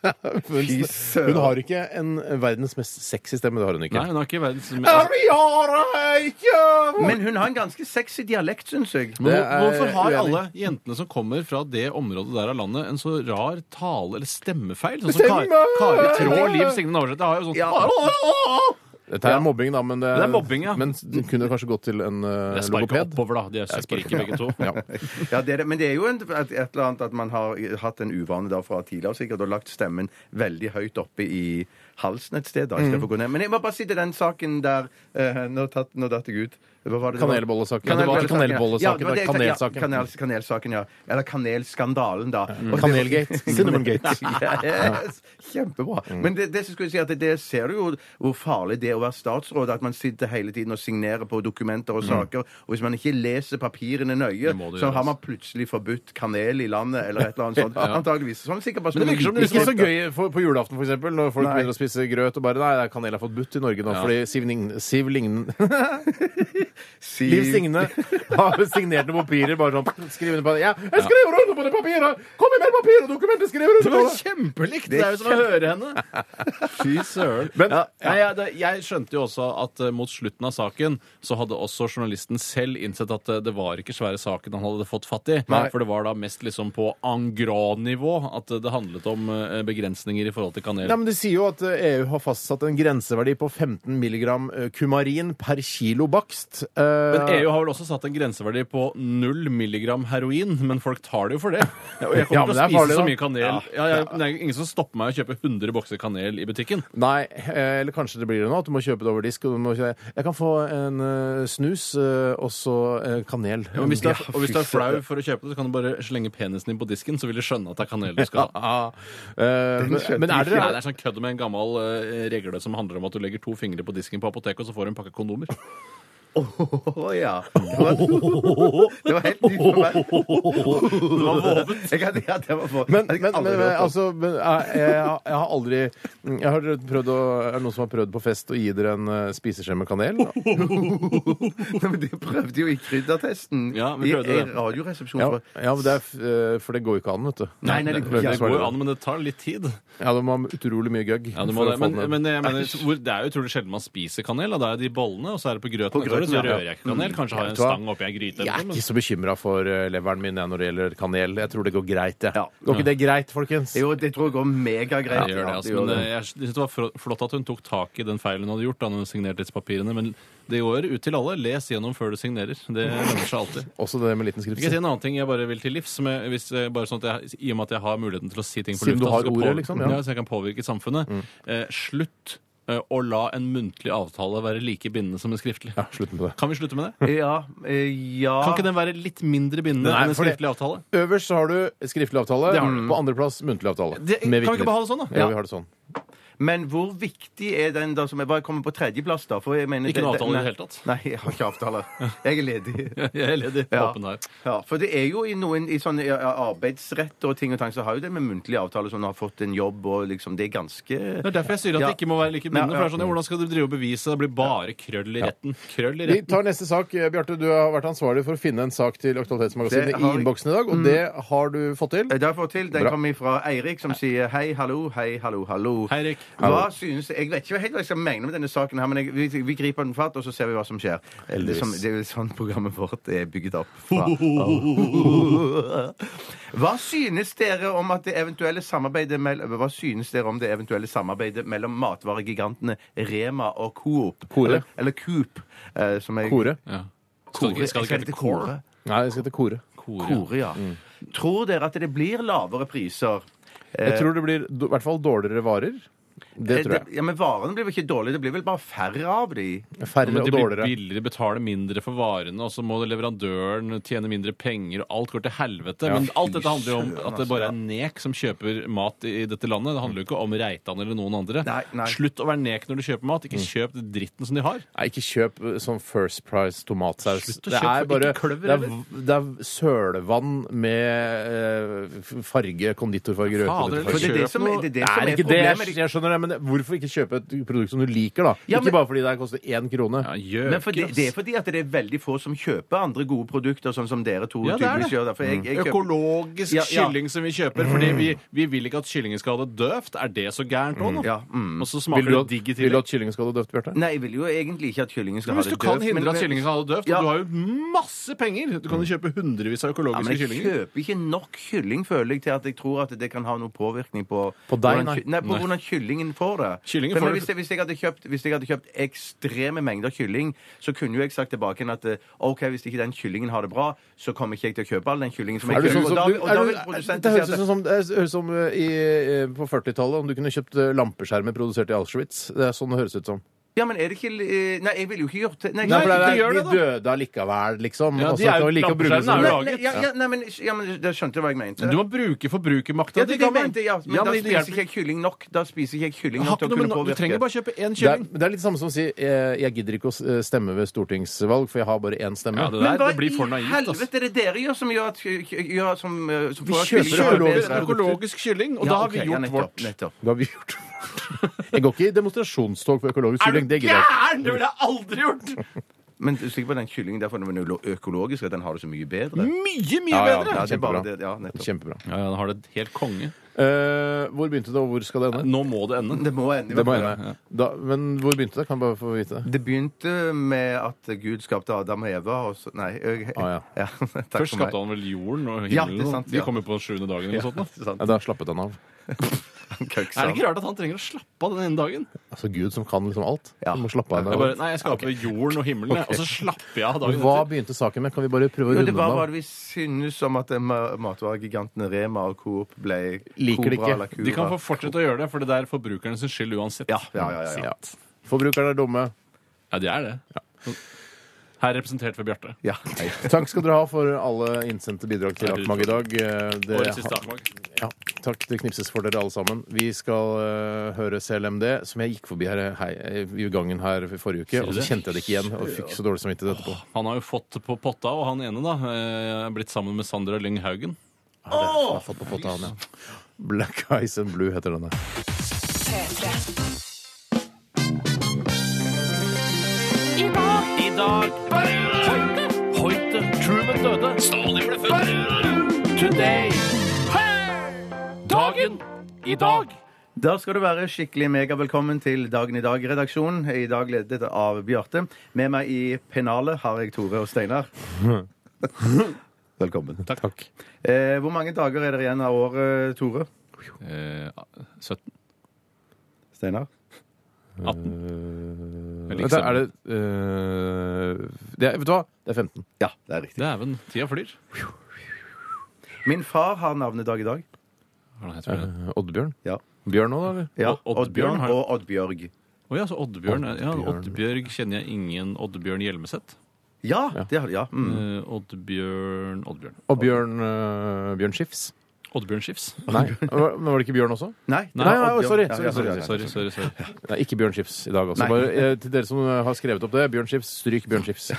[SPEAKER 3] Hun, hun har ikke en verdens mest sexy stemme, det har hun ikke.
[SPEAKER 5] Nei, hun har ikke verdens altså,
[SPEAKER 3] vi har ikke
[SPEAKER 4] Men hun har en ganske sexy dialekt, syns jeg.
[SPEAKER 5] Men
[SPEAKER 3] Det
[SPEAKER 5] hvor-
[SPEAKER 3] er
[SPEAKER 5] hvorfor har
[SPEAKER 3] uenig.
[SPEAKER 5] alle jentene som kommer fra det området der av landet, en så rar tale eller stemmefeil? Sånn som
[SPEAKER 3] Stemme!
[SPEAKER 5] Kar- Kari Trå og Liv Signe Navarsete har jo sånn
[SPEAKER 4] Ja.
[SPEAKER 3] Dette er mobbing, da, men det,
[SPEAKER 5] Det er mobbing, ja.
[SPEAKER 3] Men det kunne kanskje gått til en eh,
[SPEAKER 5] Jeg sparker
[SPEAKER 3] logoped.
[SPEAKER 5] oppover, da. De er søkkrike, begge to.
[SPEAKER 3] Ja.
[SPEAKER 4] Ja, det er det. Men det er jo en, et, et eller annet at man har hatt en uvane da fra tidligere sikkert og lagt stemmen veldig høyt oppe i halsen et sted. da, i
[SPEAKER 3] Mm.
[SPEAKER 4] stedet for å gå ned. Men jeg må bare si til den saken der eh, Nå, tatt, nå datt jeg ut. Hva var det det var?
[SPEAKER 3] Kanelbollesaken.
[SPEAKER 4] Kanelbollesaken,
[SPEAKER 3] Det var ikke
[SPEAKER 4] ja. Ja,
[SPEAKER 3] kanelbollesaken,
[SPEAKER 4] det var
[SPEAKER 3] det
[SPEAKER 4] det jeg
[SPEAKER 3] var
[SPEAKER 4] sa-
[SPEAKER 3] kanelsaken.
[SPEAKER 4] ja, kanel- Kanelsaken, ja. Eller kanelskandalen, da. Og det var-
[SPEAKER 3] Kanelgate. Cinnamongate.
[SPEAKER 4] Yes. Kjempebra.
[SPEAKER 5] Mm.
[SPEAKER 4] Men det, det som skulle jeg si at det, det ser du jo hvor farlig det er å være statsråd. At man sitter hele tiden og signerer på dokumenter og saker. Og hvis man ikke leser papirene nøye,
[SPEAKER 5] Mm. Det må du
[SPEAKER 4] så
[SPEAKER 5] gjøre, altså.
[SPEAKER 4] har man plutselig forbudt kanel i landet eller et eller annet sånt. Antageligvis. Sånn sikkert bare
[SPEAKER 5] Men det virker som
[SPEAKER 3] Det er ikke så
[SPEAKER 4] liten-
[SPEAKER 3] gøy for, på julaften, for eksempel, når folk
[SPEAKER 4] Nei.
[SPEAKER 3] begynner å spise grøt og bare Nei, det er kanel er forbudt i Norge nå, fordi Siv, Ling, Siv Lign...
[SPEAKER 4] Si-
[SPEAKER 3] Liv Signe har signert noen papirer. bare sånn, skriv under på det. Ja, jeg skriver under på det papiret! Kom med mer papir og dokumenter! Skriver under
[SPEAKER 5] Det
[SPEAKER 3] på
[SPEAKER 5] var
[SPEAKER 3] det!
[SPEAKER 5] kjempelikt! Det er jo som å høre henne. Fy søren.
[SPEAKER 3] Men-
[SPEAKER 5] ja, nei, jeg, det, jeg skjønte jo også at eh, mot slutten av saken så hadde også journalisten selv innsett at eh, det var ikke svære saken han hadde fått fatt i. For det var da mest liksom på engras-nivå at eh, det handlet om eh, begrensninger i forhold til kanel.
[SPEAKER 3] Nei, men De sier jo at eh, EU har fastsatt en grenseverdi på 15 mg kumarin per kilo bakst. Eh,
[SPEAKER 5] Men EU har vel også satt en grenseverdi på null milligram heroin, men folk tar det jo for det. Og jeg
[SPEAKER 3] Ja, men
[SPEAKER 5] kommer til å
[SPEAKER 3] det er
[SPEAKER 5] spise
[SPEAKER 3] farlig,
[SPEAKER 5] så
[SPEAKER 3] da.
[SPEAKER 5] mye kanel. Ja. jeg, det er ingen som stopper meg å kjøpe 100 bokser kanel i butikken.
[SPEAKER 3] Nei, eh, eller kanskje det blir det nå, at du må kjøpe det over disk. Og du må, kjø- jeg kan få en eh, snus eh, og så eh, kanel.
[SPEAKER 5] Ja, men hvis du er,
[SPEAKER 3] Ja,
[SPEAKER 5] og hvis du er
[SPEAKER 3] fy søren.
[SPEAKER 5] flau for å kjøpe det, så kan du bare slenge penisen din på disken, så vil de skjønne at det er kanel du skal ha.
[SPEAKER 3] Ja, eh, men,
[SPEAKER 4] skjønte
[SPEAKER 3] men er
[SPEAKER 5] Nei, det
[SPEAKER 3] dere
[SPEAKER 5] er sånn kødd med en gammel eh, regle som handler om at du legger to fingre på disken på apoteket, og så får du en pakke kondomer.
[SPEAKER 4] Å ja. Det var, det var helt nytt for meg.
[SPEAKER 5] Det var våvet.
[SPEAKER 4] Jeg hadde, ja, det var for,
[SPEAKER 3] men,
[SPEAKER 4] jeg
[SPEAKER 3] men,
[SPEAKER 4] hadde
[SPEAKER 3] men, men,
[SPEAKER 4] aldri hørt om.
[SPEAKER 3] altså, men jeg, jeg, har- jeg har aldri Jeg har prøvd å, Er det noen som har prøvd på fest å gi dere en eh, spiseskje med kanel?
[SPEAKER 4] Nei, men De prøvde jo i kryddertesten.
[SPEAKER 5] Ja, vi prøvde
[SPEAKER 4] I, i
[SPEAKER 5] det.
[SPEAKER 4] radioresepsjonen.
[SPEAKER 3] Ja,
[SPEAKER 4] for-
[SPEAKER 3] ja men det er, f- eh, for det går jo ikke an, vet du.
[SPEAKER 4] Nei, nei, det går
[SPEAKER 3] Prøvde
[SPEAKER 4] ikke
[SPEAKER 3] å
[SPEAKER 5] Det går
[SPEAKER 3] svare
[SPEAKER 5] jo
[SPEAKER 3] det.
[SPEAKER 5] an, men det tar litt tid.
[SPEAKER 3] Ja, du må ha utrolig mye gøgg.
[SPEAKER 5] Ja, du må
[SPEAKER 3] for å
[SPEAKER 5] det.
[SPEAKER 3] få
[SPEAKER 5] Men,
[SPEAKER 3] den ned.
[SPEAKER 5] men jeg mener, hvor, det er jo utrolig sjelden man spiser kanel. Da er det de bollene, og så er det på grøten.
[SPEAKER 4] På grøten,
[SPEAKER 5] etter det, så
[SPEAKER 4] ja.
[SPEAKER 5] rører jeg ikke kanel. Kanskje
[SPEAKER 3] Mm.
[SPEAKER 5] har jeg en
[SPEAKER 3] Vet du hva?
[SPEAKER 5] stang oppi ei gryte.
[SPEAKER 3] jeg
[SPEAKER 5] eller
[SPEAKER 3] er
[SPEAKER 5] noe, men-
[SPEAKER 3] ikke så bekymra for eh, leveren min jeg, når det gjelder kanel. Jeg tror det går greit. jeg.
[SPEAKER 4] Ja.
[SPEAKER 3] Går ikke det greit, folkens?
[SPEAKER 4] Jo, det tror jeg går megagreit.
[SPEAKER 5] Jeg gjør det, altså. Men eh, jeg synes det var fro- flott at hun tok tak i den feilen hun hadde gjort. da hun signerte disse papirene, Men det går ut til alle. Les gjennom før du signerer. Det lønner seg alltid.
[SPEAKER 3] Også det med liten
[SPEAKER 5] Jeg kan si
[SPEAKER 3] skrift.
[SPEAKER 5] en annen ting jeg bare vil til livs, som jeg, hvis, eh, bare sånn at jeg, i og med at jeg har muligheten til å si ting på
[SPEAKER 3] Siden du
[SPEAKER 5] lufta.
[SPEAKER 3] har
[SPEAKER 5] så skal
[SPEAKER 3] ordet,
[SPEAKER 5] påvirke-
[SPEAKER 3] liksom, ja. Mm.
[SPEAKER 5] Ja, så jeg kan påvirke samfunnet. Eh, slutt eh, å la en muntlig avtale være like bindende som en skriftlig.
[SPEAKER 3] Ja, slutt med det.
[SPEAKER 5] Kan vi slutte med det?
[SPEAKER 4] Ja, eh, ja.
[SPEAKER 5] Kan ikke den være litt mindre bindende
[SPEAKER 3] Nei,
[SPEAKER 5] enn en
[SPEAKER 3] for det-
[SPEAKER 5] skriftlig avtale?
[SPEAKER 3] Øverst så har du skriftlig avtale.
[SPEAKER 5] Det har du.
[SPEAKER 3] På andreplass muntlig avtale. Med
[SPEAKER 5] Det- kan vi
[SPEAKER 3] vitner.
[SPEAKER 5] ikke bare ha det sånn, da?
[SPEAKER 3] Ja,
[SPEAKER 5] Ja.
[SPEAKER 3] vi har det sånn.
[SPEAKER 4] Men hvor viktig er den da som jeg bare kommer på tredjeplass, da? For jeg mener,
[SPEAKER 5] Ikke noe
[SPEAKER 4] det-
[SPEAKER 5] avtale i det
[SPEAKER 4] nei.
[SPEAKER 5] hele tatt.
[SPEAKER 4] Nei, jeg har ikke avtale. Jeg er ledig.
[SPEAKER 5] Jeg er ledig.
[SPEAKER 4] Ja.
[SPEAKER 5] Åpen her.
[SPEAKER 4] Ja, for det er jo i noen i sånne ja, arbeidsretter og ting og tang, så har jo det med muntlige avtaler sånn har fått en jobb og liksom Det er ganske
[SPEAKER 5] Det er derfor jeg sier at
[SPEAKER 4] Ja.
[SPEAKER 5] det ikke må være like
[SPEAKER 4] Ja,
[SPEAKER 5] bindende. for
[SPEAKER 4] ja.
[SPEAKER 5] det er sånn, ja, Hvordan skal du drive og bevise det? Det blir bare krøll i retten. Krøll i
[SPEAKER 3] Vi
[SPEAKER 5] retten.
[SPEAKER 3] tar neste sak. Eh, Bjarte, du har vært ansvarlig for å finne en sak til
[SPEAKER 4] Det
[SPEAKER 3] Aktualitetsmagasinet
[SPEAKER 4] har Mm.
[SPEAKER 3] i
[SPEAKER 4] jeg.
[SPEAKER 3] innboksen i dag, og det har du fått til.
[SPEAKER 4] Det har jeg fått Eh, til. Den
[SPEAKER 3] Bra.
[SPEAKER 4] kom fra Eirik, som sier hei, hallo, hei, hallo, hallo.
[SPEAKER 5] Hei, Eirik.
[SPEAKER 4] Hva synes Jeg vet ikke helt hva jeg skal mene med denne saken, her, men jeg, vi, vi griper den fatt, og så ser vi hva som skjer. Det, som, det er vel sånn programmet vårt er bygget opp fra. Hva synes dere om at det eventuelle samarbeidet mell- Hva synes dere om det eventuelle samarbeidet mellom matvaregigantene Rema og Coop?
[SPEAKER 3] Kore.
[SPEAKER 4] Eller, eller Coop, eh, som jeg
[SPEAKER 3] Kore.
[SPEAKER 5] Ja. Skal, ikke- skal det ikke hete Kåre?
[SPEAKER 3] Nei, det skal hete Kore.
[SPEAKER 5] Kore, ja.
[SPEAKER 4] Kore, ja.
[SPEAKER 3] Mm.
[SPEAKER 4] Tror dere at det blir lavere priser? Eh.
[SPEAKER 3] Jeg tror det blir do- i hvert fall dårligere varer. Det tror jeg.
[SPEAKER 4] Ja, men varene blir vel ikke dårlige, det blir vel bare færre av de?
[SPEAKER 3] Færre
[SPEAKER 5] Men
[SPEAKER 3] og
[SPEAKER 5] det blir
[SPEAKER 3] dårligere.
[SPEAKER 5] billigere, betale mindre for varene, og så må leverandøren tjene mindre penger, og alt går til helvete. Men alt dette handler jo om at
[SPEAKER 4] altså.
[SPEAKER 5] det bare er nek som kjøper mat i i dette landet. Det handler jo ikke om Reitan eller noen andre.
[SPEAKER 4] Nei, nei.
[SPEAKER 5] Slutt å være nek når du kjøper mat. Ikke kjøp den dritten som de har.
[SPEAKER 3] Nei, ikke kjøp eh, sånn First Price tomatsaus.
[SPEAKER 5] Slutt å kjøpe, ikke kløver,
[SPEAKER 3] det, er, v- det er sølevann med eh, f- farge, konditorfarge, rød
[SPEAKER 5] Fader,
[SPEAKER 4] For det
[SPEAKER 3] konditorfarge.
[SPEAKER 4] er det
[SPEAKER 5] Kjøp
[SPEAKER 4] som
[SPEAKER 5] noe-
[SPEAKER 4] er, det er, det
[SPEAKER 3] Det
[SPEAKER 4] som
[SPEAKER 3] er
[SPEAKER 4] er
[SPEAKER 3] ikke det,
[SPEAKER 4] problemet.
[SPEAKER 3] jeg, jeg skjønner det, men det- hvorfor ikke kjøpe et produkt som du liker, da?
[SPEAKER 4] Ja, men-
[SPEAKER 3] ikke bare fordi det her koster én krone.
[SPEAKER 5] Ja, gjøker,
[SPEAKER 4] Men for det, det er fordi at det er veldig få som kjøper andre gode produkter, sånn som dere to
[SPEAKER 5] Ja, det Mm. er
[SPEAKER 4] tydeligvis
[SPEAKER 5] det.
[SPEAKER 4] gjør. da, for jeg- jeg kjøper-
[SPEAKER 5] Økologisk
[SPEAKER 4] Ja, ja.
[SPEAKER 5] kylling som vi kjøper, fordi vi, vi vil ikke at kyllingen skal ha det døvt. Er det så gærent òg, nå?
[SPEAKER 4] Ja, mm.
[SPEAKER 5] Og så
[SPEAKER 3] Vil
[SPEAKER 5] smaker
[SPEAKER 3] du
[SPEAKER 5] det
[SPEAKER 3] at,
[SPEAKER 5] digg i
[SPEAKER 3] vil du
[SPEAKER 5] tillegg.
[SPEAKER 3] at kyllingen skal ha det døvt, Bjarte?
[SPEAKER 4] Nei, jeg vil jo egentlig ikke at kyllingen skal
[SPEAKER 5] Men
[SPEAKER 4] ha
[SPEAKER 5] hvis
[SPEAKER 4] det
[SPEAKER 5] du kan
[SPEAKER 4] døvt,
[SPEAKER 5] hindre
[SPEAKER 4] men-
[SPEAKER 5] at kyllingen skal ha det døvt,
[SPEAKER 4] Ja.
[SPEAKER 5] og du har jo masse penger Du kan jo kjøpe hundrevis av
[SPEAKER 4] ja,
[SPEAKER 5] økologiske
[SPEAKER 4] men jeg
[SPEAKER 5] kyllinger.
[SPEAKER 4] kjøper ikke nok kylling, føler jeg, til at jeg tror at det kan ha noen påvirkning på
[SPEAKER 3] På deg,
[SPEAKER 4] hvordan,
[SPEAKER 3] nei.
[SPEAKER 4] ky- Nei, på hvordan kyllingen får det.
[SPEAKER 5] Kyllingen
[SPEAKER 4] For
[SPEAKER 5] får
[SPEAKER 4] men
[SPEAKER 5] det-
[SPEAKER 4] hvis, jeg, hvis, jeg hadde kjøpt, hvis jeg hadde kjøpt ekstreme mengder kylling, så kunne jo jeg sagt tilbake igjen at eh, OK, hvis ikke den kyllingen har det bra, så kommer ikke jeg til å kjøpe all den kyllingen som jeg
[SPEAKER 3] Er du
[SPEAKER 4] kjøper.
[SPEAKER 3] sånn
[SPEAKER 4] Og
[SPEAKER 3] som,
[SPEAKER 4] da-
[SPEAKER 3] du,
[SPEAKER 4] og
[SPEAKER 3] er
[SPEAKER 4] da
[SPEAKER 3] du,
[SPEAKER 4] vil produsenten
[SPEAKER 3] det
[SPEAKER 4] si
[SPEAKER 3] høres
[SPEAKER 4] at-
[SPEAKER 3] ut som, det høres ut som eh, i, eh, på 40-tallet om du kunne kjøpt eh, lampeskjermer produsert i Auschwitz. Det er sånn det høres ut som.
[SPEAKER 4] Ja, men er det ikke eh, Nei, jeg ville jo ikke gjort det. Nei,
[SPEAKER 3] Nei,
[SPEAKER 4] jeg-
[SPEAKER 3] for det
[SPEAKER 5] ikke
[SPEAKER 3] er,
[SPEAKER 5] gjør
[SPEAKER 3] de
[SPEAKER 5] det, da.
[SPEAKER 3] døde allikevel, liksom.
[SPEAKER 5] Ja,
[SPEAKER 3] og
[SPEAKER 5] de
[SPEAKER 3] så
[SPEAKER 5] er
[SPEAKER 3] kan
[SPEAKER 5] jo-
[SPEAKER 3] vi like å bruke det
[SPEAKER 5] lampeskjermene er
[SPEAKER 3] som
[SPEAKER 5] jo
[SPEAKER 3] det.
[SPEAKER 5] laget.
[SPEAKER 4] Nei, ja, ja, nei, men, ja, men da skjønte jeg hva jeg mente.
[SPEAKER 5] Du må bruke forbrukermakta.
[SPEAKER 4] ja, det, er det jeg mente, ja. Men da spiser ikke jeg kylling nok. Da spiser ikke jeg kylling nok til å kunne
[SPEAKER 5] Du
[SPEAKER 4] påvirke.
[SPEAKER 5] trenger bare kjøpe én
[SPEAKER 3] Det er,
[SPEAKER 5] kylling.
[SPEAKER 3] det er litt samme som å si eh, jeg gidder ikke å s- eh, stemme ved stortingsvalg, for jeg har bare én stemme.
[SPEAKER 5] Ja, det,
[SPEAKER 4] Men
[SPEAKER 5] der,
[SPEAKER 4] hva
[SPEAKER 5] det blir for
[SPEAKER 4] i
[SPEAKER 5] naivt. ass.
[SPEAKER 4] helvete er det dere gjør som gjør at gjør, som, eh, som
[SPEAKER 3] Vi
[SPEAKER 4] får at
[SPEAKER 3] kjøper
[SPEAKER 4] kylling-
[SPEAKER 3] økologisk.
[SPEAKER 5] Kjøper økologisk kylling, og
[SPEAKER 4] Ja,
[SPEAKER 5] da har
[SPEAKER 4] ok,
[SPEAKER 5] vi
[SPEAKER 4] ja,
[SPEAKER 5] gjort
[SPEAKER 4] nettopp,
[SPEAKER 5] vårt.
[SPEAKER 4] nettopp.
[SPEAKER 3] Det har vi gjort. jeg går ikke i demonstrasjonstog for økologisk kylling. Det gidder jeg ikke.
[SPEAKER 5] gæren?! Det ville jeg aldri gjort!
[SPEAKER 4] Men du er sikker på at den kyllingen derfor den er jo økologisk, at den har det så mye bedre?
[SPEAKER 5] Mm. Mye, mye
[SPEAKER 4] Ja, ja,
[SPEAKER 5] bedre!
[SPEAKER 4] ja, det er bare
[SPEAKER 3] Kjempebra.
[SPEAKER 4] det. Ja, nettopp.
[SPEAKER 3] Kjempebra.
[SPEAKER 5] Ja, ja, den har det helt konge.
[SPEAKER 3] Eh, hvor begynte det, og hvor skal det ende?
[SPEAKER 5] Nå må det ende.
[SPEAKER 4] Det må ende.
[SPEAKER 3] Det må ende. Da, men hvor begynte det? Kan jeg bare få vite det.
[SPEAKER 4] Det begynte med at Gud skapte Adam og Eva, og så Nei. Jeg,
[SPEAKER 3] Ah,
[SPEAKER 4] ja. takk
[SPEAKER 5] Først
[SPEAKER 4] for meg.
[SPEAKER 5] skapte han vel jorden og
[SPEAKER 4] Ja, det er
[SPEAKER 5] himmelen. og-
[SPEAKER 4] sant,
[SPEAKER 5] De
[SPEAKER 4] ja.
[SPEAKER 5] kom jo på den sjuende dagen. eller noe sånt da.
[SPEAKER 4] Ikke sant?
[SPEAKER 3] Ja, da slappet han av.
[SPEAKER 5] Er det
[SPEAKER 4] Køksan.
[SPEAKER 5] ikke rart at han trenger å slappe av den ene dagen?
[SPEAKER 3] Altså Gud som kan liksom alt.
[SPEAKER 4] Ja.
[SPEAKER 3] Du må slappe av.
[SPEAKER 5] Jeg bare,
[SPEAKER 3] Bare,
[SPEAKER 5] nei, jeg skaper jorden og himmelen, jeg, og så slapper jeg av dagen
[SPEAKER 3] Hva
[SPEAKER 5] etter.
[SPEAKER 3] begynte saken med? Kan vi bare prøve å
[SPEAKER 4] Jo,
[SPEAKER 3] runde
[SPEAKER 4] det var hva
[SPEAKER 3] den av?
[SPEAKER 4] vi synes om at eh, ma- matvaregigantene Rema og Coop ble
[SPEAKER 3] Liker det
[SPEAKER 4] Cobra
[SPEAKER 3] ikke.
[SPEAKER 4] eller Cura.
[SPEAKER 5] De kan få fortsette å gjøre det, for det er forbrukerne sin skyld uansett.
[SPEAKER 4] ja, ja, ja, ja.
[SPEAKER 3] Ja. Forbrukerne er dumme.
[SPEAKER 5] Ja, det er det. Her representert ved Bjarte.
[SPEAKER 4] ja. Hei.
[SPEAKER 3] Takk skal dere ha for alle innsendte bidrag til
[SPEAKER 5] Ja, du-
[SPEAKER 3] Akmag i dag. Eh, Det,
[SPEAKER 5] Årets siste avslag.
[SPEAKER 3] ja, takk. Det knipses for dere alle sammen. Vi skal eh, høre CLMD, som jeg gikk forbi her eh, hei, i gangen her i forrige uke, og
[SPEAKER 5] du
[SPEAKER 3] så
[SPEAKER 5] det?
[SPEAKER 3] kjente jeg det ikke igjen, og fikk så dårlig samvittighet etterpå.
[SPEAKER 5] Han har jo fått på potta, og han ene da eh, er blitt sammen med Sandra Lyng Haugen.
[SPEAKER 3] Jeg har fått på potta han, ja. Black Eyes and Blue heter denne.
[SPEAKER 6] P3.
[SPEAKER 1] I dag Hoite, hoite, Truman døde Stalin ble født Today Dagen i dag
[SPEAKER 4] Da skal du være skikkelig megavelkommen til Dagen i dag-redaksjonen. I dag ledet av Bjarte. Med meg i pennalet har jeg Tore og Steinar. Velkommen.
[SPEAKER 5] Takk.
[SPEAKER 4] Eh, hvor mange dager er det igjen av året, Tore?
[SPEAKER 5] Eh, 17?
[SPEAKER 4] Steinar?
[SPEAKER 5] 18? Eller ikke
[SPEAKER 3] Vent, er det,
[SPEAKER 5] 17.
[SPEAKER 3] eh, det er, Vet du hva? Det er 15.
[SPEAKER 4] Ja, det er riktig.
[SPEAKER 5] Dæven, tida flyr.
[SPEAKER 4] Min far har navnedag i dag.
[SPEAKER 5] Hva er det han heter for det?
[SPEAKER 3] Eh, Oddbjørn?
[SPEAKER 4] Ja.
[SPEAKER 3] Bjørn òg, da? eller?
[SPEAKER 4] Ja,
[SPEAKER 5] Og Oddbjørn
[SPEAKER 4] Oddbjørn
[SPEAKER 5] har-
[SPEAKER 4] og Oddbjørg.
[SPEAKER 5] Å ja, så Oddbjørn. er- Ja,
[SPEAKER 3] Oddbjørn.
[SPEAKER 5] Oddbjørg kjenner jeg ingen Oddbjørn Hjelmeset.
[SPEAKER 4] Ja, det har ja. Mm.
[SPEAKER 5] Eh, Oddbjørn Oddbjørn.
[SPEAKER 3] Og Bjørn, eh, Bjørn Skifs?
[SPEAKER 5] Oddbjørn Skifs.
[SPEAKER 3] Nei. Men var det ikke Bjørn også?
[SPEAKER 4] Nei, det
[SPEAKER 5] Nei,
[SPEAKER 4] var
[SPEAKER 3] nei,
[SPEAKER 4] Oddbjørn.
[SPEAKER 3] sorry,
[SPEAKER 4] Ja,
[SPEAKER 3] sorry,
[SPEAKER 4] ja,
[SPEAKER 5] Sorry, sorry. sorry, sorry.
[SPEAKER 3] Nei, ikke Bjørn Skifs i dag også.
[SPEAKER 4] Nei.
[SPEAKER 3] Bare, eh, til dere som eh, har skrevet opp det, Bjørn Skifs, stryk Bjørn Skifs.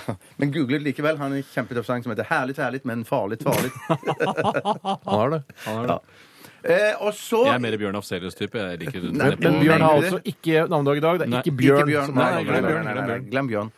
[SPEAKER 4] Men google det likevel. Han er en kjempetøff sang som heter 'Herlig, herlig, men farlig, farlig'.
[SPEAKER 3] Han har det.
[SPEAKER 4] eh, og så
[SPEAKER 5] Jeg er mer Bjørn Afselius-type. Jeg liker det.
[SPEAKER 4] Nei,
[SPEAKER 3] Men
[SPEAKER 4] men
[SPEAKER 3] Bjørn har
[SPEAKER 4] mener du
[SPEAKER 3] altså ikke navnedag i dag. Det er
[SPEAKER 5] Nei,
[SPEAKER 3] ikke Bjørn.
[SPEAKER 4] Ikke Bjørn.
[SPEAKER 3] som har
[SPEAKER 4] Nei, nei,
[SPEAKER 3] navnedag i
[SPEAKER 4] glem
[SPEAKER 3] dag.
[SPEAKER 4] Bjørn. Nei, nei, nei, glem Bjørn.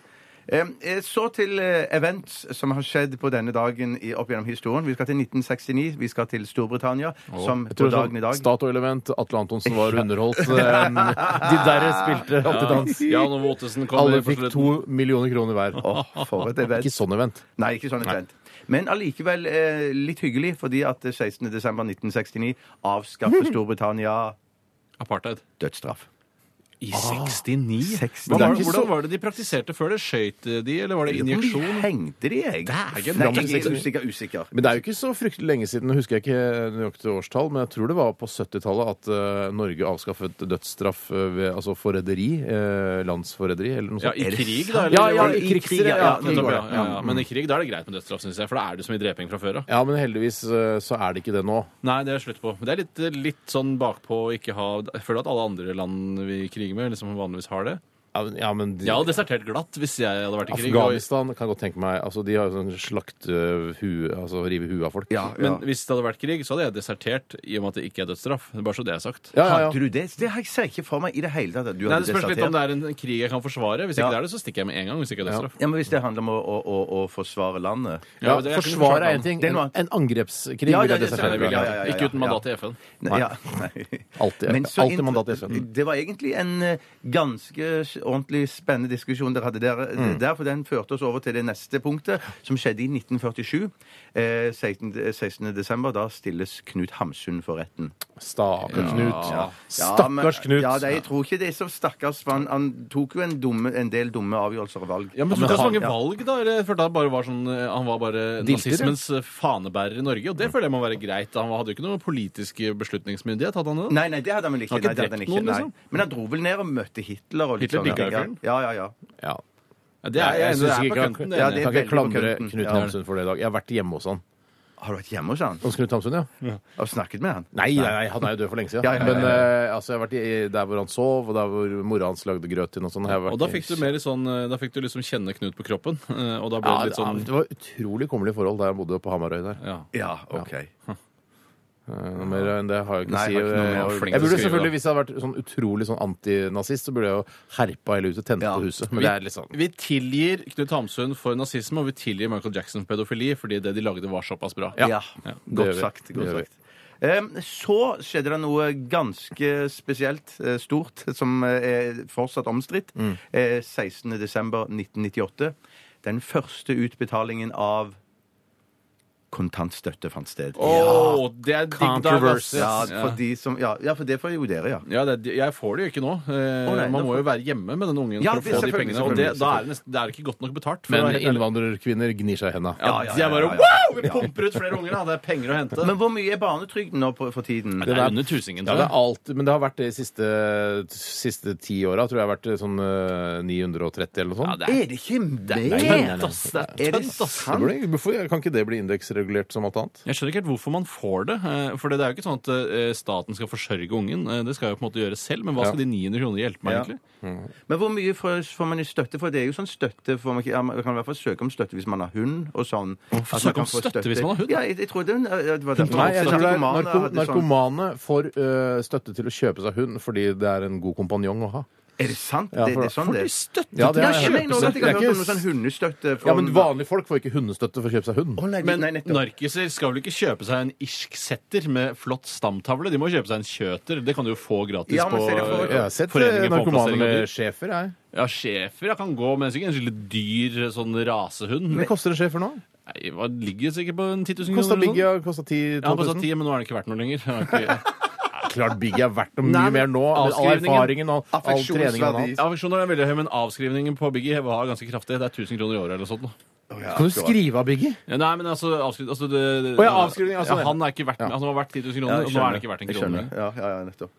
[SPEAKER 4] Eh, eh, Så til eh, events som har skjedd på denne dagen i, opp gjennom historien. Vi skal til 1969. Vi skal til Storbritannia, som
[SPEAKER 3] Jeg
[SPEAKER 4] på
[SPEAKER 3] tror det er
[SPEAKER 4] dagen i
[SPEAKER 3] sånn
[SPEAKER 4] dag
[SPEAKER 3] Statoil-event, Atle Antonsen var underholdt. eh, De derre spilte alltiddans.
[SPEAKER 5] Jan Ove Ottesen kom
[SPEAKER 3] Alle
[SPEAKER 5] på
[SPEAKER 3] fikk
[SPEAKER 5] slutten.
[SPEAKER 3] to millioner kroner hver.
[SPEAKER 4] Åh, for et event.
[SPEAKER 3] Ikke sånn event.
[SPEAKER 4] Nei, ikke sånn event. Men allikevel eh, litt hyggelig, fordi at eh, 16.12.1969
[SPEAKER 5] Uhuh.
[SPEAKER 4] avskaffer Storbritannia
[SPEAKER 5] Apartheid.
[SPEAKER 3] Ah.
[SPEAKER 4] dødsstraff.
[SPEAKER 5] I 69?
[SPEAKER 4] Det
[SPEAKER 5] Hva
[SPEAKER 4] er
[SPEAKER 5] var,
[SPEAKER 4] ikke så-
[SPEAKER 5] hvordan var det de praktiserte før det? Skøyt de, eller var det
[SPEAKER 4] Hvor
[SPEAKER 5] injeksjon?
[SPEAKER 4] hengte de, jeg?
[SPEAKER 5] Dægen,
[SPEAKER 4] Nei,
[SPEAKER 5] fram til
[SPEAKER 4] jeg er
[SPEAKER 5] 69.
[SPEAKER 4] usikker, usikker.
[SPEAKER 3] Men det er jo ikke så fryktelig lenge siden, nå husker jeg ikke nøyaktig årstall, men jeg tror det var på 70-tallet at eh, Norge avskaffet dødsstraff eh, ved, altså forræderi, eh, landsforræderi eller noe
[SPEAKER 5] Ja,
[SPEAKER 3] sånt.
[SPEAKER 5] I
[SPEAKER 4] Er det
[SPEAKER 5] krig,
[SPEAKER 4] sant?
[SPEAKER 5] da?
[SPEAKER 3] Ja, ja,
[SPEAKER 5] var det-
[SPEAKER 3] i krigsrett,
[SPEAKER 5] Ja,
[SPEAKER 3] ja,
[SPEAKER 5] nettopp, ja,
[SPEAKER 3] krig, ja.
[SPEAKER 5] ja, ja. Men i krig da er det greit med dødsstraff, syns jeg. For da er det så mye dreping fra før av.
[SPEAKER 3] Ja, men heldigvis eh, så er det ikke det nå.
[SPEAKER 5] Nei, det er slutt på. Men Det er litt, litt sånn bakpå å ikke ha Jeg føler at alle andre land vi kriger med, liksom vanligvis har det.
[SPEAKER 3] Ja, men, ja, men de,
[SPEAKER 5] Jeg hadde desertert glatt hvis jeg hadde vært i krig. og-
[SPEAKER 3] Afghanistan kan jeg godt tenke meg altså De har jo sånn slakt eh, hu, altså rive huet av folk.
[SPEAKER 4] Ja, ja.
[SPEAKER 5] Men hvis det hadde vært krig, så hadde jeg desertert i og med at det ikke er dødsstraff. Det er Bare så det er sagt.
[SPEAKER 3] ja, ja,
[SPEAKER 4] Hadde du det? Det har jeg ser jeg ikke for meg i det hele tatt. at Du
[SPEAKER 5] Nei,
[SPEAKER 4] hadde
[SPEAKER 5] Det spørs litt
[SPEAKER 4] desertert.
[SPEAKER 5] om det er en krig jeg kan forsvare. Hvis
[SPEAKER 4] Ja.
[SPEAKER 5] ikke det er det, så stikker jeg med en gang. hvis ikke det er dødsstraff.
[SPEAKER 4] Ja, men Hvis det handler om å, å, å, å forsvare landet
[SPEAKER 3] ja.
[SPEAKER 5] Ja, det- jeg kunne
[SPEAKER 3] Forsvaret er
[SPEAKER 5] forsvart
[SPEAKER 3] én ting.
[SPEAKER 4] Det
[SPEAKER 3] En,
[SPEAKER 4] er noe
[SPEAKER 3] en
[SPEAKER 4] annet.
[SPEAKER 3] angrepskrig
[SPEAKER 4] Ja,
[SPEAKER 3] vil
[SPEAKER 4] ja,
[SPEAKER 3] jeg
[SPEAKER 4] det-
[SPEAKER 5] Nei, det vil jeg
[SPEAKER 3] desertere.
[SPEAKER 4] ja, ja, ja,
[SPEAKER 5] ikke.
[SPEAKER 4] ja.
[SPEAKER 5] Ikke uten mandat i FN.
[SPEAKER 4] Nei, ja, nei.
[SPEAKER 3] Alltid-
[SPEAKER 4] Men så
[SPEAKER 3] alltid
[SPEAKER 4] int-
[SPEAKER 3] mandat i FN.
[SPEAKER 4] Det var egentlig en eh, ganske s- ordentlig spennende diskusjon dere hadde der, eh,
[SPEAKER 3] Mm.
[SPEAKER 4] der, for den førte oss over til det neste punktet, som skjedde i 1947. Eh, 16. 16. desember. Da stilles Knut Hamsun for retten.
[SPEAKER 3] Stakkars Knut.
[SPEAKER 4] Ja. Ja, men-
[SPEAKER 3] Ah, Stakkars Knut.
[SPEAKER 4] Ja, det, jeg tror ikke det er så stakkars, for han, han tok jo en, dumme, en del dumme avgjørelser og valg.
[SPEAKER 5] Ja, men Tok han så mange
[SPEAKER 4] Ja.
[SPEAKER 5] valg, da? Eller jeg følte han bare var sånn eh, Han var bare
[SPEAKER 3] Dilter, ja.
[SPEAKER 5] nazismens eh, fanebærer i Norge, og det føler jeg må være greit. Han hadde jo ikke noe politisk eh, beslutningsmyndighet, hadde han det?
[SPEAKER 4] Nei, nei, det hadde han vel ikke.
[SPEAKER 5] Har ikke
[SPEAKER 4] Nei, det hadde han
[SPEAKER 5] drept
[SPEAKER 4] ikke.
[SPEAKER 5] noen,
[SPEAKER 4] Nei.
[SPEAKER 5] liksom?
[SPEAKER 4] Men han dro vel ned og møtte Hitler. Og litt
[SPEAKER 5] Hitler
[SPEAKER 4] sånne
[SPEAKER 5] digga jo
[SPEAKER 4] ting,
[SPEAKER 5] fyren.
[SPEAKER 4] ja. Ja, ja, ja.
[SPEAKER 3] Ja.
[SPEAKER 5] Det er, jeg,
[SPEAKER 3] synes
[SPEAKER 5] det er
[SPEAKER 3] ikke
[SPEAKER 5] på
[SPEAKER 3] jeg
[SPEAKER 5] kanten.
[SPEAKER 3] kan-
[SPEAKER 5] det
[SPEAKER 4] Ja,
[SPEAKER 5] er
[SPEAKER 3] jeg
[SPEAKER 4] det er
[SPEAKER 5] det.
[SPEAKER 3] kan ikke
[SPEAKER 4] veldig på
[SPEAKER 3] klandre
[SPEAKER 4] kanten.
[SPEAKER 3] Knut
[SPEAKER 4] Ja.
[SPEAKER 3] Hamsun for det i dag. Jeg har vært hjemme hos han.
[SPEAKER 4] Har du vært hjemme hos han?
[SPEAKER 3] Hos Knut Hamsun, ja.
[SPEAKER 4] Og snakket med han?
[SPEAKER 3] Nei, nei, nei, han er jo død for lenge siden.
[SPEAKER 4] Ja, ja, ja, ja.
[SPEAKER 3] Men eh, altså, jeg har vært i, der hvor han sov, og der hvor mora hans lagde grøt til og sånn.
[SPEAKER 5] Og da fikk du mer sånn eh, Da fikk du liksom kjenne Knut på kroppen, eh, og da ble
[SPEAKER 3] ja,
[SPEAKER 5] det
[SPEAKER 3] det,
[SPEAKER 5] litt sånn
[SPEAKER 3] det var utrolig kummerlige forhold der jeg bodde på Hamarøy der.
[SPEAKER 5] ja.
[SPEAKER 4] Ja, OK.
[SPEAKER 3] Eh, Noe mer enn det har jeg ikke å
[SPEAKER 4] Nei,
[SPEAKER 3] si.
[SPEAKER 4] jeg har ikke noe mer.
[SPEAKER 3] Jeg,
[SPEAKER 4] Jeg var flink
[SPEAKER 5] til
[SPEAKER 3] burde
[SPEAKER 5] å skrive,
[SPEAKER 3] selvfølgelig,
[SPEAKER 5] da.
[SPEAKER 3] Hvis jeg hadde vært sånn utrolig sånn antinazist, så burde jeg jo herpa hele huset, tent
[SPEAKER 4] Ja.
[SPEAKER 3] på huset. Men det er litt sånn
[SPEAKER 5] Vi tilgir Knut Hamsun for nazisme, og vi tilgir Michael Jackson for pedofili, fordi det de lagde, var såpass bra.
[SPEAKER 4] Ja.
[SPEAKER 3] gjør vi.
[SPEAKER 4] Godt sagt.
[SPEAKER 3] Det
[SPEAKER 4] Godt
[SPEAKER 3] gjør vi.
[SPEAKER 4] sagt. Em, Så skjedde det noe ganske spesielt eh, stort, som eh, er fortsatt omstridt. Eh, 16. 16.12.1998. Den første utbetalingen av kontantstøtte fant sted.
[SPEAKER 5] Åh, det er digg da.
[SPEAKER 3] Controversy.
[SPEAKER 4] Ja,
[SPEAKER 5] ass.
[SPEAKER 4] for de som, ja, ja, for det får jo dere, ja.
[SPEAKER 5] Ja, det, er- jeg får det jo ikke nå. Eh,
[SPEAKER 4] Å, nei,
[SPEAKER 5] man
[SPEAKER 4] nå
[SPEAKER 5] må jo være hjemme med den ungen
[SPEAKER 4] Ja,
[SPEAKER 5] for å få de
[SPEAKER 4] selvfølgelig,
[SPEAKER 5] pengene. Og det,
[SPEAKER 4] selvfølgelig,
[SPEAKER 5] da er det, nesten, det er ikke godt nok betalt. for å
[SPEAKER 3] Men
[SPEAKER 5] være helt ærlig.
[SPEAKER 3] innvandrerkvinner gnir seg i henda.
[SPEAKER 5] ja,
[SPEAKER 4] ja,
[SPEAKER 5] De er bare
[SPEAKER 4] ja, ja,
[SPEAKER 5] wow! Vi pumper ut flere unger, da. Det er penger å hente.
[SPEAKER 4] Men hvor mye er barnetrygden nå på, for tiden?
[SPEAKER 5] det er under tusingen,
[SPEAKER 3] Ja,
[SPEAKER 5] tror
[SPEAKER 3] det
[SPEAKER 5] jeg.
[SPEAKER 3] er alt, men det har vært det de siste, siste ti åra. Tror jeg har vært sånn eh, 930 eller noe
[SPEAKER 5] Ja,
[SPEAKER 3] sånt.
[SPEAKER 5] det
[SPEAKER 4] Er det ikke mer?
[SPEAKER 3] Nei, nei, nei, nei.
[SPEAKER 5] ass. Det
[SPEAKER 4] Er
[SPEAKER 5] er
[SPEAKER 4] det
[SPEAKER 5] tønt, ass.
[SPEAKER 3] Det
[SPEAKER 4] sant?
[SPEAKER 3] burde- Hvorfor kan ikke det bli indeksregulert som alt annet?
[SPEAKER 5] Jeg skjønner ikke helt hvorfor man får det. eh, For det er jo ikke sånn at eh, staten skal forsørge ungen. Eh, Det skal jeg jo på en måte gjøre selv, men hva skal de 900 kronene hjelpe meg
[SPEAKER 4] Ja.
[SPEAKER 5] egentlig?
[SPEAKER 4] Men hvor mye får, får man i støtte? For det er jo sånn støtte for man, ja, man kan i hvert fall søke om støtte hvis man har hund og sånn. At
[SPEAKER 5] søke
[SPEAKER 4] kan
[SPEAKER 5] om
[SPEAKER 4] få
[SPEAKER 5] støtte hvis man har hund?
[SPEAKER 4] Ja, jeg, jeg trodde hun- ja, det var derfor
[SPEAKER 3] Nei, jeg tror det er
[SPEAKER 4] narkomane
[SPEAKER 3] narko
[SPEAKER 4] hadde sånn.
[SPEAKER 3] Narkomane får eh, støtte til å kjøpe seg hund fordi det er en god kompanjong å ha.
[SPEAKER 4] Er det sant?
[SPEAKER 3] Ja,
[SPEAKER 4] det,
[SPEAKER 3] for-
[SPEAKER 4] det er sånn det er.
[SPEAKER 5] Støtte
[SPEAKER 3] Ja,
[SPEAKER 4] Ja,
[SPEAKER 3] det
[SPEAKER 4] jeg
[SPEAKER 3] er-
[SPEAKER 4] mener også at jeg
[SPEAKER 3] det
[SPEAKER 4] har
[SPEAKER 3] er
[SPEAKER 4] hørt om
[SPEAKER 3] ikke-
[SPEAKER 4] noe sånn hundestøtte
[SPEAKER 3] Ja, men vanlige folk får ikke hundestøtte for å kjøpe seg hund.
[SPEAKER 4] Å, nei,
[SPEAKER 5] Men
[SPEAKER 4] nei, nettopp.
[SPEAKER 5] narkiser skal vel ikke kjøpe seg en irsk setter med flott stamtavle? De må kjøpe seg en kjøter. Det kan du jo få gratis
[SPEAKER 4] Ja, men
[SPEAKER 5] på
[SPEAKER 4] ser du for-
[SPEAKER 5] eh,
[SPEAKER 3] Jeg har sett eh,
[SPEAKER 5] Foreningen for
[SPEAKER 3] narkomane
[SPEAKER 5] omplassering av dyr.
[SPEAKER 3] med schæfer, jeg.
[SPEAKER 5] Ja, schæfer ja, kan gå, men sikkert en skikkelig dyr sånn rasehund.
[SPEAKER 3] Hva koster en schæfer nå?
[SPEAKER 5] Nei, hva ligger det sikkert på en 10 000
[SPEAKER 3] Kosta
[SPEAKER 5] kroner?
[SPEAKER 3] Biggie
[SPEAKER 5] eller
[SPEAKER 3] har
[SPEAKER 5] noe?
[SPEAKER 3] kosta 10
[SPEAKER 5] Ja, han kosta
[SPEAKER 3] 000.
[SPEAKER 5] 10, men nå er den ikke verdt noe lenger. Han er ikke-
[SPEAKER 3] Klart Biggie er verdt noe
[SPEAKER 5] Nei,
[SPEAKER 3] mye mer
[SPEAKER 5] men
[SPEAKER 3] nå. Med all
[SPEAKER 5] avskrivningen-
[SPEAKER 3] erfaringen og all
[SPEAKER 4] Affeksjonsverdi.
[SPEAKER 3] treningen han har hatt.
[SPEAKER 5] Affeksjoner er veldig høy, men avskrivningen på Biggie var ganske kraftig. Det er 1000 kroner i året eller noe sånt. nå.
[SPEAKER 3] Kan du skrive av Biggie?
[SPEAKER 5] Ja, nei, men altså, avskriv, altså, det, det-
[SPEAKER 3] Å, ja, avskrivning, altså,
[SPEAKER 5] ja, Han er ikke verdt,
[SPEAKER 3] ja.
[SPEAKER 5] altså, han har vært 10 000 kroner,
[SPEAKER 4] Ja, jeg
[SPEAKER 5] og nå er
[SPEAKER 4] skjønner.
[SPEAKER 5] han ikke verdt en
[SPEAKER 4] Jeg
[SPEAKER 5] krone.
[SPEAKER 4] skjønner. Ja, ja, ja, nettopp.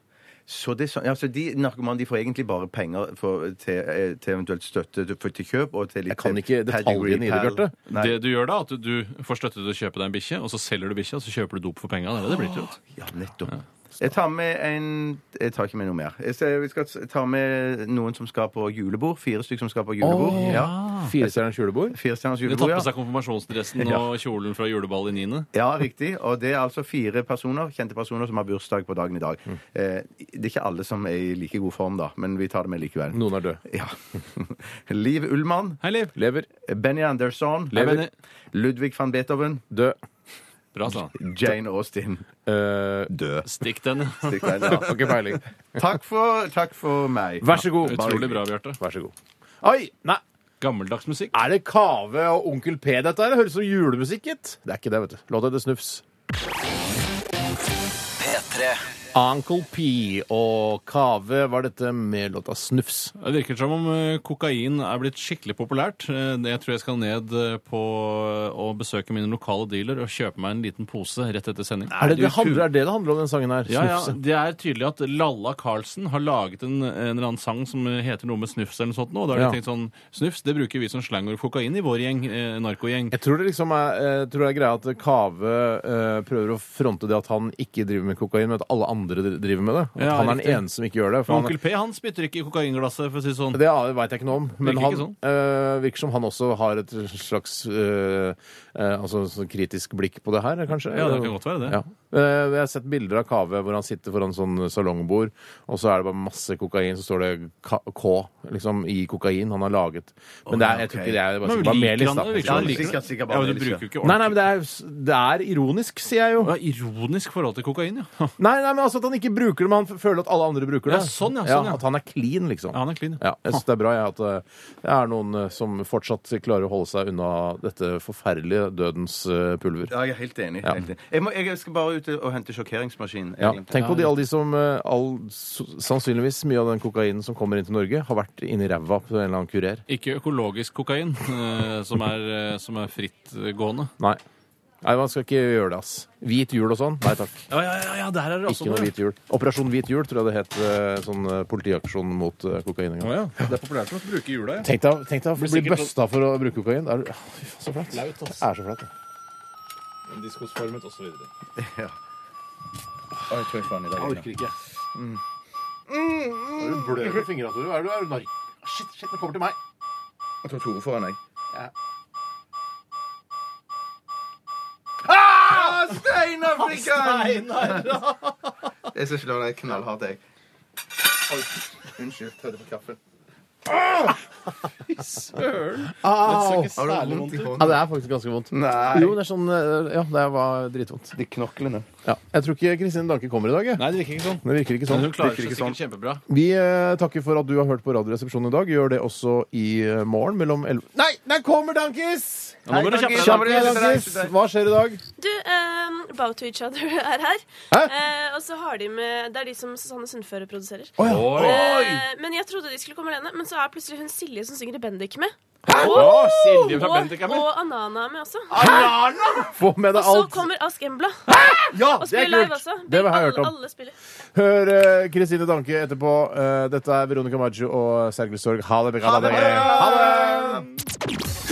[SPEAKER 4] Så det, er sånn- ja, så de narkomane de får egentlig bare penger for, til, eh, til eventuelt støtte til, for, til kjøp og til
[SPEAKER 3] Jeg
[SPEAKER 4] litt
[SPEAKER 3] kan ikke detaljene i det,
[SPEAKER 4] pedigree, pal.
[SPEAKER 3] Bjarte.
[SPEAKER 4] Nei.
[SPEAKER 5] Det du gjør da, at du får støtte til å kjøpe deg en bikkje, og så selger du bikkja, og så kjøper du dop for penga. Det er det det blir til. vet du.
[SPEAKER 4] Ja, nettopp. Jeg tar med en Jeg tar ikke med noe mer. Jeg ser- vi skal ta med noen som skal på julebord. Fire stykker som skal på julebord.
[SPEAKER 3] Å,
[SPEAKER 4] ja.
[SPEAKER 3] Firestjerners julebord?
[SPEAKER 4] Firestjerners
[SPEAKER 5] Du
[SPEAKER 4] julebord,
[SPEAKER 5] tar på
[SPEAKER 4] ja.
[SPEAKER 5] seg konfirmasjonsdressen og kjolen fra juleball i niende.
[SPEAKER 4] ja. Riktig. Og det er altså fire personer, kjente personer som har bursdag på dagen i dag. Eh, det er ikke alle som er i like god form, da, men vi tar det med likevel.
[SPEAKER 3] Noen er døde.
[SPEAKER 4] Ja. Liv Ullmann,
[SPEAKER 5] Hei, Liv.
[SPEAKER 3] Lever.
[SPEAKER 4] Benny Anderson,
[SPEAKER 5] Lever. Benny.
[SPEAKER 4] Ludvig van Beethoven,
[SPEAKER 3] Død.
[SPEAKER 5] Bra, sa han.
[SPEAKER 4] Jane Austen.
[SPEAKER 3] Eh,
[SPEAKER 4] Død.
[SPEAKER 5] Stikk den.
[SPEAKER 4] Stikk deg, da.
[SPEAKER 3] Har ikke peiling.
[SPEAKER 4] Takk for, takk for meg.
[SPEAKER 3] Vær så god.
[SPEAKER 5] Utrolig bra, Bjarte.
[SPEAKER 3] Vær så god. Oi! Nei,
[SPEAKER 5] Gammeldags musikk.
[SPEAKER 3] er det Kave og Onkel P dette her? Det høres ut som julemusikk, gitt. Det er ikke det, vet du. Låta heter Snufs.
[SPEAKER 2] P3.
[SPEAKER 3] Uncle P og Kave var dette med låta Snufs.
[SPEAKER 5] Det virker som om eh, kokain er blitt skikkelig populært. Eh, Jeg tror jeg skal ned eh, på å besøke min lokale dealer og kjøpe meg en liten pose rett etter sending.
[SPEAKER 3] Er det det, handler, er det det handler om, den sangen her?
[SPEAKER 5] Ja, ja,
[SPEAKER 3] Snufse.
[SPEAKER 5] Det er tydelig at Lalla Carlsen har laget en, en eller annen sang som heter noe med snufs eller noe sånt. nå, Og da har de
[SPEAKER 3] Ja.
[SPEAKER 5] tenkt sånn Snufs, det bruker vi som slangord for kokain i vår gjeng, eh, narkogjeng.
[SPEAKER 3] Jeg tror det liksom er, jeg tror det er greia at Kave eh, prøver å fronte det at han ikke driver med kokain, men at alle andre dri- driver med det. At
[SPEAKER 5] Ja,
[SPEAKER 3] han er
[SPEAKER 5] riktig.
[SPEAKER 3] den eneste som ikke gjør det.
[SPEAKER 5] For
[SPEAKER 3] For
[SPEAKER 5] Onkel
[SPEAKER 3] han,
[SPEAKER 5] P han spytter ikke i kokainglasset, for å si det sånn.
[SPEAKER 3] det veit jeg ikke noe om, men
[SPEAKER 5] Virker
[SPEAKER 3] han
[SPEAKER 5] ikke sånn.
[SPEAKER 3] eh, virker som han også har et slags eh, eh, altså, sånn kritisk blikk på det her, kanskje.
[SPEAKER 5] Ja, det kan godt være det.
[SPEAKER 3] Ja. Eh, jeg har sett bilder av Kave hvor han sitter foran sånn salongbord, og så er det bare masse kokain, så står det K, K liksom, i kokain han har laget. Men det er, jeg tror ikke det er bare,
[SPEAKER 5] Men
[SPEAKER 3] sikkert bare
[SPEAKER 5] liker
[SPEAKER 3] melis,
[SPEAKER 5] han
[SPEAKER 3] da.
[SPEAKER 5] det? Virker
[SPEAKER 4] Ja,
[SPEAKER 5] han liker det?
[SPEAKER 4] sikkert- sikkert bare
[SPEAKER 5] ja, men du
[SPEAKER 4] melis, ja.
[SPEAKER 5] bruker jo ikke
[SPEAKER 3] Nei, nei,
[SPEAKER 5] ordentlig
[SPEAKER 3] men det er, det er ironisk, sier jeg jo.
[SPEAKER 5] Det er Ironisk forhold til kokain, ja.
[SPEAKER 3] Nei, nei, men altså at han ikke bruker det, men han føler at alle andre bruker det.
[SPEAKER 5] Ja, sånn, ja, sånn, ja.
[SPEAKER 3] At han er clean, liksom.
[SPEAKER 5] Ja, han er clean,
[SPEAKER 3] Ja,
[SPEAKER 5] ja.
[SPEAKER 3] jeg synes det er bra jeg, at eh, det er noen eh, som fortsatt klarer å holde seg unna dette forferdelige dødens eh, pulver.
[SPEAKER 4] Ja, jeg er helt enig. Helt enig. Jeg, må, jeg skal bare ut og hente sjokkeringsmaskinen.
[SPEAKER 3] Ja, tenk på de, alle de som eh, all, s- sannsynligvis mye av den kokainen som kommer inn til Norge, har vært inni ræva på en eller annen kurer.
[SPEAKER 5] Ikke økologisk kokain, eh, som er, eh, som er frittgående.
[SPEAKER 3] Nei. Nei, man skal ikke gjøre det, ass. Hvit jul og sånn? Nei takk.
[SPEAKER 5] Ja, ja, ja, ja, der er det altså
[SPEAKER 3] Ikke noe
[SPEAKER 5] noe.
[SPEAKER 3] hvit jul. Operasjon Hvit jul tror jeg det het. eh, Sånn eh, politiaksjon mot eh, kokain en gang.
[SPEAKER 5] Å ja. Det er populært å bruke jula, ja.
[SPEAKER 3] Tenk deg, tenk deg å bli
[SPEAKER 5] sikkert noe-
[SPEAKER 3] busta for å bruke kokain. Det er, Åh, fy faen, så flaut. Det er så flaut. det.
[SPEAKER 5] Diskosformet osv.
[SPEAKER 3] Du blør med fingrene, Tore. Hva er det du er nark? Shit, shit, den kommer til meg.
[SPEAKER 4] Jeg tror Tore får den, jeg.
[SPEAKER 3] Å,
[SPEAKER 4] Ah, Steinar fikk
[SPEAKER 5] Ah,
[SPEAKER 4] han!
[SPEAKER 5] Steinar!
[SPEAKER 4] Jeg skal slå deg knallhardt, jeg. Oi, unnskyld. Tødde på kaffen.
[SPEAKER 5] Søren!
[SPEAKER 3] Au!
[SPEAKER 5] Det
[SPEAKER 4] Har
[SPEAKER 5] så
[SPEAKER 4] du
[SPEAKER 5] ikke
[SPEAKER 4] vondt
[SPEAKER 5] særlig vondt
[SPEAKER 4] i
[SPEAKER 5] ut.
[SPEAKER 3] Ja,
[SPEAKER 4] hånden?
[SPEAKER 3] det er faktisk ganske vondt.
[SPEAKER 4] Nei.
[SPEAKER 3] Jo, det er sånn eh, Ja, det var dritvondt.
[SPEAKER 4] De knoklene.
[SPEAKER 3] Ja. Jeg tror ikke Kristine Danke kommer i dag, jeg.
[SPEAKER 5] Nei, det virker ikke sånn.
[SPEAKER 3] Det virker ikke sånn.
[SPEAKER 5] Men hun klarer
[SPEAKER 4] virker
[SPEAKER 5] seg
[SPEAKER 4] ikke
[SPEAKER 5] sikkert
[SPEAKER 4] sånn.
[SPEAKER 5] kjempebra.
[SPEAKER 3] Vi eh, takker for at du har hørt på Radioresepsjonen i dag. Gjør det også i eh, morgen mellom 11 Nei, der kommer Dankis!
[SPEAKER 5] Ja, nå må du kjappe deg.
[SPEAKER 4] Da må
[SPEAKER 3] Kjapp
[SPEAKER 4] du
[SPEAKER 3] deg,
[SPEAKER 4] kjappe deg.
[SPEAKER 3] Dankis. Hva skjer i dag?
[SPEAKER 8] Du, um, Bow to each other er her.
[SPEAKER 3] Hæ?
[SPEAKER 8] Eh, og så har de med Det er de som Susanne Sundføre produserer.
[SPEAKER 3] Å ja.
[SPEAKER 8] Eh, men jeg trodde de skulle komme alene, men så er plutselig hun Silje som synger i Bendik med.
[SPEAKER 5] Å, Silje fra
[SPEAKER 8] Og,
[SPEAKER 5] Bendik er med.
[SPEAKER 8] og Anana er med også.
[SPEAKER 3] Få med deg
[SPEAKER 8] Og så
[SPEAKER 3] alt.
[SPEAKER 8] kommer Ask Embla
[SPEAKER 3] Ja,
[SPEAKER 8] og
[SPEAKER 3] det
[SPEAKER 8] spiller
[SPEAKER 3] er
[SPEAKER 8] live
[SPEAKER 3] kult.
[SPEAKER 8] også.
[SPEAKER 3] Det har jeg hørt
[SPEAKER 8] alle,
[SPEAKER 3] om.
[SPEAKER 8] alle spiller.
[SPEAKER 3] Hør eh, Kristine Danke etterpå. Eh, dette er Veronica Maggio og Sergel Sorg. Ha det. Ha det. Ha det.